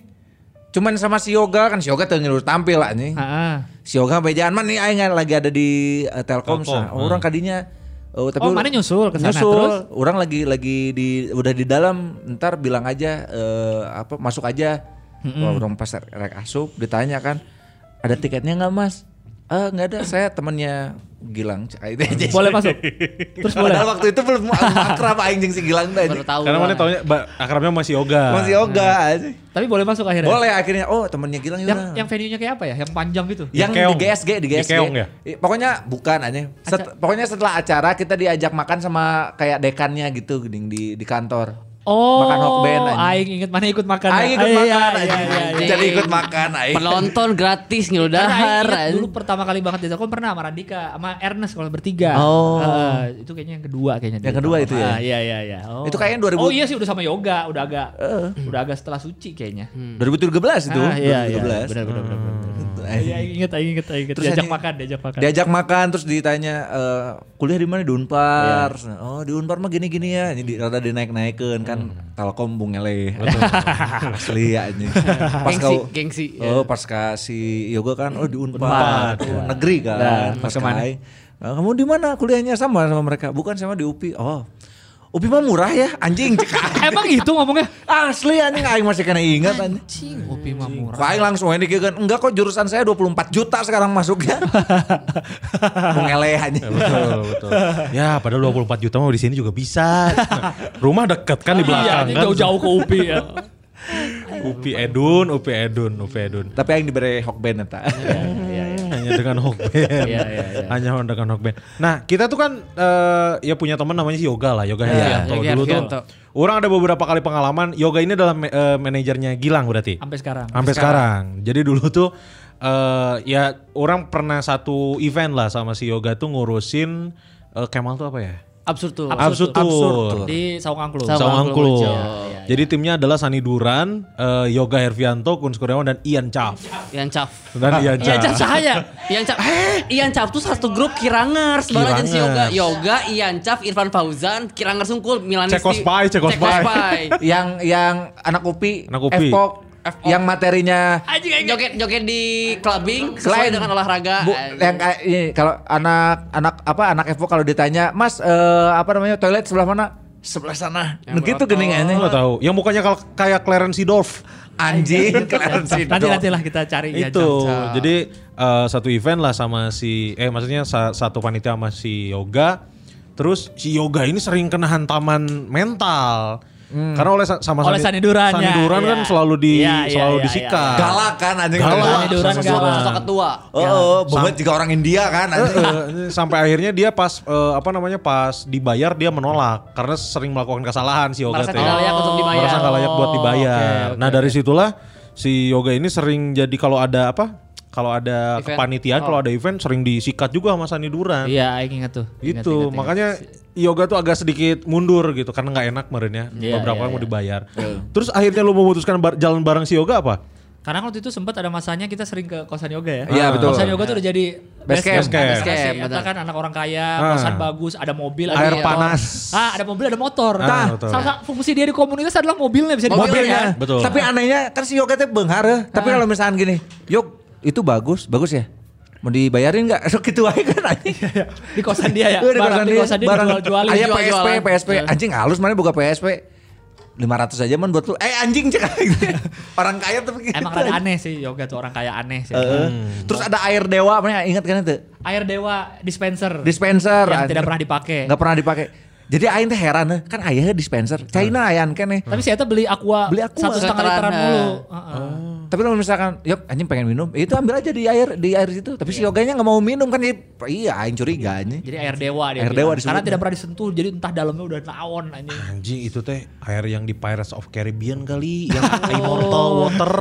Cuman sama si Yoga kan si Yoga tuh nyuruh tampil lah nih. Heeh. Si Yoga sampai jalan mana nih Aing kan lagi ada di eh, Telkom. Telkom, sa- ah. Orang kadinya eh, tapi Oh, mana nyusul ke sana, Nyusul. terus? Orang lagi lagi di udah di dalam, ntar bilang aja eh, apa masuk aja. Wah, orang pas rek asup ditanya kan, ada tiketnya nggak mas? Eh nggak ada, saya temannya Gilang. Boleh masuk. Terus boleh. Padahal waktu itu belum akrab aing jeung si Gilang tadi. Baru tahu. Karena mana lah. taunya ba- akrabnya masih Yoga. Masih Yoga aja. Tapi boleh masuk akhirnya. Boleh akhirnya oh temannya Gilang Hmm. Yang Yura. yang venue-nya kayak apa ya? Yang panjang gitu. yang Keong. di GSG di Di GSG. Keong ya? Eh, Pokoknya bukan aja. Set- Aca- pokoknya setelah acara kita diajak makan sama kayak dekannya gitu gini, di di kantor. Oh, Makan hokben aja. Aing inget mana ikut makan. Aing ikut Iya, makan iya, aja. iya, iya, iya. Jadi ikut makan aing. Penonton gratis Karena nyeludahar. Aing ingat anjing. dulu pertama kali banget di Telkom pernah sama Randika, sama Ernest kalau bertiga. Oh. Eh, itu kayaknya yang kedua kayaknya. Yang di kedua Telkom. itu ya? Ah, iya iya iya. Oh. Itu kayaknya 2000 Oh iya sih udah sama yoga, udah agak udah agak setelah suci kayaknya. 2013 Hmm. itu, Ah, iya, iya, 2013. benar, benar, benar, benar, benar. Gitu, Iya, aing. iya, inget, aing inget, aing inget. Terus diajak anjing- makan, diajak makan. Diajak makan terus ditanya eh, kuliah di mana di Unpar. Iya. Oh, di Unpar mah gini-gini ya. Ini di, rada dinaik-naikeun kan Hmm. Telkom bungeleh. Asli ya anjing. Pas Gengsi, kau gengsi, ya. Oh, pas ka si Yoga kan oh di Unpar, Oh, negeri kan. pas ka aing, "Ah, kamu di mana kuliahnya sama sama mereka? Bukan sama di UPI. Oh. UPI mah murah ya, anjing cek aing. Ah, Emang itu ngomongnya? Iya, Asli anjing aing masih kena ingat anjing. Cing, kopi mah murah. Aing langsung ini kan enggak kok jurusan saya 24 juta sekarang masuknya. Mengeleh aja. Betul, betul. Ya padahal 24 juta mah di sini juga bisa. Rumah deket kan di belakang ini kan. Iya, jauh-jauh ke UPI ya. Upi Edun, Upi Edun, Upi Edun. Eh, Tapi yang diberi hokben eta. Hanya dengan Hokben. Iya, iya, iya. Hanya dengan Hokben. Nah, kita tuh kan eh, ya punya teman namanya si Yoga lah, Yoga Herdianto. Yoga gitu Dulu Herdianto. tuh orang ada beberapa kali pengalaman, Yoga ini adalah ma- eh, manajernya Gilang berarti. Sampai sekarang. Sampai sekarang. Jadi dulu tuh eh ya orang pernah satu event lah sama si Yoga tuh ngurusin eh, Kemal tuh apa ya? Absurd tuh. Absurd Absurd. tuh. Di Saung Angklung. Saung- Saung Angklung Angklung. Iya, Rejo. Jadi timnya adalah Sani Duran, eh, Yoga Hervianto, Kun Kurniawan dan Ian Chaff. Yang cap. Dan Ian Ian Cap Chaff. sahaya. Iya, Ian Cap. Ian Cap tuh satu grup Kirangers. Bala jenis Yoga. Eh? Kirangers. Yoga, Ian Cap, Irfan Fauzan, Kirangers Sungkul, Milanisti. Cekospai, Cekospai. Cekospai. yang yang anak kopi, Anak UPI. F-pop, yang materinya Anjing, gitu. anjing. Joget-joget di clubbing sesuai Selain- dengan olahraga. Eh, Bu, yang kayak ini, kalau anak anak apa anak Evo kalau ditanya, "Mas, eh, apa namanya? Toilet sebelah mana?" Sebelah sana. Yang Begitu berotot. geningannya. Lo tahu, yang mukanya kal- kayak Clarence Seedorf. Anjing, Clarence Nanti Dog. nanti lah kita cari ya, itu. Cap. Jadi eh, satu event lah sama si eh maksudnya sa- satu panitia sama si Yoga. Terus si Yoga ini sering kena hantaman mental. Karena oleh sa- sama Hmm. Oleh Sani Duran, ya. Duran kan Iya. selalu di Iya, iya, selalu iya, disikat. iya. Galak kan anjing. Galak. Galak. Sani Duran Sani Duran. Sosok ketua. Oh, oh, banget juga orang India kan Eh, anjing. eh, sampai akhirnya dia pas eh, apa namanya pas dibayar dia menolak karena sering melakukan kesalahan si Yoga Merasa tuh. tidak layak untuk dibayar. Oh, merasa nggak layak buat Oh, dibayar. oke, nah dari situlah si Yoga ini sering jadi kalau ada apa? Kalau ada Event. kepanitiaan, kalau ada event sering disikat juga sama Sani Duran. Oh. Iya, aing ingat tuh. Ingat, Itu ingat, ingat. makanya Yoga tuh agak sedikit mundur gitu karena nggak enak merenya Iya, beberapa iya, yang mau iya. dibayar. Terus akhirnya lu memutuskan bar- jalan bareng si Yoga apa? Karena waktu itu sempat ada masanya kita sering ke kosan yoga ya. Iya, Ah. betul. Kosan yoga tuh udah jadi Base camp. camp. Base Base camp. camp, Eta betul. kan anak orang kaya, Ah. kosan bagus, ada mobil, ada Air motor. panas. Ah, ada mobil, ada motor. Ah, Nah, betul. salah satu fungsi dia di komunitas adalah mobilnya bisa Iya, dipakai. mobilnya. Mobilnya, betul. ya? Tapi anehnya kan si Yoga teh beunghar eh. Tapi Ah. kalau misalkan gini, "Yuk, itu bagus, bagus ya." Mau dibayarin enggak? Sok gitu aja kan anjing. Iya, Di kosan dia ya. Eh, di Barang kosan di dia, kosan dia barang. dijual-jualin. Aya Jual-jualan. PSP, PSP. Ya. Anjing halus mana buka PSP. 500 aja man buat lu. Eh anjing cek Orang kaya tapi gitu. Emang rada aneh sih yoga tuh orang kaya aneh sih. Heeh. Terus ada air dewa, mana ingat kan itu? Air dewa dispenser. Dispenser. Yang tidak pernah dipakai. Gak pernah dipakai. Jadi aing teh heran eh. kan ayahnya dispenser. China ayan kan eh. Tapi si Eta beli aqua, Beli aqua. satu setengah Seteran, literan eh. mulu. Heeh. Tapi kalau misalkan, yuk anjing pengen minum, ya itu ambil aja di air di air situ. Tapi si Iya. yoganya nggak mau minum kan, ya, iya anjing curiga anjing. Jadi air dewa dia. Air dewa bilang. Karena disebutnya. tidak pernah disentuh jadi entah dalamnya udah lawan anjing. Anjing itu teh air yang di Pirates of Caribbean kali yang Oh. immortal water.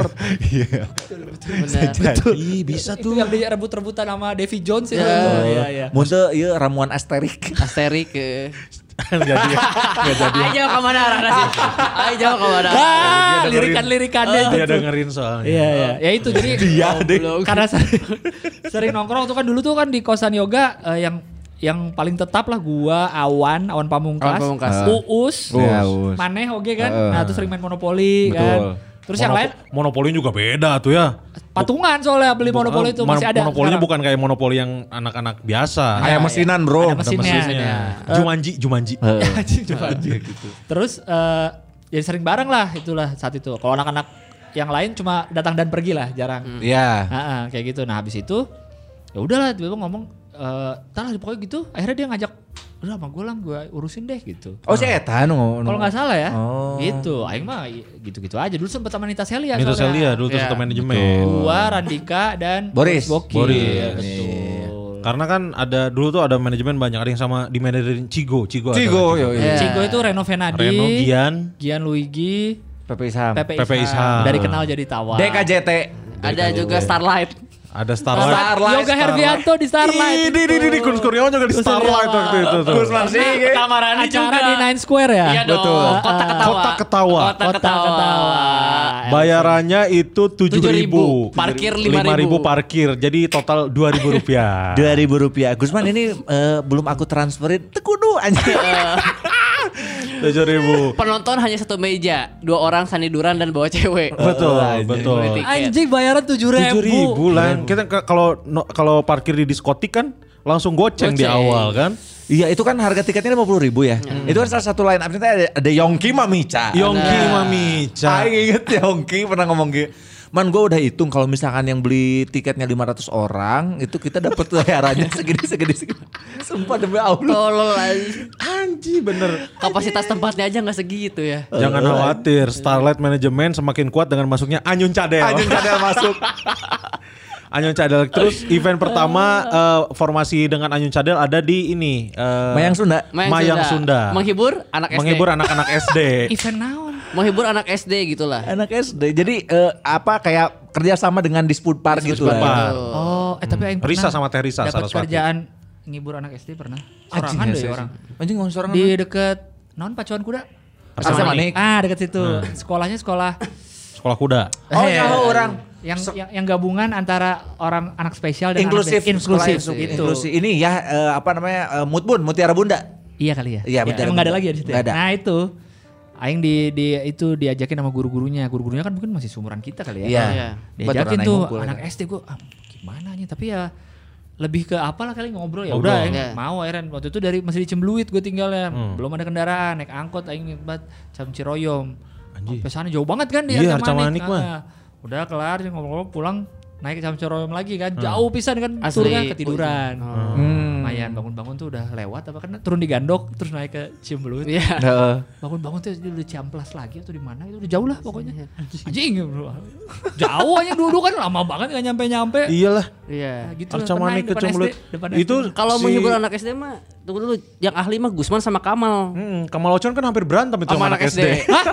Bener. Betul. Ih, bisa tuh. Itu yang direbut-rebutan sama Davy Jones Oh, itu. Ya, ya, ya. Muntah, Oh, iya ramuan asterik. Asterik. eh. Enggak jadi. Enggak jadi. Ayo jauh kemana arahnya sih? Ayo jauh kemana? Ah, dengerin. Oh, lirikan-lirikannya itu. Dia dengerin soalnya. Iya, iya. Ya itu jadi deh. karena sering, sering nongkrong tuh kan dulu tuh kan di kosan yoga eh, yang yang paling tetap lah gua Awan Awan Pamungkas, Awan Pamungkas. Uus, Iya, Uus. Maneh oke kan Heeh. nah terus sering main monopoli Betul. kan terus yang lain Monopo- monopoli juga beda tuh ya. patungan soalnya beli monopoli itu Mon- masih ada Monopolinya sekarang. bukan kayak monopoli yang anak-anak biasa. Kayak mesinan bro. Iya, Ada mesinnya. Maksudnya. Jumanji, Jumanji. gitu. Anjing, coba anjing. Terus eh jadi sering bareng lah itulah saat itu. Kalau anak-anak yang lain cuma datang dan pergi lah jarang. Hmm. Iya. Ah, ah, kayak gitu. Nah habis itu ya udahlah tiba-tiba ngomong eh "Tah lah pokoknya gitu. Akhirnya dia ngajak udah sama gue lah gue urusin deh gitu. Oh si Eta no, Kalau nggak salah ya, Oh. gitu. Aing mah i- gitu-gitu aja. Dulu sempet sama Nita Celia. Itu soalnya. Celia dulu tuh Iya. satu manajemen. Gua, Randika dan Boris. Boki. Boris. Iya, betul. Karena kan ada dulu tuh ada manajemen banyak ada yang sama di manajemen Cigo, Cigo. ada. Cigo, yo yo. Iya. Cigo itu Reno Venadi, Reno Gian, Gian Luigi, Pepe Sam. Pepe, Pepe Isham. Isham. Dari kenal jadi tawa. DKJT. Ada juga Starlight. ada Starlight. Yoga Hervianto di Starlight. Ini, ini, ini, Kun Kurniawan juga di Kun Starlight Kurniawan. waktu itu tuh. Gus Marsigi. Kamaran Acara di Nine Square ya? Nah, Iya dong. Betul. Kota ketawa. ya, Kota ketawa. Kota ketawa. Bayarannya itu 7000 7.000, parkir 5.000. parkir. Jadi total 2000 rupiah. Dua ribu rupiah. Gusman ini eh, belum aku transferin. Tekudu anjing. 7000. Penonton hanya satu meja, dua orang sandiduran dan bawa cewek. Betul, anjing. betul. Beli tiket. Iya. Anjing bayaran 7000. 7000 lah. Kita ke- kalau no- kalau parkir di diskotik kan langsung goceng, di Goceng. awal kan. Iya itu kan harga tiketnya lima puluh ribu ya. Hmm. Itu kan salah satu line up ada, ada Yongki Mamica. Yongki Mami Aing inget Yongki pernah ngomong gitu. Man gue udah hitung kalau misalkan yang beli tiketnya 500 orang itu kita dapat bayarannya segini segini segini. Sumpah demi Allah. Tolol anjing. Anji bener. Kapasitas tempatnya aja nggak segitu ya. Jangan khawatir, Starlight Management semakin kuat dengan masuknya Anyun Cadel. Anjing ada yang masuk. Anyun Cadel. Terus event pertama eh, formasi dengan Anyun Cadel ada di ini. eh, Mayang Sunda. Mayang, Sunda. Menghibur anak SD. Menghibur anak-anak SD. Event naon? Menghibur anak SD gitulah. Anak SD. Jadi eh, apa kayak kerjasama dengan dispute par gitu lah. Pak. Oh, eh tapi yang Risa sama Teh Risa, dapat Saraswati. kerjaan ngibur anak SD pernah. Anjing, Sorangan deh ya, orang. Anjing ngomong seorang. Di deket non pacuan kuda. Arsa Manik. Ah, deket situ. Sekolahnya sekolah Sekolah kuda. Eh, Oh, nyaho orang. yang, yang yang gabungan antara orang anak spesial dan Inklusif, anak sekolah inklusif, inklusif, gitu. inklusif. Ini ya eh, apa namanya eh, Mutbun Mutiara Bunda. Iya kali ya. Iya, betul. Emang gak ada lagi ya di situ. ya? Nggak ada. Nah itu, aing di, di itu diajakin sama guru-gurunya. Guru-gurunya kan mungkin masih sumuran kita kali ya. Iya. Iya. Diajakin Betul, anak tuh ngumpul, anak ya. SD gue, ah, gimana nih? Tapi ya lebih ke apalah kali ngobrol ya Ngobrol. udah aing Iya. mau Eren waktu itu dari masih di Cembeluit gue tinggalnya Hmm. belum ada kendaraan naik angkot aing nikmat Cam Ciroyom Anjir. sampai sana jauh banget kan di Iya, Harjamanik Harjamanik. mah. Ah, udah kelar ngobrol-ngobrol pulang naik ke Cam Ciroyom lagi Hmm. kan jauh pisan kan Asli. turunnya ketiduran Oh. Hmm. lumayan bangun-bangun tuh udah lewat apa kan turun di Gandok terus naik ke Cimbelut Iya. Heeh. bangun-bangun tuh di Ciamplas lagi atau di mana itu udah jauh lah pokoknya Iya. anjing bro. jauh aja dulu kan lama banget gak nyampe-nyampe Iyalah. Iya. Nah, gitu lah, Arcamani pernah ke depan Cembelut. SD, depan Itu SD. Kalau si- menghibur anak SD mah tunggu dulu yang ahli mah Gusman sama Kamal. Mm, Kamal Ocon kan hampir berantem itu Sama anak SD. Hah?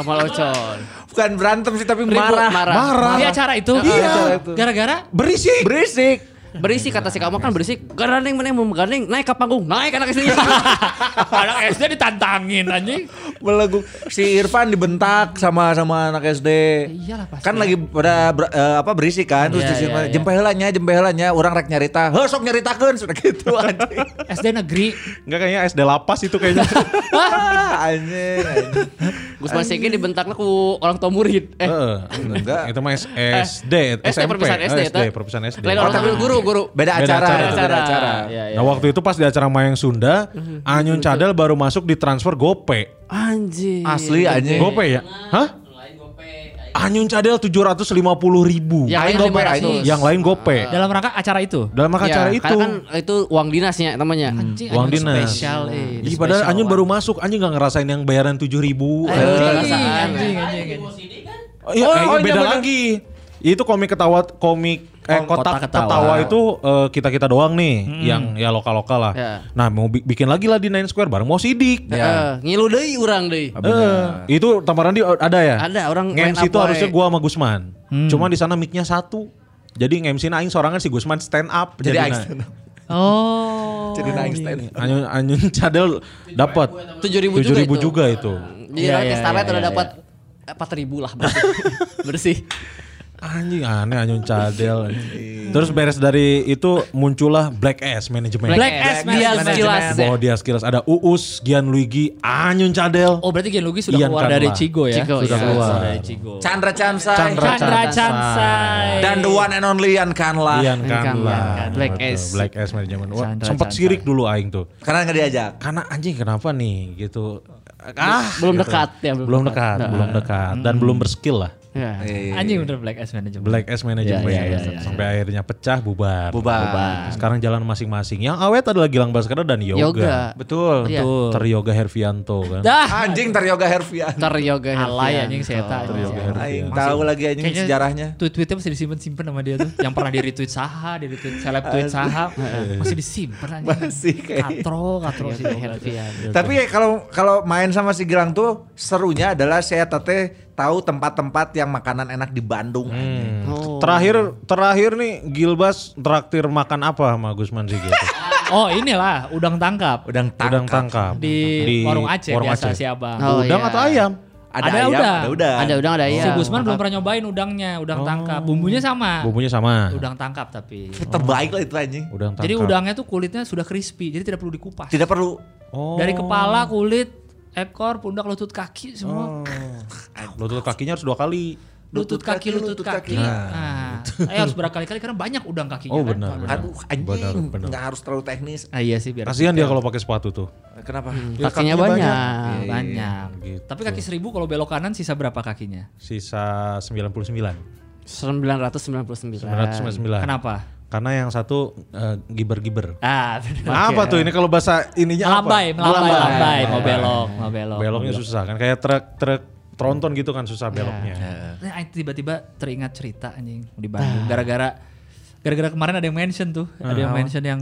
Kamal Ocon. Bukan berantem sih tapi Ribut, marah. marah. Marah. di acara itu Iya. Acara itu. gara-gara Berisik. Berisik. Berisik kata si Kamal kan berisik. Gandeng mana yang mau gandeng naik ke panggung naik anak SD. anak SD ditantangin anjing Meleguk. Si Irfan dibentak sama sama anak SD. iyalah pasti. Kan lagi pada ber- eh, apa berisik kan terus Iya, yeah, iya, iya. jempehelannya jempehelannya orang rek nyarita. Heh sok nyaritakeun sudah gitu anjing. SD negeri Enggak kayaknya SD lapas itu kayaknya. Ah, anjing. anjing. Gusman Sege dibentaklah ku orang tua murid. Eh, Heeh. Enggak. Itu mah S- SD SD, SMP. perpisahan SD. Eh, SD, tak? perpisahan SD. Lain orang tua guru, guru. Beda Beda acara, acara. itu beda acara. Iya, iya. Nah waktu itu pas di acara Mayang Sunda, Mhm. Anyun Cadel baru masuk di transfer Gope. Anjir. Asli Iya. anjing. Gope ya? Hah? gitu. Anyun Cadel 750 ribu. Yang lain Aing gope, 500. aing. Yang lain Gope. dalam rangka acara itu Dalam rangka Ya, acara itu. Karena kan itu uang dinasnya namanya. anjing Uang anak dinas. Iya. spesial eh. kan Ih, padahal Anyun baru masuk, Anyun gak ngerasain yang bayaran 7 ribu. Anjing. anjing anjing anjing Iya, Oh, eh, oh, iya, beda bener. lagi. Iya, Itu komik ketawa komik eh, Kom- kotak, kotak ketawa, ketawa. itu kita kita doang nih yang ya lokal lokal lah. Ya. Nah mau bi- bikin lagi lah di Nine Square bareng mau sidik. Iya. Heeh, ngilu deui urang deui. Eh, itu tamparan dia ada ya? Ada, orang main MC itu apa harusnya we. gua sama Gusman. Cuma di sana mic-nya satu. Jadi MC aing sorangan si Gusman stand up. Jadi aing na- stand up. Iya. Oh. Jadi aing stand up. Anyun anyun cadel dapat 7.000 juga ribu itu. juga itu. Jadi Iya, orang iya, ke Starlight iya, udah iya, dapat empat ribu lah bersih. bersih. Anjing aneh anyun cadel. Terus beres dari itu muncullah Black S manajemen. Black S, dia sekilas. Iya, Oh dia sekilas ada Uus, Gian Luigi, Anyun Cadel. Oh berarti Genlugi sudah Ian keluar Karma. dari Cigo ya? Cigo, Sudah iya. keluar. dari Cigo. Chandra Chansai. Chandra Chandra Chansai. Chansai. Dan the one and only Ian Kanla. Ian Ian Kanla. Kanla. Black Betul, S. Black S manajemen. Wah, Chandra sempat Chansai. sirik dulu aing tuh. Karena nggak diajak. karena anjing kenapa nih gitu ah belum Gitu. dekat ya, belum, belum dekat, dekat. Hmm. belum dekat dan belum berskill lah Ya. Anjing bener Black S Manager. Iya. black S manajemen Iya, iya, iya, sampai akhirnya pecah bubar Bubar. sekarang jalan masing-masing yang awet adalah Gilang Baskara dan Yoga, Yoga. betul Iya. betul Teryoga Hervianto kan Dah. Anjing Taryoga Herfian. Ntar yoga. ya. Alay Herfian. anjing saya tahu. Yoga Aing Hervianto tahu lagi anjing sejarahnya. tweet-tweetnya masih disimpan-simpan sama dia tuh. Yang pernah di retweet saha, di retweet seleb tweet saha, masih disimpan anjing. Masih kayak- katro, katro Iya, sih. Herfian. Tapi ya kalau kalau main sama si Gilang tuh serunya adalah saya tete tahu tempat-tempat yang makanan enak di Bandung. Hmm. Oh. terakhir terakhir nih Gilbas traktir makan apa sama Gusman sih gitu Oh inilah udang tangkap Udang udang tangkap. tangkap di, warung Aceh warung biasa Aceh. si abang. Oh, udang iya. atau ayam Ada, Ada ayam, udang. ada udang. Ada udang ada ya. Si Gusman belum pernah nyobain udangnya, udang tangkap. Bumbunya sama. Oh. bumbunya sama Nah, Udang tangkap tapi. Terbaik lah itu anjing. udang tangkap Jadi udangnya tuh kulitnya sudah crispy, jadi tidak perlu dikupas. Tidak perlu oh. Oh. Dari kepala, kulit, ekor, pundak, lutut, kaki semua. lutut kakinya harus dua kaki Lutut, kaki, lutut, kaki. Nah, eh, harus berkali-kali karena banyak udang kakinya. gitu. Oh kan. benar. benar. Aduh Benar, anjing benar. nggak harus terlalu teknis. Ah, iya sih biar. Kasihan dia kalau pakai sepatu tuh. Kenapa? Kakinya Ah, Hmm, banyak. banyak. iya, Gitu. Tapi kaki seribu kalau belok kanan sisa berapa kakinya? Sisa 99. 999. 999. Kenapa? Karena yang satu eh, giber-giber. Ah, benar. Apa tuh ini kalau bahasa ininya Melambai, apa? Nah, melambai, melambai, mau belok, mau belok. Beloknya susah kan kayak truk truk tronton gitu kan susah beloknya. Nah, Aing tiba-tiba teringat cerita anjing di Ah. Bandung gara-gara gara-gara kemarin ada yang mention tuh, ada yang mention yang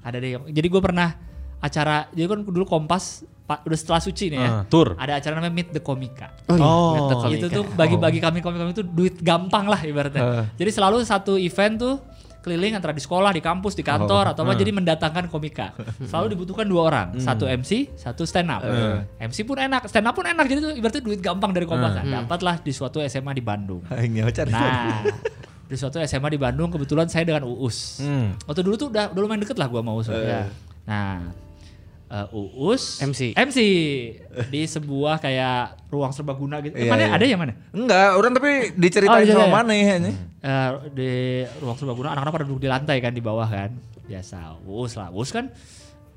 ada deh. yang- Jadi gue pernah acara, jadi kan dulu Kompas pa- udah setelah suci nih ya. Ah, tour. Ada acara namanya Meet the Komika. Oh, iya. Oh, Laptop kali Itu kan. tuh bagi-bagi kami komik-komik itu duit gampang lah ibaratnya. Jadi selalu satu event tuh keliling antara di sekolah, di kampus, di kantor atau apa jadi mendatangkan komika. Selalu dibutuhkan dua orang, satu MC, satu stand up. MC pun enak, stand up pun enak. Jadi tuh ibaratnya duit gampang dari kompas kan. Dapatlah di suatu SMA di Bandung. Aingnya pacar. Nah, di suatu SMA di Bandung kebetulan saya dengan Uus. Hmm. Waktu dulu tuh udah, udah lumayan deket lah gua sama Eh. Uus. Ya. Nah, eh, Uus MC. MC di sebuah kayak ruang serbaguna gitu. Eh, Iya, mana iya. ada yang mana? Enggak, orang tapi diceritain Oh, iya, sama iya. mana ya anjing. Eh, di ruang serbaguna anak-anak pada duduk di lantai kan di bawah kan. Biasa Uus lah. Uus kan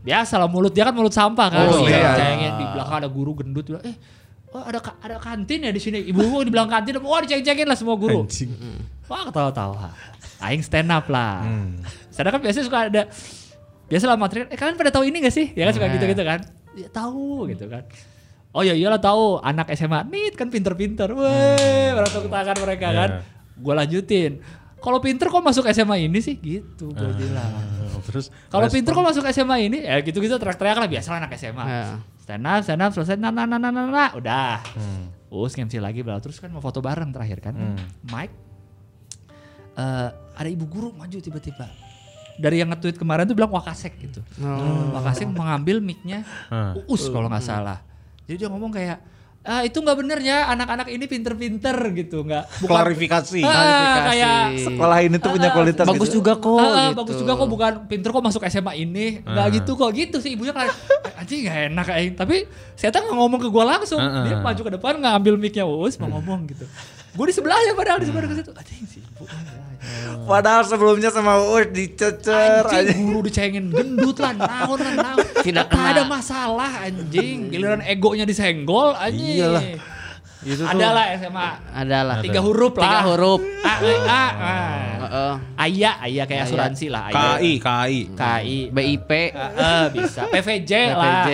biasa lah mulut dia kan mulut sampah kan. Oh, Iya, iya. Kayaknya di belakang ada guru gendut bilang, "Eh, oh, ada ka- ada kantin ya di sini." Ibu-ibu dibilang kantin, wah dicek-cekin lah semua guru. Wah ketawa-tawa. Aing stand up lah. Stand up kan biasanya suka ada biasalah material. Eh kalian pada tahu ini gak sih? Ya kan suka gitu-gitu kan. Ya tahu gitu kan. Oh ya iyalah tahu anak SMA nit kan pinter-pinter. Weh, orang tepuk tangan mereka kan. Yeah. Gua lanjutin. Kalau pinter kok masuk SMA ini sih gitu gue bilang. Terus Iya. Kalau respon- pinter kok masuk SMA ini? Ya gitu-gitu teriak-teriak lah biasa anak SMA. Ya. Stand up, stand up, selesai, nah, nah, nah, nah, nah, nah. udah. Oh, Us MC lagi, bla terus kan mau foto bareng terakhir kan. Mike, eh, ada ibu guru maju tiba-tiba. Dari yang nge-tweet kemarin tuh bilang Wakasek gitu. Wakasek mengambil mic-nya Hmm. Uus kalau nggak salah. Jadi dia ngomong kayak, "Ah, itu nggak bener ya anak-anak ini pinter-pinter gitu nggak bukan klarifikasi. Ah, Klarifikasi. kayak Sekolah ini tuh punya kualitas Bagus gitu. juga kok. Ah, ah, gitu. bagus juga kok bukan pinter kok masuk SMA ini nggak gitu kok gitu sih ibunya kan anjing nggak enak aing tapi saya tuh nggak ngomong ke gue langsung Ah, ah. dia maju ke depan nggak ambil mic-nya Uus mau ngomong gitu gue di sebelahnya padahal di sebelah ke situ anjing sih ibu eh, ya, Padahal sebelumnya sama Uus dicecer anjing anjing. guru dicengin gendut lah naon lah naon Tidak Tak kena. ada masalah anjing giliran egonya disenggol anjing Iyalah. Itu tuh- adalah SMA Adalah. tiga huruf lah Tiga huruf. A, A, A, A. Heeh. Ayah, ayah kayak asuransi lah. ayah. KI, KI. KI, BIP. Iya. Eh, bisa. PVJ lah. PVJ.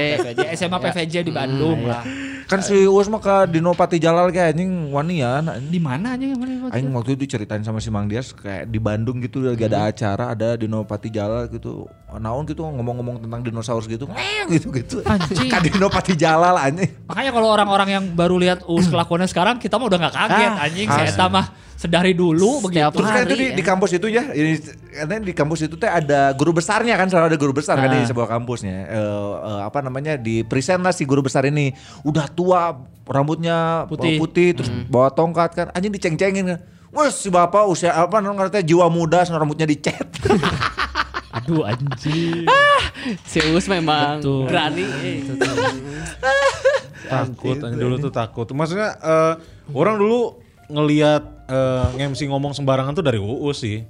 Ya. Hmm, PVJ. SMA PVJ di Bandung lah. Kan si Uus mah ke Dinopati Jalal kayak anjing wanian anjing. Di mana aja yang mana? Aing waktu itu ceritain sama si Mang Dias kayak di Bandung gitu lagi ada Hmm. acara ada Dinopati Jalal gitu. Naon gitu ngomong-ngomong tentang dinosaurus gitu. gitu gitu. Anjing. Kan Dinopati Jalal anjing. Makanya kalau orang-orang yang baru lihat us kelakuannya sekarang kita mah udah nggak kaget Ah, anjing si Eta mah sedari dulu begitu. Setiap Terus kan itu di, Lari, di kampus itu ya, ini karena di kampus itu teh ada guru besarnya kan, selalu ada guru besar kan di Ah. sebuah kampusnya. Eh, eh, apa namanya di present lah si guru besar ini udah tua, rambutnya Putih. Hmm. putih, terus bawa tongkat kan, anjing diceng-cengin kan. Wah si bapak usia apa namanya teh, jiwa muda, sana rambutnya dicet. Aduh anjing. Zeus memang Betul. berani. eh, takut anjing, dulu tuh takut maksudnya eh, orang dulu ngelihat eh, nge-MC ngomong sembarangan tuh dari UUS sih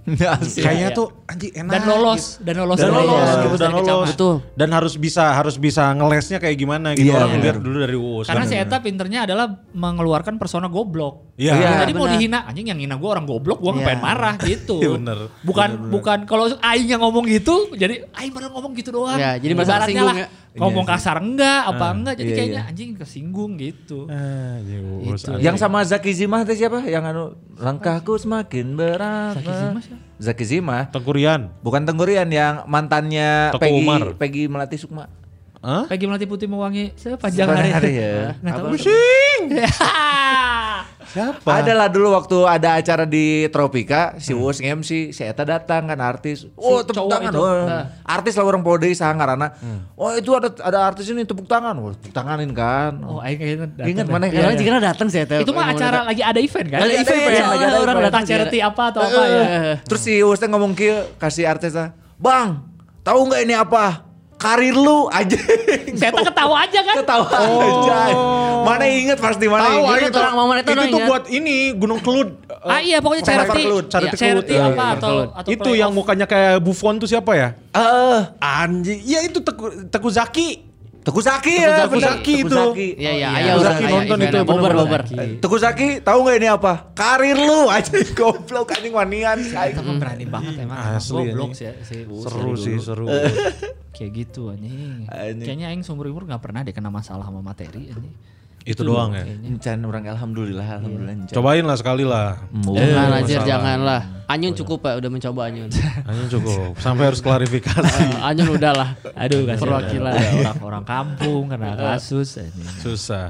kayaknya iya. tuh anjing enak Dan lolos, dan lolos, gitu. dan dari- lolos dari gitu dan dari lolos kecamatan. Betul. dan harus bisa harus bisa ngelesnya kayak gimana gitu Iya, orang benar. ngeliat dulu dari UUS Karena Dan- si Eta pinternya adalah mengeluarkan persona goblok. ya. Iya. Yang Iya, Tadi mau benar. dihina, anjing yang hina gue orang goblok, gue Iya. pengen marah gitu. Iya, benar. Bukan bukan kalau Aing yang ngomong gitu, jadi Aing baru ngomong gitu doang. Iya, jadi merasa Ibaratnya tersinggung lah, ya. Ngomong Iya sih. kasar enggak, apa enggak, jadi iya, kayaknya iya. anjing kesinggung gitu. Ah, anjing, UUS Itu. anjing. Yang sama Zaki Zimah teh siapa? Yang anu langkahku semakin berat. Zaki Zimah siapa? Zaki Zimah. Tengkurian Bukan tenggurian yang mantannya Teguh Peggy, Umar. Peggy Melati Sukma. Hah? Pagi melati putih mewangi siapa panjang hari. Sepanjang hari ya. Nggak tahu. Ah. Apa? Siapa? Adalah dulu waktu ada acara di Tropika, si Uus nge-MC, si Eta datang kan artis. Oh, tepuk cowok tangan. itu. oh. Nah. Artis lah orang Podei sangarana. Oh, itu ada ada artis ini tepuk tangan. Wah, tepuk tanganin kan. Oh, aing kayaknya datang Ingat deh. mana Orang jika datang sih Eta. Itu mah Ngomong acara datang. lagi ada event kan? Ada event, soalnya ada orang event. datang charity apa atau apa ya. Eh, Terus si Uus teh ngomong ke kasih artis lah, "Bang, tahu nggak ini apa? Karir lu aja." Saya tuh ketawa aja kan? Ketawa aja. Mana inget pasti mana Tahu, inget. ayo Itu- orang momen itu itu orang Oh. tuh ingat. buat ini Gunung Kelud. eh, Ah iya pokoknya Pertama charity. Kelud, charity Iya, charity Kelud. apa Iya, atau, Kelud. atau itu yang mukanya kayak Buffon tuh siapa ya? Eh, Anjing, ya itu Teku, Teku Zaki. Teguh Zaki ya, Teguh bener. Zaki Teguh itu. Zaki. Iya iya, Oh, ayah Zaki orang ayah nonton event. itu, Bober bober. bener-bener. Teguh Zaki, tahu nggak ini apa? Karir lu aja goblok anjing wanian. Kita mah berani banget emang. Asli, Goblok anjing. sih si Uus Seru dari sih, dulu. seru. Kayak gitu anjing. Anjing. Kayaknya aing seumur umur gak pernah deh kena masalah sama materi anjing. itu doang ya. Kayaknya. Encan orang alhamdulillah, alhamdulillah. Encan. Cobain lah sekali lah. Mm. Jangan Eh, anjir, masalah. janganlah. Anyun cukup Pak, udah mencoba Anyun. Hanya cukup. Sampai harus klarifikasi. Eh, Anyun udahlah. Aduh kasihan. Perwakilan. Ada Orang-orang kampung Iya. kena kasus anjing. Susah.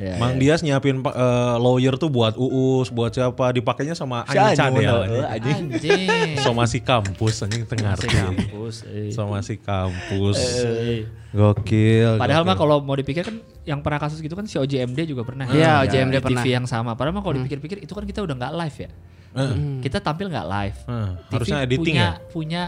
Ya, Mang Dias nyiapin pa- eh, lawyer tuh buat Uus, buat siapa, dipakainya sama Si Anyun, Anjing eh, Cadel. anjing. anjing. Anjing. Sama si kampus, anjing tengah Eh. Si arti. kampus. eh. Sama si kampus. Eh. Gokil. Padahal mah gokil. kalau mau dipikir kan yang pernah kasus gitu kan si OJMD juga pernah. Iya, Di OJMD pernah. TV yang sama. Padahal mah kalau Hmm. dipikir-pikir itu kan kita udah nggak live ya. Heeh. Kita tampil nggak live. Heeh, TV Hmm. harusnya editing punya, ya? Punya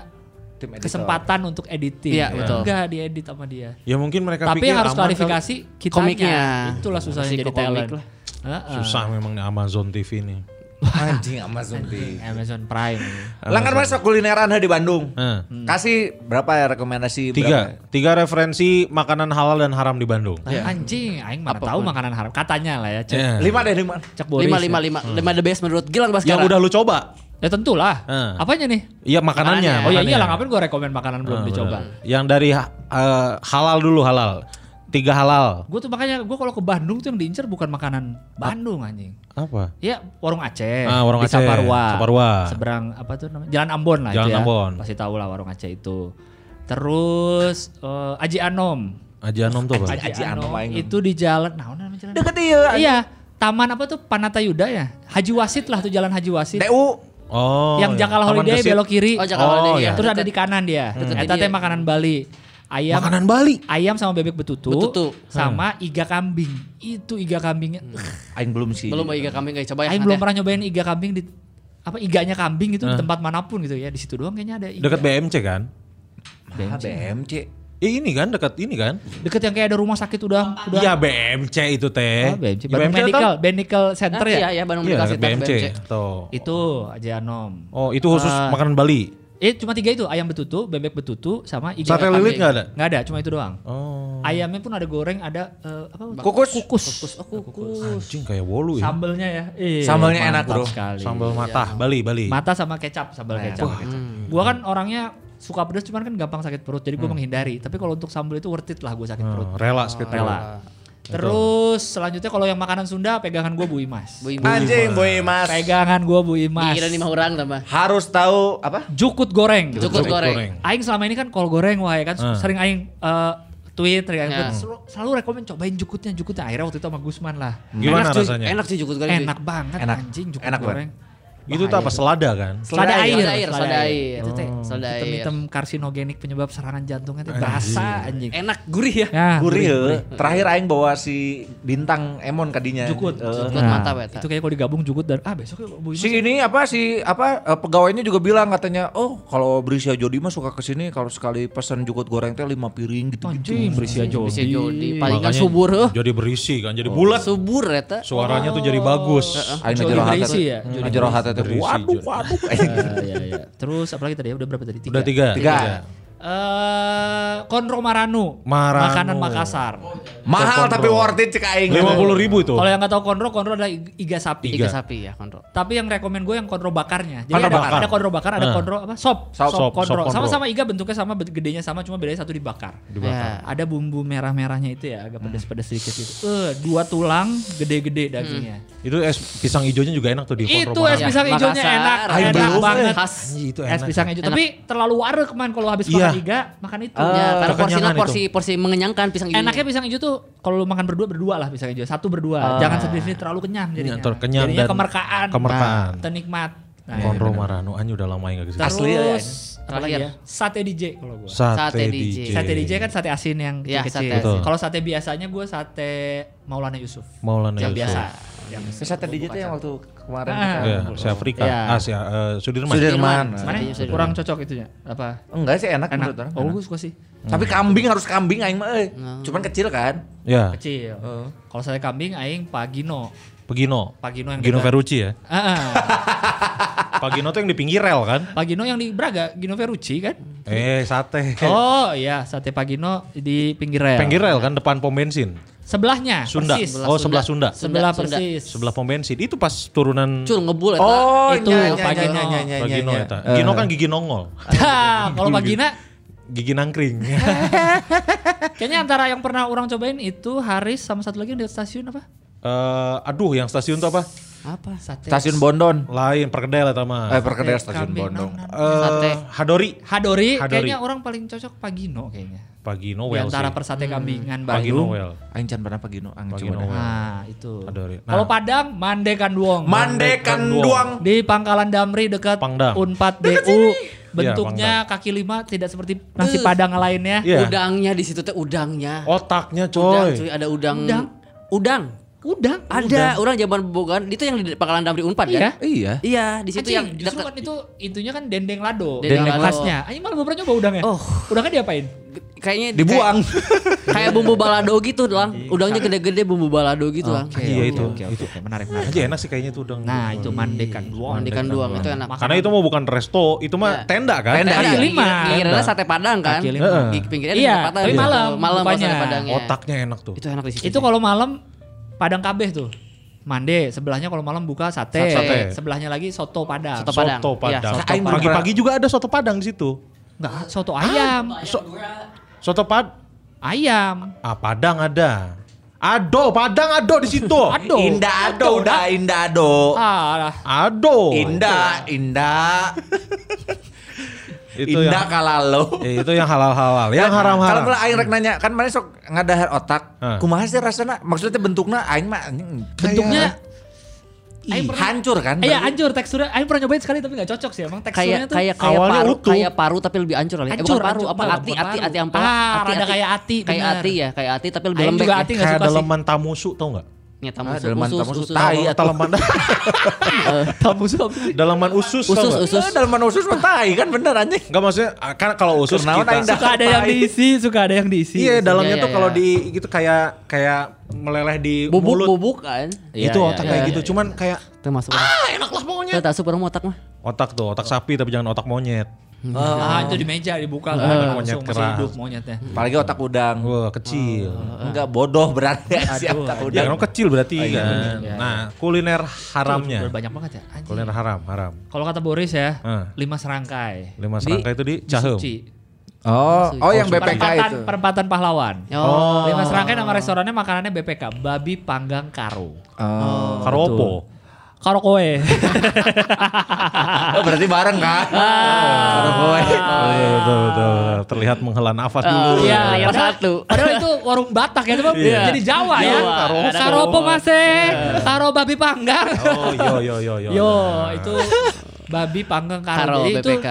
Tim editor. kesempatan untuk editing. Iya, betul. Enggak diedit sama dia. Ya mungkin mereka Tapi pikir yang aman harus kali. klarifikasi kita Komiknya. Itulah susahnya Harus jadi ikut komik talent. lah. Heeh. Susah memang di Amazon TV ini. Anjing Amazon TV. Amazon Prime. Langgar masuk kulineran heh di Bandung. Heeh. Kasih berapa ya rekomendasi? Tiga, tiga referensi makanan halal dan haram di Bandung. Iya. Nah, Anjing, aing mana tahu makanan haram. Katanya lah ya, cek. Iya. Berapa? Lima deh lima. Cek Boris. Lima ya. lima lima lima the best menurut Gilang Yang Baskara. udah lu coba? Ya tentulah. Heeh. Apanya nih? Iya makanannya. Oh iya makanannya. iyalah ngapain gue rekomen makanan belum Ah, dicoba. benar. Yang dari eh, halal dulu halal. Tiga halal. Gue tuh makanya gue kalau ke Bandung tuh yang diincer bukan makanan Bandung anjing. Apa? Ya warung Aceh. Ah, warung di Aceh, Saparua. Saparwa. Seberang apa tuh namanya? Jalan Ambon lah Jalan itu ya. Ambon. Pasti tahu lah warung Aceh itu. Terus eh, Aji Anom. Aji Anom tuh apa? Aji- Anom, aing. itu di jalan nah namanya jalan. Deket iya. anjing. Iya, Taman apa tuh Panatayuda ya? Haji Wasit lah tuh jalan Haji Wasit. TU. Oh. yang iya. Jakal Taman Holiday Gesit. belok kiri. Oh, Jakal Holiday, iya. Terus ada Deket- di kanan dia. Hmm. deket ini Eta Iya, teh ya. makanan Bali. Ayam Makanan Bali. ayam sama bebek betutu, Betutu. sama Hmm. iga kambing. Itu iga kambingnya. Aing belum sih. Ah, belum Iga kambing guys, coba ya. Aing belum pernah nyobain iga kambing di apa iganya Eh. kambing gitu di tempat manapun gitu ya. Di situ doang kayaknya ada iga. Dekat BMC kan? Ah, BMC. Ya ini kan dekat ini kan? Deket yang kayak ada rumah sakit udah udah Iya BMC itu teh. Ah, BMC, Ya, Bandung BMC Medical, atau- Medical Center ya. Iya iya Bandung Iya Medical dekat Center, BMC. BMC. Tuh. Itu aja nom. Oh itu khusus makanan Bali. Eh cuma tiga itu, ayam betutu, bebek betutu, sama iga Sate lilit nggak ada? Nggak ada, cuma itu doang. Oh. Ayamnya pun ada goreng, ada eh, apa? Kukus. Kukus. Oh, kukus. Anjing kayak wolu ya. Sambalnya ya. Ih, Sambalnya enak, mantap bro. Sekali. Sambal mata Bali Bali. Mata sama kecap, sambal Nah, kecap. Hmm. Gua kan orangnya suka pedas cuman kan gampang sakit perut jadi gua menghindari. Tapi kalau untuk sambal itu worth it lah gua sakit perut. Hmm, rela sakit perut. Rela. Terus selanjutnya kalau yang makanan Sunda pegangan gue Bu Imas. Bu Imas. Anjing boy mas. Pegangan gue Bu Imas. Dikira lima orang tambah. Harus tahu apa? Jukut goreng. Cukup goreng. goreng. Aing selama ini kan kol goreng wah ya kan Hmm. sering aing eh, tweet ya kan. Ya. Selalu, selalu rekomen cobain jukutnya jukutnya akhirnya waktu itu sama Gusman lah. Gimana cuy. rasanya? Enak sih jukut goreng. cuy. Enak banget Enak. anjing jukut Enak goreng. Itu tuh apa selada kan? Selada air, Selada air, selada air. Itu teh Oh. Selada air. hitam-hitam karsinogenik penyebab serangan jantungnya teh basah anjing. Enak gurih ya. Nah, Gurih ya. Terakhir aing bawa si bintang Emon kadinya. Jukut. Eh, Buat mata ya, weta. Nah, Itu kayak kalau digabung jukut dan ah besok Bu Imas. Si ini apa si apa eh, pegawainya juga bilang katanya, "Oh, kalau Brisia Jody mah suka kesini kalau sekali pesan jukut goreng teh lima piring gitu-gitu." Anjing Brisia Bisa Jodi. jodi. Palingan Makanya subur heuh. Jadi berisi kan, jadi bulat. Oh, Subur ya, eta. Suaranya tuh jadi bagus. Aing Jody aja rohata. berisi ya? Jody Aja rohata teh. berisi, Waduh, Jody. waduh. ya, ya. Terus apalagi tadi ya udah berapa tadi? Tiga. Udah tiga. Tiga. Eh, Konro Maranu, Maranu. makanan Makassar. Mahal tapi worth it cek aing. Lima puluh ribu itu. Kalau yang nggak tahu Konro, Konro adalah i- iga sapi. Iga sapi ya kontrol. Tapi yang rekomen gue yang konro bakarnya. Jadi Konro ada, bakar. ada konro bakar, ada Ah. konro apa? Sop. Sop, sop, konro. sop konro. Sama-sama iga bentuknya sama, bed- gedenya sama, cuma bedanya satu dibakar. Ya, Dibakar. Ada bumbu merah-merahnya itu ya, agak Hmm. pedas-pedas sedikit gitu. Eh, dua tulang gede-gede dagingnya. Itu es pisang hijaunya juga enak tuh di Itu Ponorogo. es pisang Makassar. hijaunya enak, Ayo enak belum. banget. Khas. Itu Es enak. pisang hijau, tapi terlalu wareg man kalau habis Iya. Ah. makan iga, makan itu. Ya, karena porsinya kekenyangan porsi porsi mengenyangkan pisang hijau. Enaknya pisang hijau tuh kalau lu makan berdua berdua lah pisang hijau. Satu berdua. Jangan sendiri terlalu kenyang jadinya. Iya, terlalu kenyang jadinya dan kemerkaan. kemerkaan. Iya. Nah, ternikmat. Nah, Konro Marano anjing udah lama enggak kesini. Terus Asli ya, ya. apa lagi ya? Terakhir. Sate DJ kalau gua. Sate Sate DJ. DJ. Sate DJ kan sate asin yang Iya, kecil. sate asin. Kalau sate biasanya gua sate Maulana Yusuf. Maulana yang Yusuf. biasa. Yang Sate DJ tuh yang waktu kemarin. Ah. kita- Iya, si Afrika. Iya. Ah, si eh, Sudirman. Sudirman. mana? Satenya sudah. Kurang cocok itunya. Apa? Enggak sih enak, menurut Enak. orang. Oh, gua suka sih. Tapi kambing harus kambing aing mah euy. Nah. Cuman kecil kan? Ya, Kecil. Kalau sate kambing aing Pagino. Pagino. Pagino yang Gino dekat. Ferrucci ya. Ah, Pagino tuh yang di pinggir rel kan? Pagino yang di Braga, Gino Ferrucci kan? Eh, sate. Oh iya, sate Pagino di pinggir rel. Pinggir rel kan depan pom bensin. Sebelahnya, Sunda. persis. Oh, sebelah Sunda. Sebelah Sunda. persis. Sebelah pom bensin. Itu pas turunan Cul ngebul eta. Nah, itu iya, Pagino. Pagino iya. eta. Eh. Gino kan gigi nongol. Hah, Kalau Pagina, Gigi nangkring. kayaknya antara yang pernah orang cobain itu Haris sama satu lagi yang di stasiun apa? Eh, aduh, yang stasiun tuh apa? Apa? Sate. Stasiun Bondon. Lain perkedel Eh, eta mah. perkedel Sate stasiun kambing, Bondong. non, non. Eh, Sate. Hadori. Hadori, Hadori. kayaknya orang paling cocok Pagino kayaknya. Pagino Di well antara sih. Hmm. persate kambingan Pagino Bandung. well. Aing can pernah pagi no, aing Pagi coba no. dah. Nah, itu. Hadori. Nah. Kalau Padang, Mandekan Duong. Mandekan duang. di Pangkalan Damri dekat Pangdam. Iya, Unpad BU bentuknya kaki lima tidak seperti nasi padang lainnya. Nah, Iya. Udangnya di situ teh udangnya. Otaknya Iya, Udang coy. cuy ada udang. Udang? Udang. Udang Ada orang zaman bogan itu yang di Pangkalan Damri Unpad Iya. kan? Iya. Iya, di Itu situ yang yang justru kan dekat- itu intunya kan dendeng lado. Dendeng lado. khasnya. Anjing malah belum pernah nyoba udangnya. Oh. ya? Udangnya diapain? kayaknya di- Dibuang. kayak, kayak bumbu balado gitu, Lang. Udangnya gede-gede bumbu balado gitu, Lang. Iya itu. Oke, Gitu. oke, oke, menarik menarik. Aja enak sih kayaknya tuh udang. Iya. Nah, itu mandekan doang. Mandikan doang itu enak. Karena itu mau bukan resto, itu mah tenda kan? Tenda. Tenda, Kaki lima. Kira-kira sate padang kan? Kaki lima. Di pinggirnya Iya, tempat tapi gitu. malam Malam pas bukanya. sate padangnya. Otaknya enak tuh. Itu enak di situ. Itu kalau malam Padang kabeh tuh. Mande, sebelahnya kalau malam buka sate, Sate. sebelahnya lagi soto Padang. Soto Padang. Soto Iya, Padang. soto Padang. Pagi-pagi juga ada soto Padang di situ. Enggak, soto ayam. Ah, So- soto Pad Ayam. ah Padang ada. Ado, Padang ado di situ. Aduh. Indah ado udah indah ado. Oh. Alah. Ado. Indah, indah, Itu indah yang kalalo. eh, itu yang halal-halal, yang Ya, Kalau haram-haram. mulai aing rek nanya, kan mana sok ngadahar otak. Hah. Kumaha sih rasanya? Maksudnya teh bentukna aing mah anjing, Bentuknya kayak- aing Ih, pernah- hancur kan? Eh, Iya hancur teksturnya. Aing pernah nyobain sekali tapi gak cocok sih. Emang kayak teksturnya tuh kayak kayak awalnya paru utuh. kayak paru tapi lebih ancur kali. Eh, Ancur, bukan paru ancur. apa Bukan, ati bukan ati paru. ati ampela. Ah, ati, rada ati. kayak ati, Kayak bener. ati ya, kayak ati tapi lebih Aing lembek. juga ya. ati gak Kayak suka sih. daleman tamusu tau nggak? Nyata Ah, musuh, daleman usus, tamusu, usus. tai atau Daleman Eh, Tamusu apa sih? daleman usus tau Usus, nggak? usus. Eh, Dalaman usus mah tai kan bener anjing. Enggak maksudnya ah, kan kalau usus Kurnaon kita aing dah. Suka ada yang diisi, suka ada yang diisi. Iya, dalamnya Iya, tuh iya, kalau iya. di gitu kayak kayak meleleh di Bubuk mulut. bubuk kan. Itu otak kayak gitu, iya. cuman kayak Itu masuk. Ah, enak lah maunya. Tuh tak super otak mah. otak tuh, otak sapi tapi jangan otak monyet. Ah, itu di meja dibuka kan langsung monyet masih keras. hidup monyetnya. Apalagi otak udang. Wah, kecil. Enggak bodoh berarti si otak Oh. Ya, udang. kan kecil berarti iya, kan. Nah, kuliner haramnya. Udah banyak banget ya. anjing. Kuliner haram, haram. Kalau kata Boris ya, Ah. lima serangkai. Lima serangkai itu di Cahem. Suci. Oh, oh yang BPK Perempatan, itu. perempatan pahlawan. Oh. Lima serangkai nama restorannya makanannya BPK, babi panggang karo. Oh. Karopo. Karo kowe. Oh, berarti bareng kan? Ah. Oh, iya, Betul, betul, betul, betul. Terlihat menghela nafas dulu. Ah. Iya, Iya, yang padahal- satu. Padahal itu warung Batak ya, cuma Iya. jadi Jawa, ya. Jawa, Karopo, ada Karopo mase, karo babi panggang. Oh, yo yo yo yo. Yo, itu babi panggang Karo karo. Jadi itu BPK.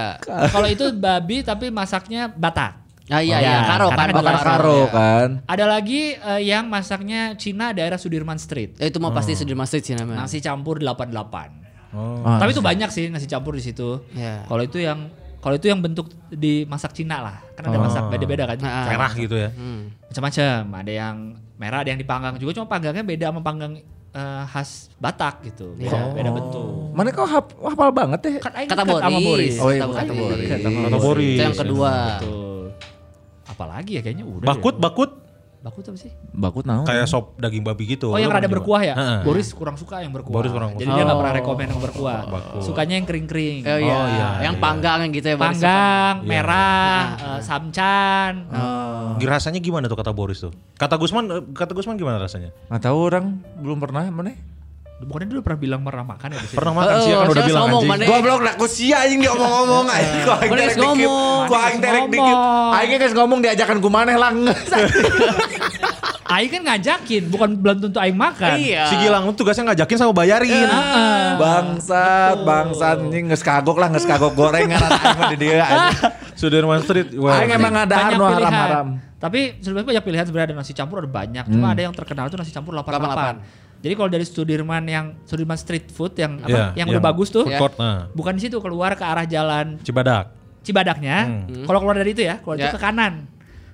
kalau itu babi tapi masaknya Batak. Ah iya iya, Ya, karo kan karena bukan bakar Karo Iya. kan. Ada lagi eh, yang masaknya Cina daerah Sudirman Street. Ya, itu mah pasti Sudirman Street sih namanya. Nasi campur 88. Oh. Ah, Tapi itu banyak sih nasi campur di situ. Iya. Kalau itu yang kalau itu yang bentuk dimasak Cina lah, kan ada masak beda-beda kan. Oh. Ah, ah. Merah gitu ya. Hmm. Macam-macam, ada yang merah, ada yang dipanggang juga cuma panggangnya beda sama panggang eh, khas Batak gitu. Beda, beda bentuk. Mana kau hap- hafal banget ya? Kan aing Oh. Kata deket sama Boris. Oh, iya, Kata kata Boris. Boris. Kata Boris. Itu yang kedua. Betul. Apalagi ya kayaknya udah. Bakut bakut deh. Bakut apa sih? Bakut naon? kayak sop daging babi gitu. Oh, yang Lu rada pernah berkuah ya? coba? Heeh. Boris kurang suka yang berkuah. Boris kurang Jadi suka. dia nggak Oh. pernah rekomen yang berkuah. Sukanya yang kering-kering. Oh iya, Oh, iya, yang iya. panggang yang gitu ya Boris. Panggang, merah, eh, samcan. Gi- Rasanya gimana tuh kata Boris tuh? Kata Gusman eh, kata Gusman gimana rasanya? Nggak tahu orang belum pernah mana? Bukannya dulu pernah bilang pernah makan ya di sini? Pernah makan sih ya, Oh, kan udah siapa bilang ngomong, anjing. Mane? Gua blok lah, gua sia anjing dia ngomong-ngomong aja. Gua aing Manis terek eh, dikit. ngomong. Gua aing terek dikit. ngomong. Aing geus ngomong diajakan ku maneh lah. Aing kan ngajakin, bukan belum tentu Aing makan. Eh, Iya. Si Gilang tuh tugasnya ngajakin sama bayarin. Ya. Bangsat, bangsat anjing geus kagok lah, geus kagok goreng ngaran aing mah di dieu anjing. Sudirman Street. Wah. Aing emang ada Banyak anu pilihan. haram-haram. Tapi sebenarnya banyak pilihan sebenarnya ada nasi campur ada banyak. Cuma ada yang terkenal itu nasi campur 88. Jadi kalau dari Sudirman yang Sudirman street food yang Iya, apa, yang udah bagus tuh, Food court, nah. bukan di situ keluar ke arah jalan Cibadak. Cibadaknya. Kalau keluar dari itu ya, keluar Ya. itu ke kanan.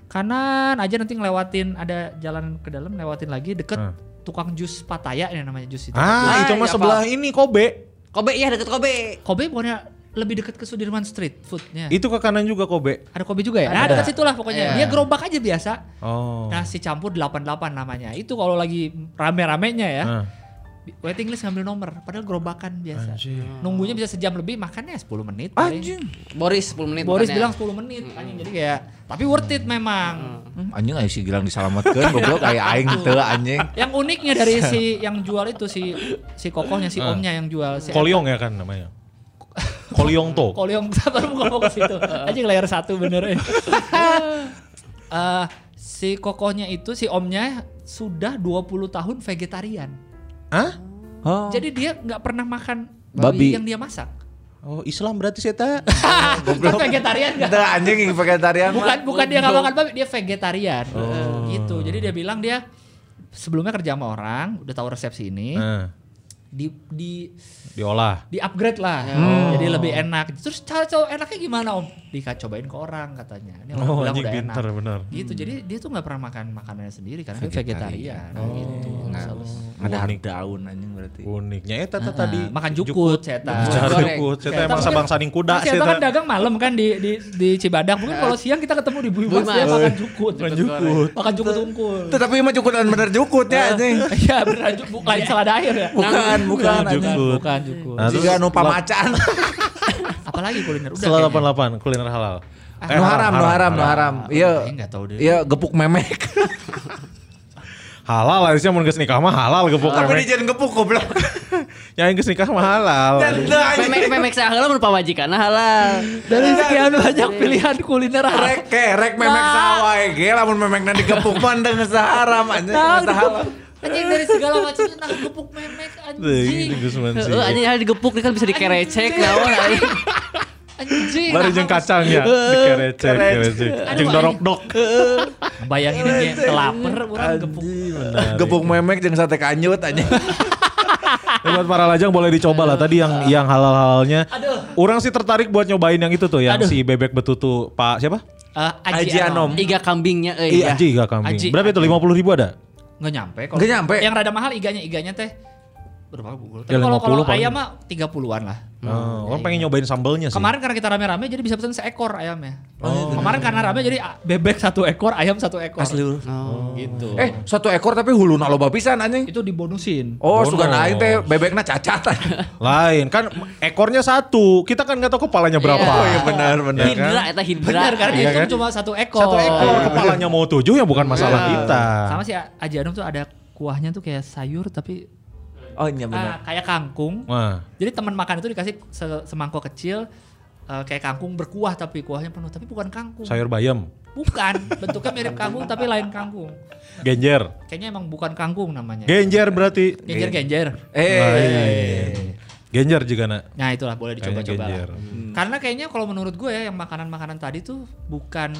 Kanan aja nanti ngelewatin ada jalan ke dalam, lewatin lagi deket Hmm. tukang jus Pataya ini namanya jus itu. Ah, Ah, itu mah iya, sebelah ini Kobe. Kobe iya deket Kobe. Kobe bukannya lebih dekat ke Sudirman Street foodnya. Itu ke kanan juga Kobe. Ada Kobe juga ya? Nah, dekat situ lah Iya. pokoknya. Dia gerobak aja biasa. Oh. Nasi campur 88 namanya. Itu kalau lagi rame-ramenya ya. Nah. Waiting list ngambil nomor, padahal gerobakan biasa. Nunggunya bisa sejam lebih, makannya 10 menit. paling. Anjing. Boris 10 menit. Boris makannya. bilang 10 menit, anjing. Jadi kayak tapi worth it memang. Hmm, Anjing aing si Gilang diselamatkeun goblok kayak aing teu anjing. Yang uniknya dari si yang jual itu si si kokohnya si omnya yang jual si Kolyong ya kan namanya. Kolyong tuh. Kolyong sabar mau ngomong ke situ. Anjing layar satu bener. ya. Eh, si kokohnya itu si omnya sudah 20 tahun vegetarian. Hah? Oh. Jadi dia nggak pernah makan Babi. yang dia masak. Oh, Islam berarti sih ta. Kan vegetarian nggak? Teu anjing yang vegetarian. mah. Bukan bukan dia nggak makan babi, dia vegetarian. Oh. Gitu. Jadi dia bilang dia sebelumnya kerja sama orang, udah tahu resep sini, Nah, di di diolah. di upgrade lah jadi lebih enak terus cara cara enaknya gimana om Dika cobain ke orang katanya ini orang Oh, bilang anjing udah pinter enak bener. gitu jadi dia tuh nggak pernah makan makanannya sendiri karena dia vegetarian gitu Terus, Ada daun anjing berarti. Uniknya eta ta eh, tadi. makan jukut ceta Cara Goreng. Nah. jukut. Saya Tapi emang kan- sabang saning kuda Terus sih Eta kan eta. dagang malam kan di di di Cibadak mungkin kalau siang kita ketemu di Buimas Buimas. dia makan jukut Makan jukut. makan jukut unggul Tetapi mah cukutan bener cukutnya anjing. iya benar ju- bu- lain selada air ya Bukan, Ah. bukan anjing. Jukut. bukan jukut Nah, terus Jika nu pamacan. apalagi kuliner udah Ah, Setelah kayaknya. 88 kuliner halal. Eh, nu haram, nu haram, nu haram. Iya. Ini nggak tahu deh. Iya, gepuk memek. Halal lah sih mun geus nikah mah halal gepuk Tapi memek. dijen gepuk goblok. Yang geus nikah mah halal. Gitu, Tanda Memek anjing. memek sahala mun pawajikan nah, halal. dari sekian banyak pilihan kuliner Rek ke, rek memek sawah eh. Ge lamun memek nanti gepuk mandeng seharam anjing. Nah, Seharam. Anjing dari segala macam itu nah gepuk memek anjing. Ini geus Heeh, anjing ada digepuk dia kan bisa dikerecek naon anjing. Anjing. Baru nah, jeung kacang ya, dikerecek, dikerecek. Jeung dorok-dok. Bayangin ini kayak kelaper orang gepuk. Gepuk memek jeung sate kanyut anjing. Ya, buat para lajang boleh dicoba lah tadi yang yang halal-halalnya. Orang sih tertarik buat nyobain yang itu tuh yang si bebek betutu Pak siapa? Eh, Aji Aji Anom. Anom. Iga kambingnya eh iya. Iya, Aji gak kambing. Aji. Berapa itu? 50 ribu ada? Nggak nyampe kalau. gitu. Nggak nyampe. Yang rada mahal iganya iganya teh berapa pukul. Ya, Tapi kalau 50 kalau paling. ayam mah 30-an lah. Ah, orang pengen nyobain sambelnya sih. Oh, iya, Kemarin karena kita rame-rame jadi bisa pesen seekor ayamnya. Kemarin karena rame jadi ah, bebek satu ekor, ayam satu ekor. Asli lu. Oh, gitu. Eh, satu ekor tapi huluna loba pisan anjing. Itu dibonusin. Oh, Bonus. sugan aing teh bebekna cacatan. Lain kan ekornya satu, kita kan nggak tahu kepalanya berapa. Oh, iya, benar, benar. Hidra eta hidra. Benar karena kan? Iya dihitung kan? cuma satu ekor. Iya. Satu ekor kepalanya mau tujuh ya bukan masalah Iya. kita. Sama si A- Aji Anum tuh ada kuahnya tuh kayak sayur tapi Oh, iya benar. ah, kayak kangkung. Wah. Jadi teman makan itu dikasih se- semangkok kecil eh, kayak kangkung berkuah tapi kuahnya penuh tapi bukan kangkung. Sayur bayam, Bukan, bentuknya mirip kangkung tapi lain kangkung. genjer. Kayaknya emang bukan kangkung namanya. Genjer berarti. Genjer-genjer. Eh. Genjer juga nak. Nah itulah boleh dicoba-coba. Kayaknya lah. genjer. Hmm. Karena kayaknya kalau menurut gue ya yang makanan-makanan tadi tuh bukan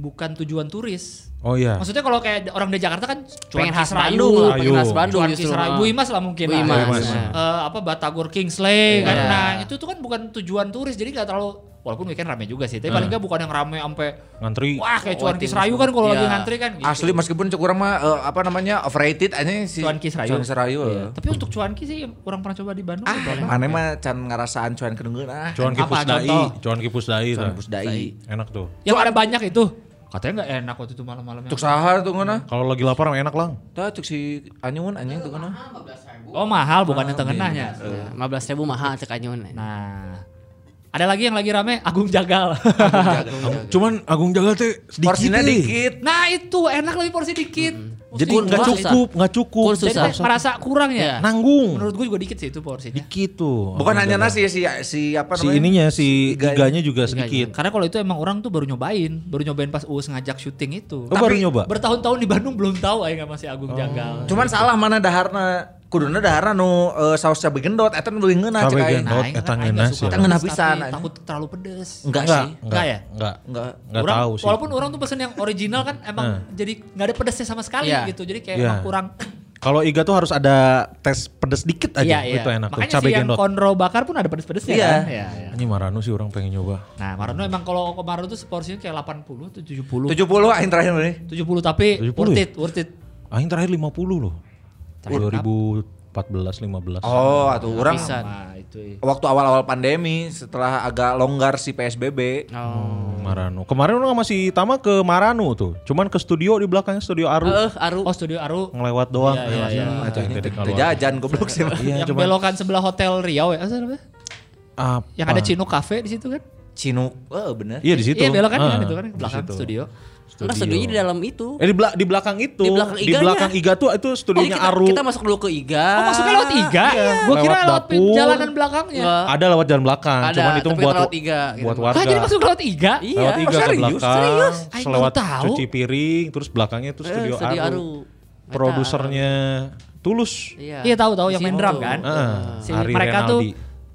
bukan tujuan turis. Oh Nah. iya. Maksudnya kalau kayak orang dari Jakarta kan Pengen khas Kisrayu Bandung lah, pengen Ayo. khas Bandung gitu Cuan justru. Kisrayu, Bu Imas lah mungkin. Bu lah. Imas. Bu Imas. Nah. Eh, apa Batagor Kingsley Iya. kan. Nah, itu tuh kan bukan tujuan turis jadi nggak terlalu walaupun weekend rame juga sih Hmm. tapi paling nggak bukan yang rame sampai Ngantri. wah kayak Oh, cuan waktu Kisrayu itu. kan kalau lagi Iya. ngantri kan gitu. Asli meskipun cek orang mah eh, apa namanya overrated anjing si cuan Kisrayu. Cuan Serayu. Iya. Tapi untuk cuan Ki sih orang pernah coba di Bandung. Ah, gitu. mana mah can ngarasaan cuan kedengeun ah. Cuan Apa kipus dai, contoh? cuan kipus dai. Cuan tuh. bus dai. Enak tuh. Yang ada banyak itu. Katanya nggak enak waktu itu malam-malam. yang- Cuk saha tuh ngeuna? Kalau lagi lapar enak lang. Tah cuk si anyun anjing tuh ngeuna. Oh mahal bukan yang tengahnya. 15 ribu mahal cek anyun. Nah, ada lagi yang lagi rame Agung Jagal. Cuman Agung Jagal teh Porsinya deh. dikit. nah itu enak lebih porsi dikit. Jadi Kun- nggak kun cukup, susah. nggak cukup. Kun Jadi susah. kayak merasa kurang Iya. ya. Nanggung. Menurut gue juga dikit sih itu porsinya. Dikit tuh. Bukan Agung hanya Jagal. nasi ya, si si apa iya, Si namanya? ininya si Iganya. iganya Iganya. juga sedikit. Karena kalau itu emang orang tuh baru nyobain, baru nyobain pas Uus ngajak syuting itu. Oh, baru nyoba. Bertahun-tahun di Bandung belum tahu aja nggak masih Agung Jagal. Cuman salah mana daharna. Kuduna daharna nu eh, saus cabe gendot eta nu beuih ngeuna cek Cabe aing. gendot. aing Eta kan- aing nggak ngena suka sih. pedes, Ngena tapi pisan, aing. Takut terlalu pedes. Enggak Enggak, sih. enggak ya? Enggak. Enggak. Enggak Orang- tahu sih. Nah. Walaupun orang tuh pesen yang original kan emang jadi nggak ada pedesnya sama sekali Iya. gitu. Jadi kayak Iya. emang kurang Kalau iga tuh harus ada tes pedes dikit aja. Itu enak Iya, Makanya tuh. Cabe si yang gendot. konro bakar pun ada pedes-pedesnya Iya. kan. Iya, iya. Ini Marano sih orang pengen nyoba. Nah, Marno emang kalau ke Marno tuh seporsinya kayak 80 atau 70. 70 aing terakhir nih. 70 tapi 70 worth ya? it, worth it. Aing terakhir 50 loh. 2014 15. Oh, atuh orang Pisan. Nah, itu. waktu awal-awal pandemi setelah agak longgar si PSBB. Oh. Marano. Kemarin orang masih Tama ke Marano tuh. Cuman ke studio di belakangnya studio Aru. Eh, Aru. Oh, studio Aru Ngelewat doang. Iya, iya, iya. Nah, itu yang Ini tadi te- keluar. Tejajan goblok sih. emang. Iya, yang cuman belokan sebelah Hotel Riau ya. Apa sih namanya? apa? Yang ada Cino Cafe di situ kan? Cinu, eh bener. Ah, Iya di situ. Iya, belokan Ah, kan itu kan belakang situ. studio. Enggak studionya di dalam itu. Eh di, bela- di belakang itu. Di belakang iganya. iga tuh itu Jadi studionya kita, Aru. kita masuk dulu ke Iga. Oh, masuknya lewat tiga. Gua kira Lewat lewat dapur. jalanan belakangnya. Enggak. ada lewat jalan belakang. Ada, cuman itu tapi buat lewat iga gitu. buat Ah, warga. Ah, jadi masuk lewat tiga? Iya. Lewat iga ke Serius? belakang, Serius? Aing baru lewat tahu. cuci piring, terus belakangnya tuh Eh, studio, studio Aru. Aru. Eta. Produsernya Tulus. Iya, tahu tahu yang main Situ. drum kan. Heeh, Si Ari mereka Renaldi. tuh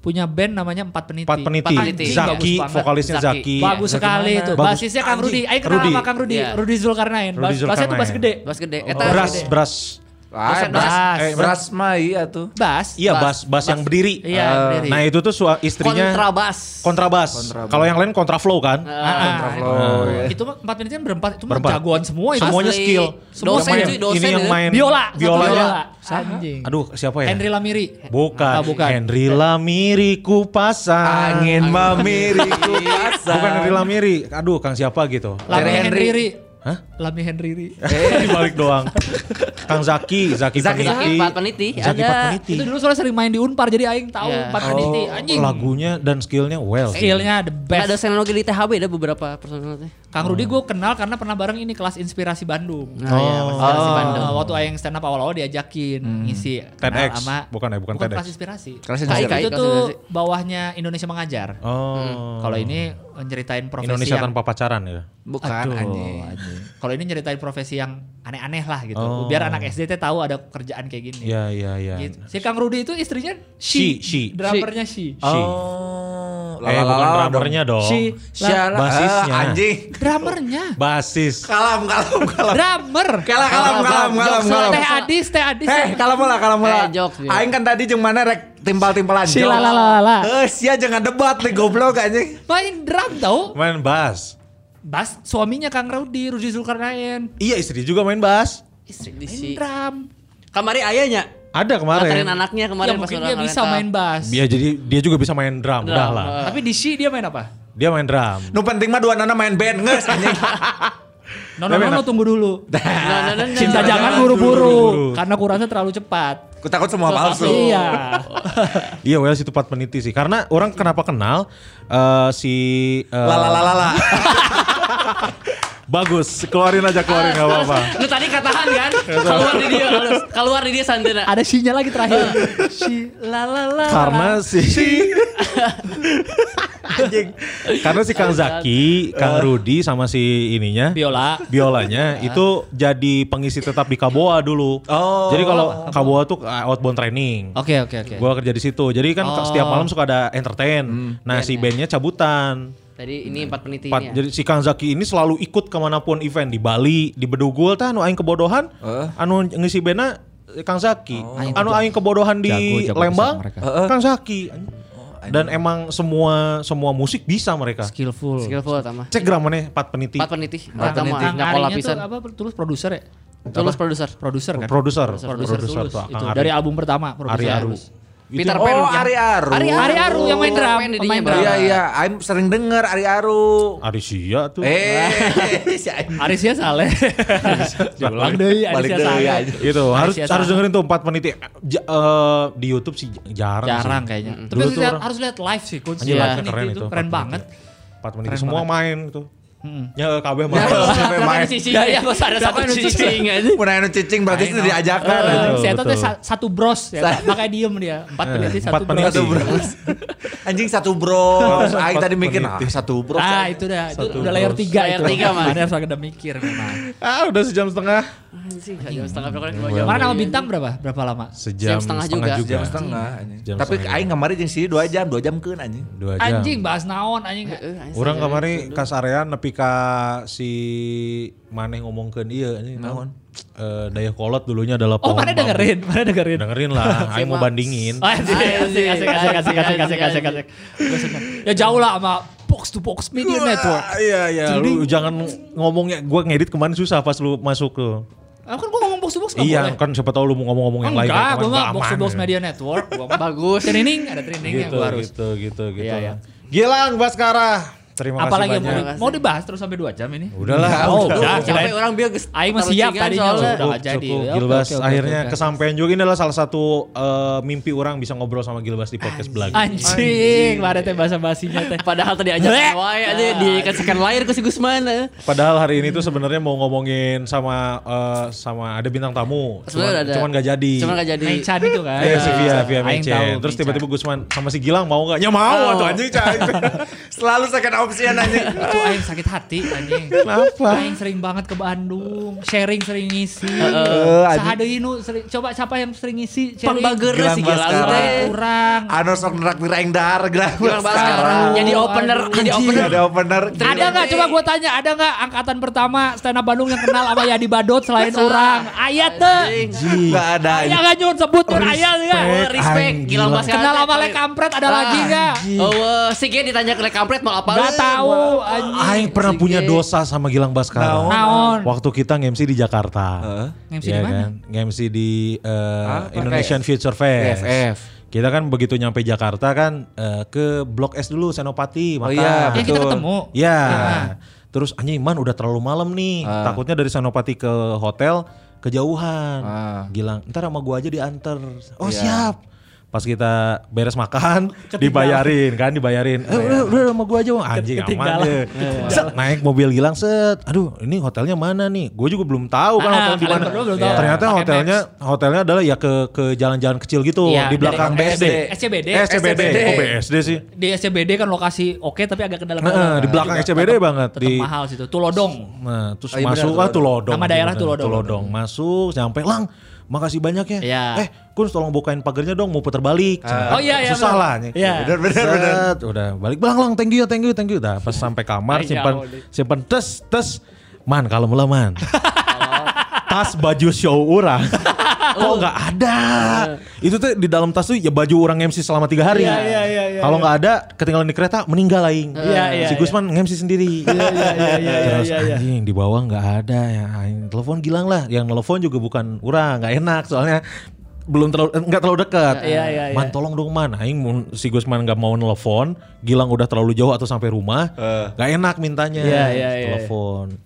punya band namanya Empat Peniti. Empat peniti, Empat Peniti. Zaki, Bagus banget. vokalisnya Zaki. Zaki. Bagus Zaki sekali mana? itu. Bagus. Basisnya Kang Anjing, Rudi. Ayo kenal Rudi. sama Kang Rudi. Iya. Rudi Zulkarnain. Rudi Bas, basnya tuh Zulkarnain. bas gede. Bas gede. Eta Beras, gede. beras. Oh, Ah, Dosen, beras, Bas. eh, beras mah iya tuh. Bas. Iya, bas, bas yang berdiri. Iya, Ah. berdiri. Nah, itu tuh sua- istrinya kontrabas. kontrabas. Kalau yang lain kontraflow kan? Nah, Kontraflow. ya. Ah, Itu mah empat peniti kan berempat. Itu mah Berempat. jagoan semua itu. Semuanya Asli. skill. Dosen, Yang main- cuy, dosen Ini yang ya. main Biola. satu biolanya. biola. Anjing. Aduh, siapa ya? Henry Lamiri. Bukan. Ah, bukan. Henry Lamiri kupasang. Angin memiriku pasang. Bukan Henry Lamiri. Aduh, Kang siapa gitu. Lami Henry. Henry Ri. Hah? Lami Henry Ri. Dibalik doang. Kang Zaki, Zaki, Zaki, Peniti. Zaki Empat Peniti, ada. Zaki Empat Peniti. Itu dulu soalnya sering main di Unpar jadi aing tahu Iya. Empat Peniti Oh, anjing. Lagunya dan skillnya well. Skillnya the Ada best. dosen lagi di THB ada beberapa personalnya. Kang Rudi gue kenal karena pernah bareng ini kelas inspirasi Bandung. Nah, oh. ya, Inspirasi oh. Bandung. waktu Aing stand up awal-awal diajakin ngisi TEDx. kenal sama- Bukan ya, bukan TEDx. kelas inspirasi. Kelas Nah, inspirasi. itu Kelas tuh inspirasi. bawahnya Indonesia Mengajar. Oh. Kalau ini nyeritain profesi Indonesia yang tanpa pacaran ya. Bukan Aduh, anjing. Eh, anjing. Kalau ini nyeritain profesi yang aneh-aneh lah gitu. Oh. Biar anak SD teh tahu ada kerjaan kayak gini. Iya, iya, iya. Gitu. Si Kang Rudi itu istrinya She, she. she, drummernya she. She. Oh, eh, bukan drummernya dong. She. Sialah, Basisnya. Eh, anjing. Drummernya, Basis. Kalam, kalam, kalam. drummer. Kalam, kalam, kalam, kalam, kalam. Teh Adis, Teh Adis. Heh, kalam lah, kalam lah. Eh, jokes, jokes. Aing kan tadi jeung mana rek timpal-timpalan. Si jokes. la la la la. Eh, sia jangan debat nih goblok anjing. Main drum tau. Main bass. Bas suaminya Kang Rudi, Rudi Zulkarnain. Iya istri juga main bass. Istri di Main si. drum. Kamari ayahnya. Nganterin Ada kemarin. anaknya Ya kemarin pas mungkin udah dia bisa main bass. Iya jadi dia juga bisa main Drum, drum, udah lah. eh. Tapi di C dia main apa? Dia main drum. Nu penting mah dua nana main band nges anjing. No, no, no, no, tunggu dulu. Cinta jangan. jangan buru-buru. Karena kurangnya terlalu cepat. Ku takut semua palsu. Iya. Iya Wells itu part meniti sih. Karena orang kenapa kenal eh, si eh, Lalalalala. bagus. Keluarin aja keluarin nggak apa-apa. Lu tadi katahan kan? Keluar di dia, halus. keluar di dia Santana. Ada sinya lagi terakhir. Si la la la. Karena si Anjing. Karena si Kang Zaki, Kang Rudi sama si ininya Eh. biola. biolanya itu jadi pengisi tetap di Kaboa dulu. Oh. Jadi kalau Kaboa tuh ah, outbound training. Oke oke oke. Oh. Hmm. Gua kerja di situ. Jadi kan setiap malam suka ada entertain. Nah, Iya, si bandnya cabutan. Tadi ini empat menit ini Pat- ya. jadi si Kang Zaki ini selalu ikut kemanapun event di Bali, di Bedugul, tah anu aing kebodohan, anu ngisi bena eh, Kang Zaki, anu aing kebodohan di Oh. Jago, jago Lembang, bisa mereka. Kang Zaki. Dan emang semua semua musik bisa mereka. Skillful. Skillful sama. Cek gramannya Pat Peniti, Empat menit. Nah, Pertama Kang nggak pola Arinya pisan. tuh apa terus produser ya? Tulus produser. Produser kan? produser, Produser produser Tulus tuh itu Kang dari Ari. album pertama Ari produser Aru. Tulus. Itu- Peter Pan. Oh, yang- Ari Aru. ya. Ari Aru. Ari Aru yang main drum, Main di pemain dia, drum. Bang. Iya iya, I'm sering denger Ari Aru. Ari Sia tuh. Eh, si anjing. Aris ya Saleh. Ulang deh Aris Balik ya deui Saleh. aja. Itu iya, Gitu, harus Sia harus Saleh. dengerin tuh empat menit eh, di YouTube sih jarang. Jarang sih. kayaknya. Mm-mm. Tapi Dulu harus tuh lihat, orang- harus lihat live sih coach. Anjir, Iya. live-nya keren itu. Keren Pat banget. Empat menit Keren semua banget. main gitu. Ya KW main. Sampai main. Cicing Iya, ya, masa ada satu cicing aja. Mun anu cicing berarti sudah diajakan. Eh, Betul, Saya tahu betul. Eh, tuh sa- satu bros ya, Pak. makanya diem dia. Empat menit sih, empat satu menit sih. bros. Satu bros. Iya, Anjing satu bros. Aing tadi mikir ah Peniti. satu bros. Nah itu dah, itu udah layer ya. bros. tiga Layer itu. tiga, Mas. Makanya harus agak mikir memang. Ah udah sejam setengah. Anjing, nggak jam setengah berapa dua jam. Kemarin Iya, nama bintang berapa? Berapa lama? Sejam, Jam setengah juga. Jam setengah anjing. Jam Tapi setengah. aing kemarin jeung sini 2 jam, 2 jam keun anjing. Dua jam. Anjing bahas naon anjing. Eh, anjing. Orang kemarin kas area nepi ka si Maneh ngomongkeun iya ini naon? Eh daya kolot dulunya adalah Oh, pohon. mana bambu. dengerin? Mana dengerin? Dengerin lah, aing mau bandingin. Oh, asik, asik, asik, asik, asik, asik, asik, asik, asik. iya, Gua suka. Ya jauh lah sama Box to Box Media Network. Wah, Iya iya, lu jangan ngomongnya gua ngedit kemarin susah pas lu masuk tuh. Ah, kan gua ngomong Box to Box nggak Iya, boleh. kan siapa tahu lu mau ngomong-ngomong yang lain. Enggak, kan, gua kemarin mah nggak Box to aman, Box ya. Media Network. Gua mah Bagus. training, ada training yang gitu, gua harus. gitu, gitu, gitu. Iya, iya. Gilang Baskara. Terima kasih Apalagi yang mau, banyak. di- mau dibahas terus sampai 2 jam ini. Udah lah. Oh, udah. Sampai kirain- orang biar geus- Aing mah taruh siap cingan tadinya kan, soalnya. udah. Cukup, nggak jadi. cukup. Oke, Gilbas oke, oke, akhirnya oke. kesampaian juga ini adalah salah satu eh, mimpi orang bisa ngobrol sama Gilbas di podcast Belag. Anjing, mana teh bahasa basinya teh. Padahal tadi ajak Bleh. wae aja di second layar ke si Gusman. eh. Padahal hari ini tuh sebenarnya mau ngomongin sama eh, sama ada bintang tamu, Sebenarnya cuman, ada. cuman gak jadi. Cuman gak jadi. Mencan itu kan. Iya si Via, Via Aing Mecen. tahu Terus Mencan. tiba-tiba Gusman sama si Gilang mau gak? Ya mau Oh. tuh anjing cai. Selalu second option anjing. Itu aing sakit hati anjing. Kenapa? Aing sering banget ke Bandung, sharing sering ngisi. Eh, Sahadeui nu sering coba siapa yang sering ngisi? sharing? Pambageure Gilang si Gilang Baskara. teh. Kurang. Anu sok nerak biraing dahar gerak Gilang Baskara. sekarang. Jadi opener, jadi Anjing, opener. Ada opener. Ada nggak? Coba gue tanya, ada nggak angkatan pertama stand up Bandung yang kenal sama Yadi Badot selain orang? Ayat teh. Enggak ada. Ayat nggak nyebut sebut nyun ayat ya. Wah, respect. Anjing, Gilang eh, Gilang. Baskara. Kenal teh. sama Lek Kampret Ah, ada lagi nggak? Ah, Oh, eh, si Gia ditanya ke Lek Kampret mau apa? Gak eh? tahu anjing. Aing Si pernah punya Ge. dosa sama Gilang Baskara. Naon? Naon? Waktu kita nge-MC di Jakarta. Nge-MC Iya di mana? Nge-MC di eh, Indonesian PKS? Future Fest. PFF. Kita kan begitu nyampe Jakarta kan eh, ke Blok S dulu Senopati makan. iya, Ya kita ketemu. Iya. Ya. Ah. Terus anjing man udah terlalu malam nih. Takutnya dari Senopati ke hotel kejauhan. Ah. Gilang, ntar sama gua aja diantar. Oh Iya. siap. Pas kita beres makan, dibayarin kan, dibayarin. Eh, udah, udah sama gua aja, Bang. anjing aman Ketinggalan. Iya, deh. Set, naik mobil Gilang set. Aduh, ini hotelnya mana nih? Gue juga belum tahu kan Ah, hotelnya di kalian mana. berdua belum tahu. Ternyata Pakai hotelnya hotelnya adalah ya ke ke jalan-jalan kecil gitu Iya, di belakang dari BSD. SCBD. Eh, SCBD. Oh, BSD sih. Di SCBD kan lokasi oke tapi agak ke dalam. Nah, eh, di belakang SCBD banget, Tetap di- Iya, mahal situ. Tulodong. Oh, Nah, terus iya masuk benar, ah Tulodong. Nama daerah Tulodong. Tulodong. Masuk, nyampe lang. Makasih banyak ya. Iya. Eh, Kun tolong bukain pagernya dong, mau puter balik. Oh, iya, iya, Susah benar. lah. Iya. Bener bener Udah balik bang lang, thank you ya, thank you, thank you. Nah, pas sampai kamar Ay, simpan jauh deh. simpan tes tes. Man, kalau mula man. Oh. tas baju show orang kok nggak ada itu tuh di dalam tas tuh ya baju orang MC selama tiga hari Oh. Iya, iya, iya, iya, kalau nggak ada ketinggalan di kereta meninggal aing Iya, iya, si iya. Gusman MC sendiri iya, terus iya, iya. anjing di ya, bawah nggak ada ya aing telepon Gilang lah yang telepon juga bukan orang nggak enak soalnya belum terlalu eh, nggak terlalu dekat. Iya, iya, iya. Man tolong dong man, aing mun- si Gusman nggak mau nelfon, Gilang udah terlalu jauh atau sampai rumah, Eh. nggak enak mintanya. Iya, iya, iya. Telepon.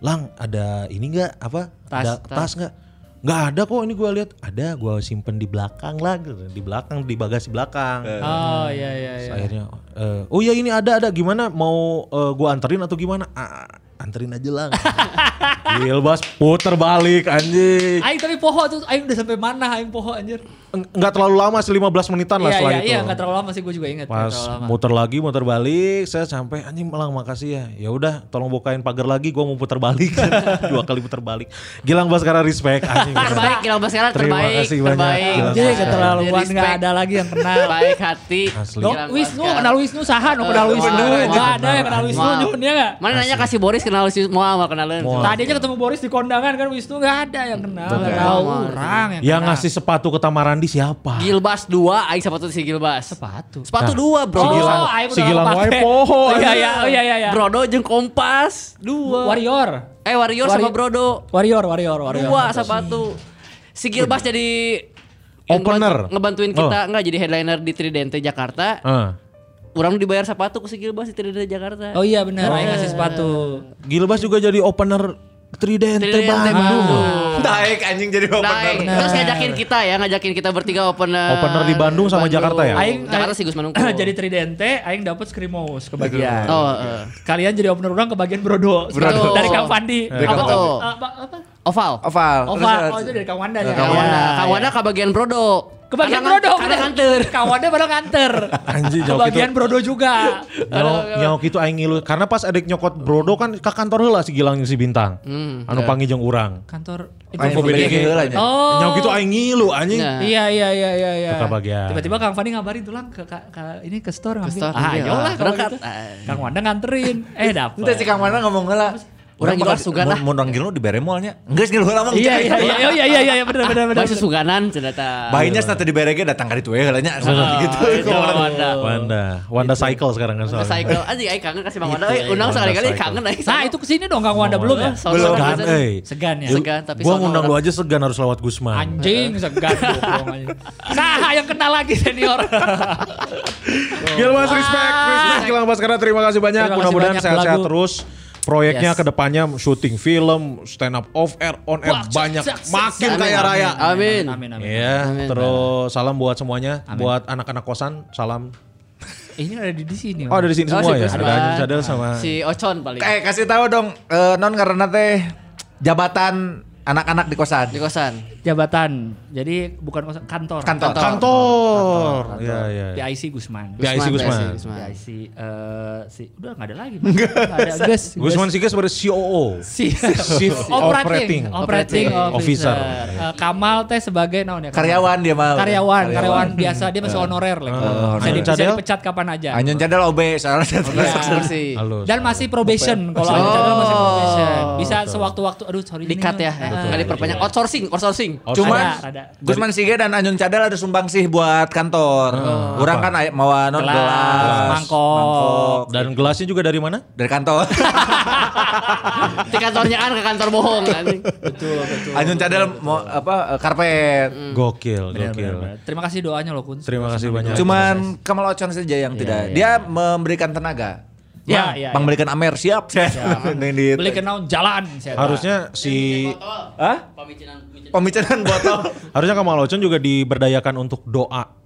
Lang, ada ini nggak apa? Tas, ada tas. tas nggak? Nggak ada kok ini gua lihat. Ada gua simpen di belakang lah, gitu. di belakang di bagasi belakang. Eh. Oh ya, iya iya Terus iya. akhirnya eh, oh ya ini ada ada gimana mau eh, gua anterin atau gimana? Ah, ah, anterin aja lah. Gilbas puter balik anjing. Aing tapi poho tuh, Aing udah sampai mana Aing poho anjir. Eng- Nggak terlalu lama sih 15 menitan Kan lah Iya, setelah iya, itu. iya, gak terlalu lama sih gue juga ingat. nggak Pas terlalu lama. muter lagi muter balik saya sampai anjing malang makasih ya. Ya udah tolong bukain pagar lagi gua mau puter balik. Dua kali puter balik. Gilang Baskara respect anjing. Terbaik Gilang Baskara Terima terbaik. kasih banyak, terbaik. Gilang Anjir keterlaluan Respect. gak ada lagi yang kenal. Baik hati. Asli. Dok, Gilang Wisnu, Baskara. kenal Wisnu saha, no kenal Eh, Wisnu. wah, wah, Gak ada yang kenal wah. Wisnu, Wah. nyun ya gak? Mana nanya kasih Boris kenal si Moa mau kenalin. Moa. Tadi aja ketemu Boris di kondangan kan Wisnu gak ada yang kenal. Gak kenal. tahu orang yang Yang kenal. ngasih sepatu ke Tamarandi siapa? Gilbas 2 aing sepatu si Gilbas. sepatu. Sepatu Nah, dua bro. Oh, si Gilang, aing si Oh, udah Gilang lupa wae pakai. poho. Iya, iya, anjing. oh, iya, iya, iya. Brodo jeung Kompas. Dua. Warrior. Eh Warrior Wari- sama Brodo. Warrior, warrior, warrior. Dua sepatu. Si Gilbas jadi yang Opener. Oh. ngebantu- ngebantuin kita nggak jadi headliner di Tridente Jakarta. Ah. Orang dibayar sepatu ke si Gilbas di Tridente Jakarta. Oh iya benar, Aing ngasih sepatu. Gilbas juga jadi opener Tridente, Tridente Bandung. Bandung. Naik anjing jadi Naik. opener. Nah, eh, Terus ngajakin kita ya, ngajakin kita bertiga opener. Opener di Bandung sama Jakarta ya? Aing, Aing- Jakarta Aing- sih Gus Manungko. jadi Tridente, Aing dapat Skrimos kebagian. Oh, eh. Kalian jadi opener orang kebagian Brodo. Brodo. Dari Kang Fandi. Dari Apa? Kang Fandi. apa, apa? oval. Oval. Oval. Terus, Oh itu dari Kang Wanda ya. Kang Wanda, Kang Wanda kebagian Brodo. Kebagian Karena- Brodo. Karena bener. kantor. Kang Wanda baru kantor. Anjing, jauh gitu. Kebagian Brodo juga. Nyawa, nyawa gitu aing ngilu karena pas adik nyokot brodo kan ke kantor heula si Gilang jeung si Bintang. Hmm, anu panggil jeung urang. Kantor. Aing BDG lah nya. iya. Oh. Nyawa gitu aing ngilu anjing. Nah. Iya iya iya iya iya. Ke kebagian. Tiba-tiba Kang Fani ngabarin tulang ke, ke, ke- ini ke store ngambil. store, ah, iya. ayo lah kalau Berangkat. gitu. Ah. Kang Wanda nganterin. Eh dapet. Entah si Kang Mana ngomong heula. Orang juga sugan lah. Mau orang gila di bare mallnya. Enggak sih heula mah. Iya iya iya iya iya iya iya benar benar benar. Baik susuganan cerita. Bayinya setelah di bare ge datang ka ditu we heula nya. Gitu. iya, Kang Wanda. Oh, Wanda, Wanda cycle sekarang kan soalnya. Cycle. Anjing aing kangen kasih Bang Wanda. Gitu, Eh, Undang Wanda sekali-kali cycle. kangen aing. Nah itu kesini dong Kang Wanda belum ya? Sono Belum kan, kan euy. Segan ya. Segan tapi Gua sono ngundang lu orang. aja segan harus lewat Gusman. Anjing segan bohong aja. Nah yang kenal lagi senior. Gilbas respect, respect Gilang Baskara terima kasih banyak. Ah. Terima kasih Mudah-mudahan banyak, sehat-sehat lagu. terus. Proyeknya Yes. kedepannya syuting film, stand up off air, on air Wah, sak, banyak, sak, sak, makin sak. kaya Amin, raya. Amin. Amin amin. Iya, terus salam buat semuanya, buat anak-anak kosan, salam. Eh, Ini ada di di sini. Oh, ada di sini Oh, semua si ya. Gusman. Ada Anjing Sadel sama Si Ocon paling. Eh kasih tahu dong eh, non karena teh jabatan anak-anak di kosan. Di kosan. Jabatan. Jadi bukan kos- kantor. Kantor. kantor. Iya, iya. Di IC Gusman. Di IC Gusman. Gusman. Ya si, eh si udah nggak ada lagi. Nggak ada. Gas. Gusman Sigas sebagai COO. Si Chief Operating. operating, operating Officer. officer. Eh, Kamal teh sebagai naon ya? Kamal? Karyawan dia mah. Karyawan, karyawan biasa dia masih honorer lah. gitu. bisa, di, Anjun bisa Eh. Cadel? dipecat kapan aja. Anjun cadel OB soalnya Iya. Kursi. Halus. Dan masih probation kalau Anjun Cadel masih probation. Bisa sewaktu-waktu aduh sorry ini Dikat ya. Eh, Kali perpanjang Iya. outsourcing, outsourcing. Oh. Cuma Ada, ada. Gusman Sige dan Anjun Cadel ada sumbangsih buat kantor. Orang kan ay- mau non Oh. Gelas, gelas, mangkok. mangkok. Dan gelasnya juga dari mana? dari kantor. Di kantornya an ke kantor bohong anjing. Anjun Cadel mau apa eh, karpet. Hmm. Gokil, gokil. Benar-benar. Terima kasih doanya loh Kun. Terima kasih Ya, banyak. Cuman Kamal Ocon saja yang tidak. Dia memberikan tenaga. Bang, Ya, ya, ya. Memberikan Amer siap. Yang di- Beli kenal jalan saya. harusnya si Hah? Pembicaraan botol. harusnya Kamal Ocon juga diberdayakan untuk doa.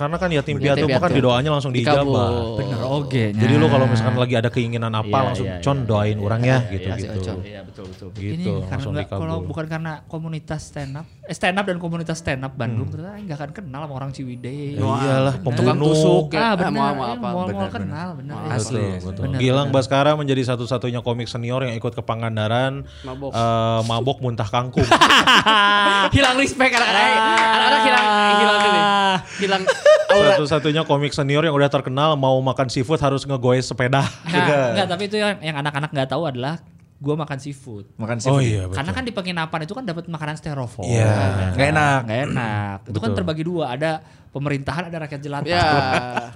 Karena kan yatim piatu piatu. bahkan di doanya langsung Dikabul. diijabah. Bener, oge. Jadi lu kalau misalkan lagi ada keinginan apa langsung con doain orang ya gitu gitu. Iya betul betul. Gitu ini karena langsung nggak- kalau dikabul. bukan karena komunitas stand up, eh, stand up dan komunitas stand up Bandung ternyata nggak akan kenal sama orang Ciwidey. Ya Hmm. iyalah, Tukang pembunuh. tusuk Ah, ya. benar. mau mau apa. Mau kenal, benar. Asli. Betul, betul. Benar, Gilang Baskara menjadi satu-satunya komik senior yang ikut ke Pangandaran Mabok. eh, mabok muntah kangkung. Ah, Hilang respect anak-anak. Eh, Eh, Anak-anak hilang hilang Ah. ini. Hilang aura. satu-satunya komik senior yang udah terkenal mau makan seafood harus ngegoes sepeda. Nah, enggak, tapi itu yang yang anak-anak nggak tahu adalah gua makan seafood. Makan sih. Oh iya betul. Karena kan di penginapan itu kan dapat makanan styrofoam. Iya. Nggak enak. Nggak enak. Itu kan terbagi dua, ada pemerintahan, ada rakyat jelata. Ya.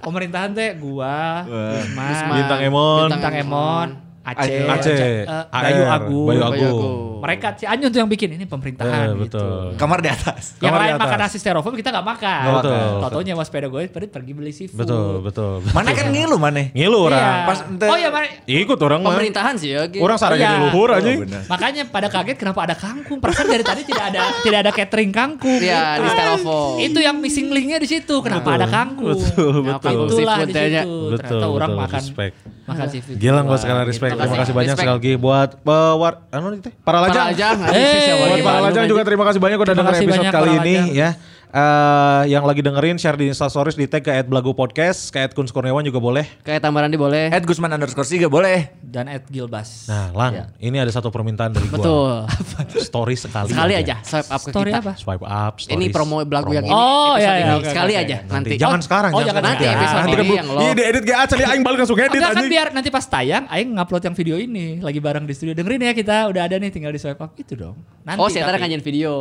Pemerintahan teh gua, Gusman, Gusman. Bintang Emon. Iya, Bintang Emon, Aceh, Aceh. Aceh, eh, AR, Bayu Agung. Bayu Bayu Agung. Agung. Mereka si Anyun tuh yang bikin ini Eh, pemerintahan gitu. betul. Kamar di atas. Yang Kamar di lain atas. makan nasi styrofoam kita nggak makan. Nggak makan. Toto nyewa sepeda gue pergi pergi beli seafood. Betul, betul. Mana kan ngilu mana? Ngilu Iya. orang. Pas ente- oh ya, mari- Ikut orang mah. Pemerintahan sih ya. Gi. Orang sarang Iya. jadi luhur aja. Oh, benar. makanya pada kaget kenapa ada kangkung. Perasaan dari tadi tidak ada tidak ada catering kangkung. Iya, di styrofoam. Itu yang missing linknya di situ. Kenapa ada kangkung? Betul, Nah, betul. Itulah Seafood di kayaknya. situ. Betul, Ternyata orang betul. makan Respect. makan seafood. Gila gue doang. sekali respect. Gitu. Terima kasih banyak Respect. sekali lagi buat eh, war anu nih teh, para lajang. Paralajang. Eh, Buat Iya, para Bandung lajang juga terima kasih banyak udah Terima dengerin kasih episode banyak kali para ini lajang. ya. Eh, yang lagi dengerin share di Instastories di tag ke @belagu podcast, ke @kunskurniawan juga boleh. Kayak tambahan di boleh. Eh. At Gusman underscore Siga boleh. Dan at Gilbas. Nah, Lang, ini ada satu permintaan dari gua. Ya. Betul. Story sekali. Sekali aja swipe up ke Story kita. apa? Swipe up, Oh, iya. stories. Ini promo belagu yang ini. Oh, episode iya, iya, ini. oke, Sekali oke, aja oke. nanti. nanti. Jangan sekarang, oh, jangan nanti sekarang. episode Nanti ini keburu- yang lo. Oh, Iya diedit gak? Asli aing balik langsung edit Enggak kan anjing. biar nanti pas tayang Aing ngupload yang video ini lagi bareng di studio. Dengerin ya kita udah ada nih tinggal di swipe up itu dong. Nanti Oh, saya tapi. kanjian video.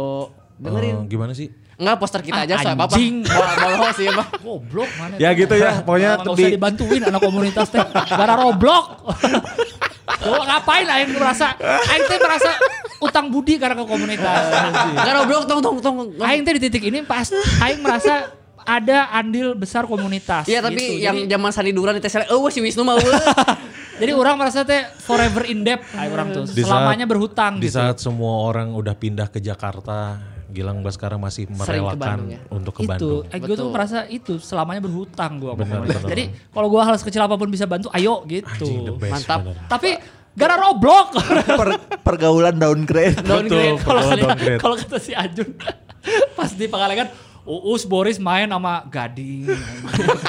Dengerin. Eh, gimana sih? Enggak poster kita Ah, aja swipe apa? anjing. Boleh sih apa? Goblok mana? Ya gitu ya, pokoknya Nggak usah di- dibantuin anak komunitas teh. Gara Roblox. Tuh ngapain Aing merasa Aing teh merasa utang budi karena ke komunitas. Enggak goblok tong tong tong. tong. Aing teh di titik ini pas Aing merasa ada andil besar komunitas. Iya tapi gitu. yang Jadi- zaman Sandi Duran itu saya, oh si Wisnu mau. Jadi orang merasa teh forever in debt ay, orang tuh Di saat- selamanya berhutang Di gitu. saat semua orang udah pindah ke Jakarta, Gilang Baskara masih merelakan Bandung ya? untuk ke itu, Bandung. eh, gue tuh Betul. merasa itu selamanya berhutang gue. Benar, benar. Jadi kalau gue hal sekecil apapun bisa bantu, ayo gitu. Anjing, the best Mantap. bener. Tapi gara Roblox. Per- pergaulan downgrade. downgrade Betul, kalau pergaulan kata- downgrade. kalau kata si Ajun pas di Pangalengan Uus Boris main sama Gading,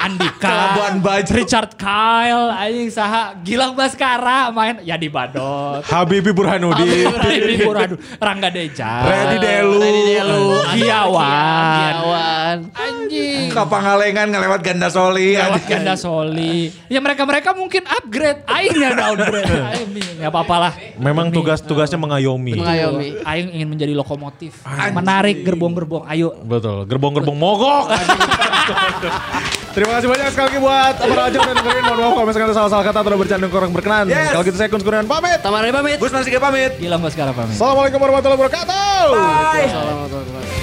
Andika, Labuan Bajo. Richard Kyle, anjing saha, Gilang Baskara main ya di Badot. Habibi Burhanuddin. Habibie Burhanuddin, Rangga Deja, Randy Delu. Ready Delu. Giawan. Giawan. Anjing. Ke Pangalengan ngelewat Ganda Soli. Iya. Lewat anjing. ganda soli. Ya mereka-mereka mungkin upgrade. Aing ya downgrade. Aing ya apa-apalah. Memang tugas-tugasnya mengayomi. Mengayomi. Aing ingin menjadi lokomotif. Menarik gerbong-gerbong. Ayo. Betul, gerbong-gerbong mogok. Terima kasih banyak sekali lagi buat para Ajeng dan dengerin. Mohon maaf kalau misalkan ada salah-salah kata atau bercanda kurang berkenan. Yes. Kalau gitu saya Kun Kurniawan pamit. Tamarani pamit. Gusman Siga pamit. Gilang Baskara pamit. Assalamualaikum warahmatullahi wabarakatuh. Assalamualaikum warahmatullahi wabarakatuh.